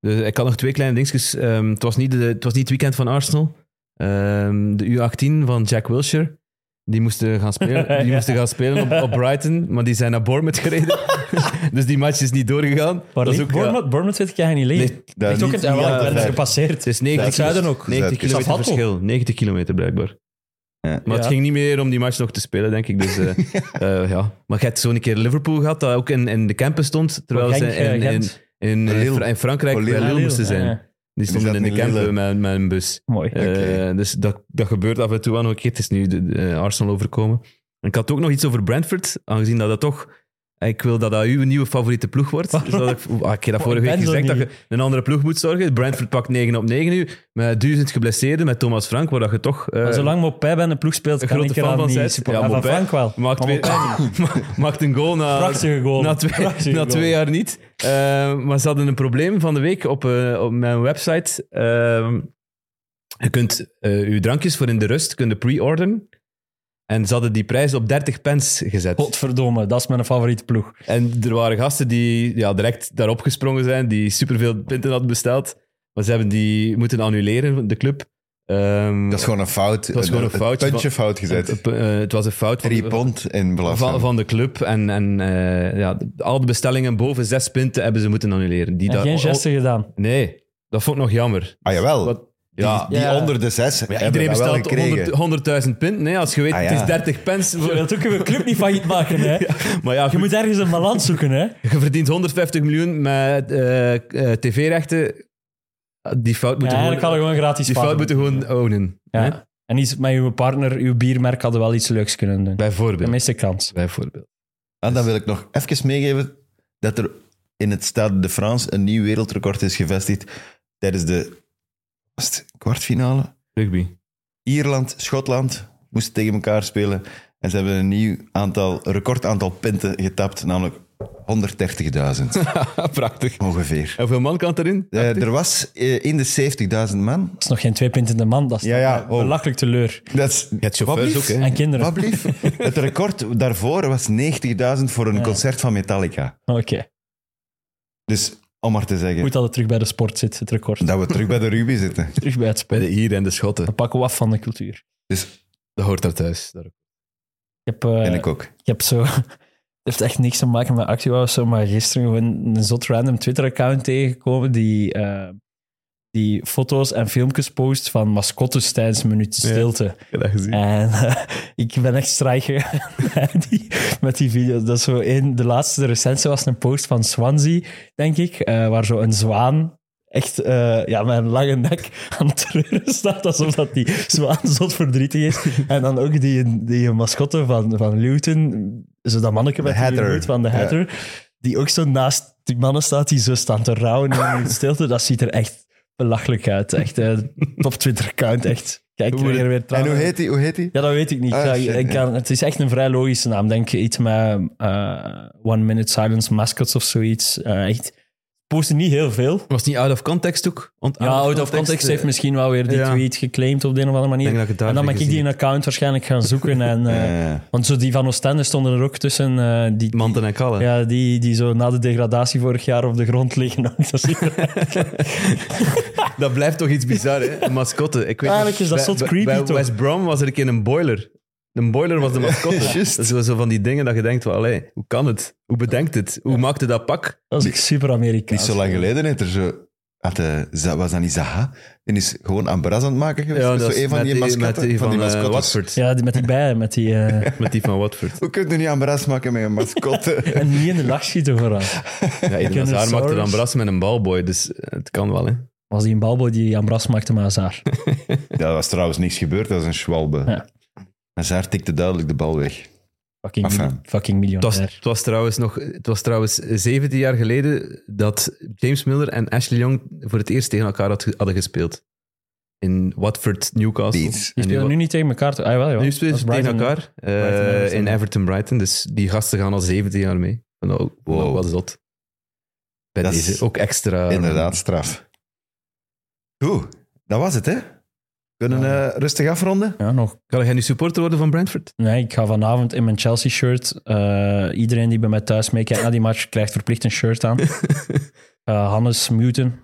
B: Dus ik had nog twee kleine dingetjes. Ehm, het, was niet de, het was niet het weekend van Arsenal. Ehm, de U18 van Jack Wilshere. Die moesten gaan spelen, die
C: Ja.
B: moesten gaan spelen op, op Brighton, maar die zijn naar Bournemouth gereden. dus die match is niet doorgegaan.
C: Waar ligt
B: ja,
C: Bournemouth? Bournemouth weet ik eigenlijk niet liggen.
A: daar
C: ligt ook
A: niet-
C: in het
A: niet aan
C: ja,
A: de
C: ik ben dus
A: vijf.
C: gepasseerd.
B: het is 90,
A: Zuid-
B: kilometer-
A: Zuid-
B: 90
A: Zuid-
B: kilometer
C: Zavato.
B: verschil. 90 kilometer blijkbaar.
A: Ja.
B: Maar
C: Ja.
B: het ging niet meer om die match nog te spelen, denk ik. Dus, eh, eh, ja. Maar je hebt zo'n keer Liverpool gehad, dat ook in, in de campen stond, terwijl
C: Genk,
B: ze in,
C: eh,
B: in, in,
C: Gent.
B: eh,
A: Ah, Lille.
B: Fra- in Frankrijk
A: Voor Lille.
B: bij Lille
C: Ja,
B: moesten
C: Lille,
B: zijn.
C: ja, ja.
B: Die stonden
A: zaten
B: in de
A: in Lille.
B: campen met, met een bus.
C: Mooi.
A: Oké.
B: Eh, dus dat, dat gebeurt af en toe wel nog een keer. Het is nu de, de Arsenal overkomen. En ik had ook nog iets over Brentford, aangezien dat dat toch... Ik wil dat dat uw nieuwe favoriete ploeg wordt. Dus dat ik, ah, ik heb dat vorige
C: Ik
B: week
C: ben zo
B: gezegd, dat
C: Oh, niet.
B: je een andere ploeg moet zorgen. Brentford pakt 9 op 9 nu, met duizend geblesseerden, met Thomas Frank, waar dat je toch... eh,
C: Maar zolang Mopé bij een ploeg speelt,
B: een
C: kan
B: grote
C: ik
B: fan
C: eraan
B: van
C: niet
B: zijn.
C: supporten. Ja, van
B: Mopé
C: Frank wel.
B: Maakt,
C: Maar
B: weer-
C: Mopé niet.
B: maakt een goal na...
C: Prachtige goal.
B: eh, Na twee,
C: Prachtige
B: na
C: goal.
B: twee jaar niet. Eh, maar ze hadden een probleem van de week op, eh, op mijn website. Ehm, je kunt eh je drankjes voor in de rust kunnen pre-orderen. En ze hadden die prijs op 30 pence gezet.
C: Godverdomme, dat is mijn favoriete ploeg.
B: En er waren gasten die ja, direct daarop gesprongen zijn, die superveel punten hadden besteld. Maar ze hebben die moeten annuleren, de club. Ehm,
A: Dat is gewoon een fout.
B: was gewoon een
A: Het
B: foutje
A: Puntje fout
B: eh,
A: gezet.
B: eh, het was een fout van
A: Drie
B: de,
A: pond in belasting.
B: van, van de club. En, en eh, ja, de- al de bestellingen boven zes punten hebben ze moeten annuleren. Die
C: En
B: daar-
C: geen
B: oh,
C: gesten gedaan.
B: Nee, dat vond ik nog jammer.
A: Ah, jawel.
B: Wat- ja,
A: Die
C: Ja.
A: onder de zes
B: ja,
A: hebben
B: iedereen
A: dat wel
B: bestelt
A: gekregen.
B: 100 100.000 punten. Nee, als je weet,
A: Ah, ja.
B: het is 30 pence.
C: Je
B: Voor,
C: wilt ook een club niet failliet maken, hè?
B: maar ja,
C: Je
B: goed,
C: moet ergens een balans zoeken, hè?
B: je verdient 150 miljoen met eh, eh, tv-rechten. Die fout
C: Ja,
B: moeten
C: eigenlijk
B: gewoon,
C: hadden we gewoon gratis
B: die fout
C: pakken.
B: moeten gewoon ownen.
C: Ja.
B: hè?
C: En iets met uw partner, uw biermerk hadden wel iets leuks kunnen doen. De
B: Bijvoorbeeld.
C: meeste kans.
B: Bijvoorbeeld.
A: En dan wil ik nog even meegeven dat er in het Stade de France een nieuw wereldrecord is gevestigd tijdens de was het kwartfinale.
B: Rugby.
A: Ierland, Schotland moesten tegen elkaar spelen en ze hebben een nieuw aantal, record aantal punten getapt, namelijk 130.000
B: Prachtig.
A: ongeveer.
B: En hoeveel man kan het erin?
A: Eh, er was eh, in de 70.000 man.
C: Dat is nog geen twee punten in de man. Dat is
A: Ja, ja,
C: een
A: oh.
C: belachelijk teleur.
A: Dat is,
B: hebt chauffeurs
A: Wat blieft?
B: ook, hè?
C: En kinderen.
A: Wat
C: Oké.
A: blieft? Het record daarvoor was 90.000 voor een concert van Metallica. Dus om maar te zeggen
C: Goed dat het terug bij de sport zit, het record.
A: dat we terug bij de rugby zitten.
C: Terug bij het spel.
B: Bij de Ieren en de Schotten.
C: Dan pakken we af van de cultuur.
A: Dus
B: Dat hoort daar thuis. Daar ook.
C: Ik heb, eh,
A: ben ik ook.
C: Ik heb zo... Het heeft echt niks te maken met actie of zo, maar gisteren gewoon een zot random Twitter-account tegengekomen die, eh, die foto's en filmpjes post van mascottes tijdens een minuut stilte. En eh, ik ben echt strijk gegaan met die, met die video. Dat is zo één. de laatste recensie was een post van Swansea, denk ik, eh, waar zo een zwaan echt eh, ja, met een lange nek aan het treuren staat, alsof dat die zwaan zot verdrietig is. En dan ook die, die mascotte van, van Luton, zo dat manneke met
A: De
C: die
A: Hatter.
C: hoed van de Hatter, die ook zo naast die mannen staat die zo staan te rouwen in de stilte. Dat ziet er echt belachelijk uit. Echt, eh, top Twitter-account, echt. Kijk, ik krijg er weer
A: En
C: tranen
A: hoe heet die? Hoe heet die?
C: ja, dat weet ik niet.
A: Ah,
C: Ja, ik-
A: shit,
C: ik
A: ja.
C: kan, het is echt een vrij logische naam. Denk iets met eh, One Minute Silence Mascots of zoiets. Eh, echt, posten niet heel veel.
B: Was het niet out of context ook? Want
C: Ja, out of context
B: eh,
C: heeft misschien wel weer die
B: ja.
C: tweet geclaimd op de een of andere
B: Ik
C: manier.
B: denk dat ik het daar
C: en dan
B: weer
C: mag ik die
B: gezien
C: een account waarschijnlijk gaan zoeken. En, eh,
A: Eh,
C: want zo die van Oostende stonden er ook tussen. eh, die,
B: Manten en kallen.
C: ja, die, die zo na de degradatie vorig jaar op de grond liggen. Dat is-
B: Dat blijft toch iets bizar, hè? Een mascotte. Ik weet
C: Eigenlijk is dat
B: bij-
C: zot
B: bij-
C: creepy,
B: bij
C: toch?
B: West Brom was er een keer een boiler. Een boiler was de mascotte. dat is wel zo van die dingen dat je denkt, van, allee, hoe kan het? Hoe bedenkt het? Hoe maakte dat pak?
C: dat is echt super
A: Niet
C: Amerikaans.
A: zo lang geleden heeft er zo... Had, eh, Za- was dat niet Zaha? En is gewoon aan Braz aan het maken geweest.
B: dat
A: dat is zo
B: is
A: een van
B: met
A: die mascotten.
B: met die
A: van die
B: van, eh,
A: mascottes.
B: Watford.
C: Ja, die, met die bijen. Met die, eh,
B: Met die van Watford.
A: Hoe kun je niet aan Braz maken met een mascotte?
C: en niet in de lach schieten vooral.
B: Ja, Eden Hazard
C: Dinosaurus.
B: maakte dan bras met een balboy, dus eh, het kan wel, hè?
C: Was die een balboy die Ambras maakte met Hazard.
A: dat was trouwens niks gebeurd, dat is een schwalbe.
C: Ja.
A: Hazard tikte duidelijk de bal weg.
C: Fucking,
A: Enfin.
C: miljoen- fucking
B: Het was,
C: miljonair.
B: het, was trouwens nog, het was trouwens 17 jaar geleden dat James Miller en Ashley Young voor het eerst tegen elkaar had- hadden gespeeld. In Watford, Newcastle.
A: Beats.
C: Die
B: En nu
C: spelen
B: wa-
C: nu niet tegen elkaar. toch? Ah, jawel, jawel.
B: Nu spelen
C: Dat
B: ze
C: is
B: tegen
C: Brighton.
B: elkaar eh,
C: Brighton, Everton.
B: in Everton Brighton. Dus die gasten gaan al 17 jaar mee. En dat ook
A: Wow.
B: wow. wel zot. Bij
A: Dat is
B: deze ook extra.
A: Inderdaad, straf. Goed, dat was het, hè? Kunnen we eh, rustig afronden?
C: Ja, nog.
B: Kan jij nu supporter worden van Brentford?
C: Nee, ik ga vanavond in mijn Chelsea-shirt. eh, iedereen die bij mij thuis meekijkt na die match, krijgt verplicht een shirt aan. Eh, Hannes Muten,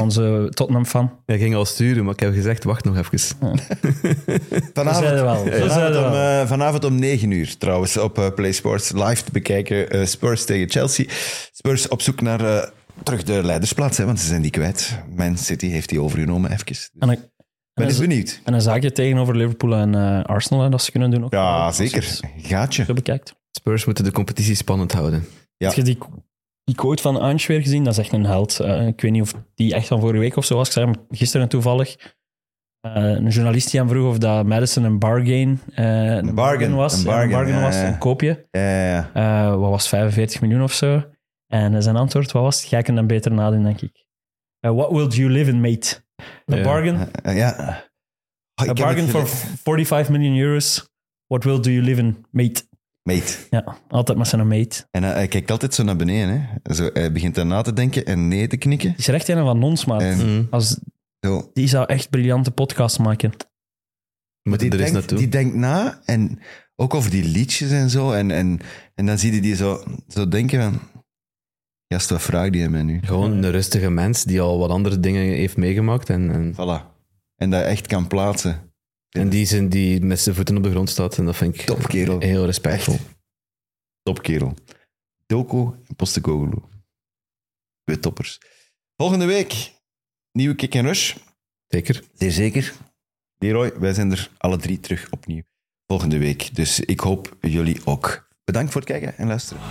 C: onze Tottenham-fan.
B: Hij ging al sturen, maar ik heb gezegd, wacht nog even.
C: Dat
A: Vanavond,
C: zeiden we wel. Dat
A: Vanavond
C: zeiden
A: om,
C: we wel.
A: eh, vanavond om 9 uur trouwens op eh, Play Sports live te bekijken. eh, Spurs tegen Chelsea. Spurs op zoek naar eh, terug de leidersplaats, hè, want ze zijn die kwijt. Man City heeft die overgenomen, even. Dus
C: En een,
A: ben
C: en
A: eens
C: een,
A: benieuwd.
C: en een zaakje tegenover Liverpool en eh, Arsenal, hè, dat ze kunnen doen ook.
A: Ja,
C: Als je
A: zeker.
C: het
A: Oh, Gaatje.
C: Zo bekijkt.
B: Spurs moeten de competitie spannend houden.
A: Ja.
C: Heb je die, die quote van Ange weer gezien? Dat is echt een held. Eh, ik weet niet of die echt van vorige week of zo was. Ik zag hem gisteren toevallig. Eh, een journalist die hem vroeg of dat Madison een bargain, eh, een
A: bargain,
C: was.
A: een
C: Een
A: bargain,
C: bargain,
A: ja,
C: was,
A: ja.
C: een koopje.
A: Eh,
C: Eh, wat was 45 miljoen of zo? En eh, zijn antwoord, wat was het? Jij kunt hem beter nadoen, denk ik. Eh, what will you live in, mate? A
B: Ja.
C: bargain?
A: eh, ja. Oh, ik
C: a
A: heb
C: bargain
A: het
C: for
A: gele-
C: 45 million euros. What will do you live in, mate?
A: Mate.
C: Ja, altijd maar zijn mate.
A: En eh, hij kijkt altijd zo naar beneden. Hè. Zo, hij begint dan na te denken en nee te knikken.
C: Het is recht een van ons, maat.
A: En
C: Als,
A: zo.
C: die zou echt briljante podcasts maken.
B: Moet
A: Die,
B: er eens
A: denkt,
B: naartoe.
A: die denkt na en ook over die liedjes en zo. En, en, en dan zie je die zo, zo denken van... Gast, wat vraagt die mij nu?
B: Gewoon een rustige mens die al wat andere dingen heeft meegemaakt. En, en,
A: Voilà. En dat echt kan plaatsen.
B: en die, zijn, die met zijn voeten op de grond staat. En dat vind ik
A: Topkerel.
B: heel respectvol.
A: Topkerel. Doko en Postecoglou. Twee toppers. Volgende week, nieuwe Kick and Rush.
B: Zeker.
A: Zeer zeker. Leroy, wij zijn er alle drie terug opnieuw volgende week. Dus ik hoop jullie ook. Bedankt voor het kijken en luisteren.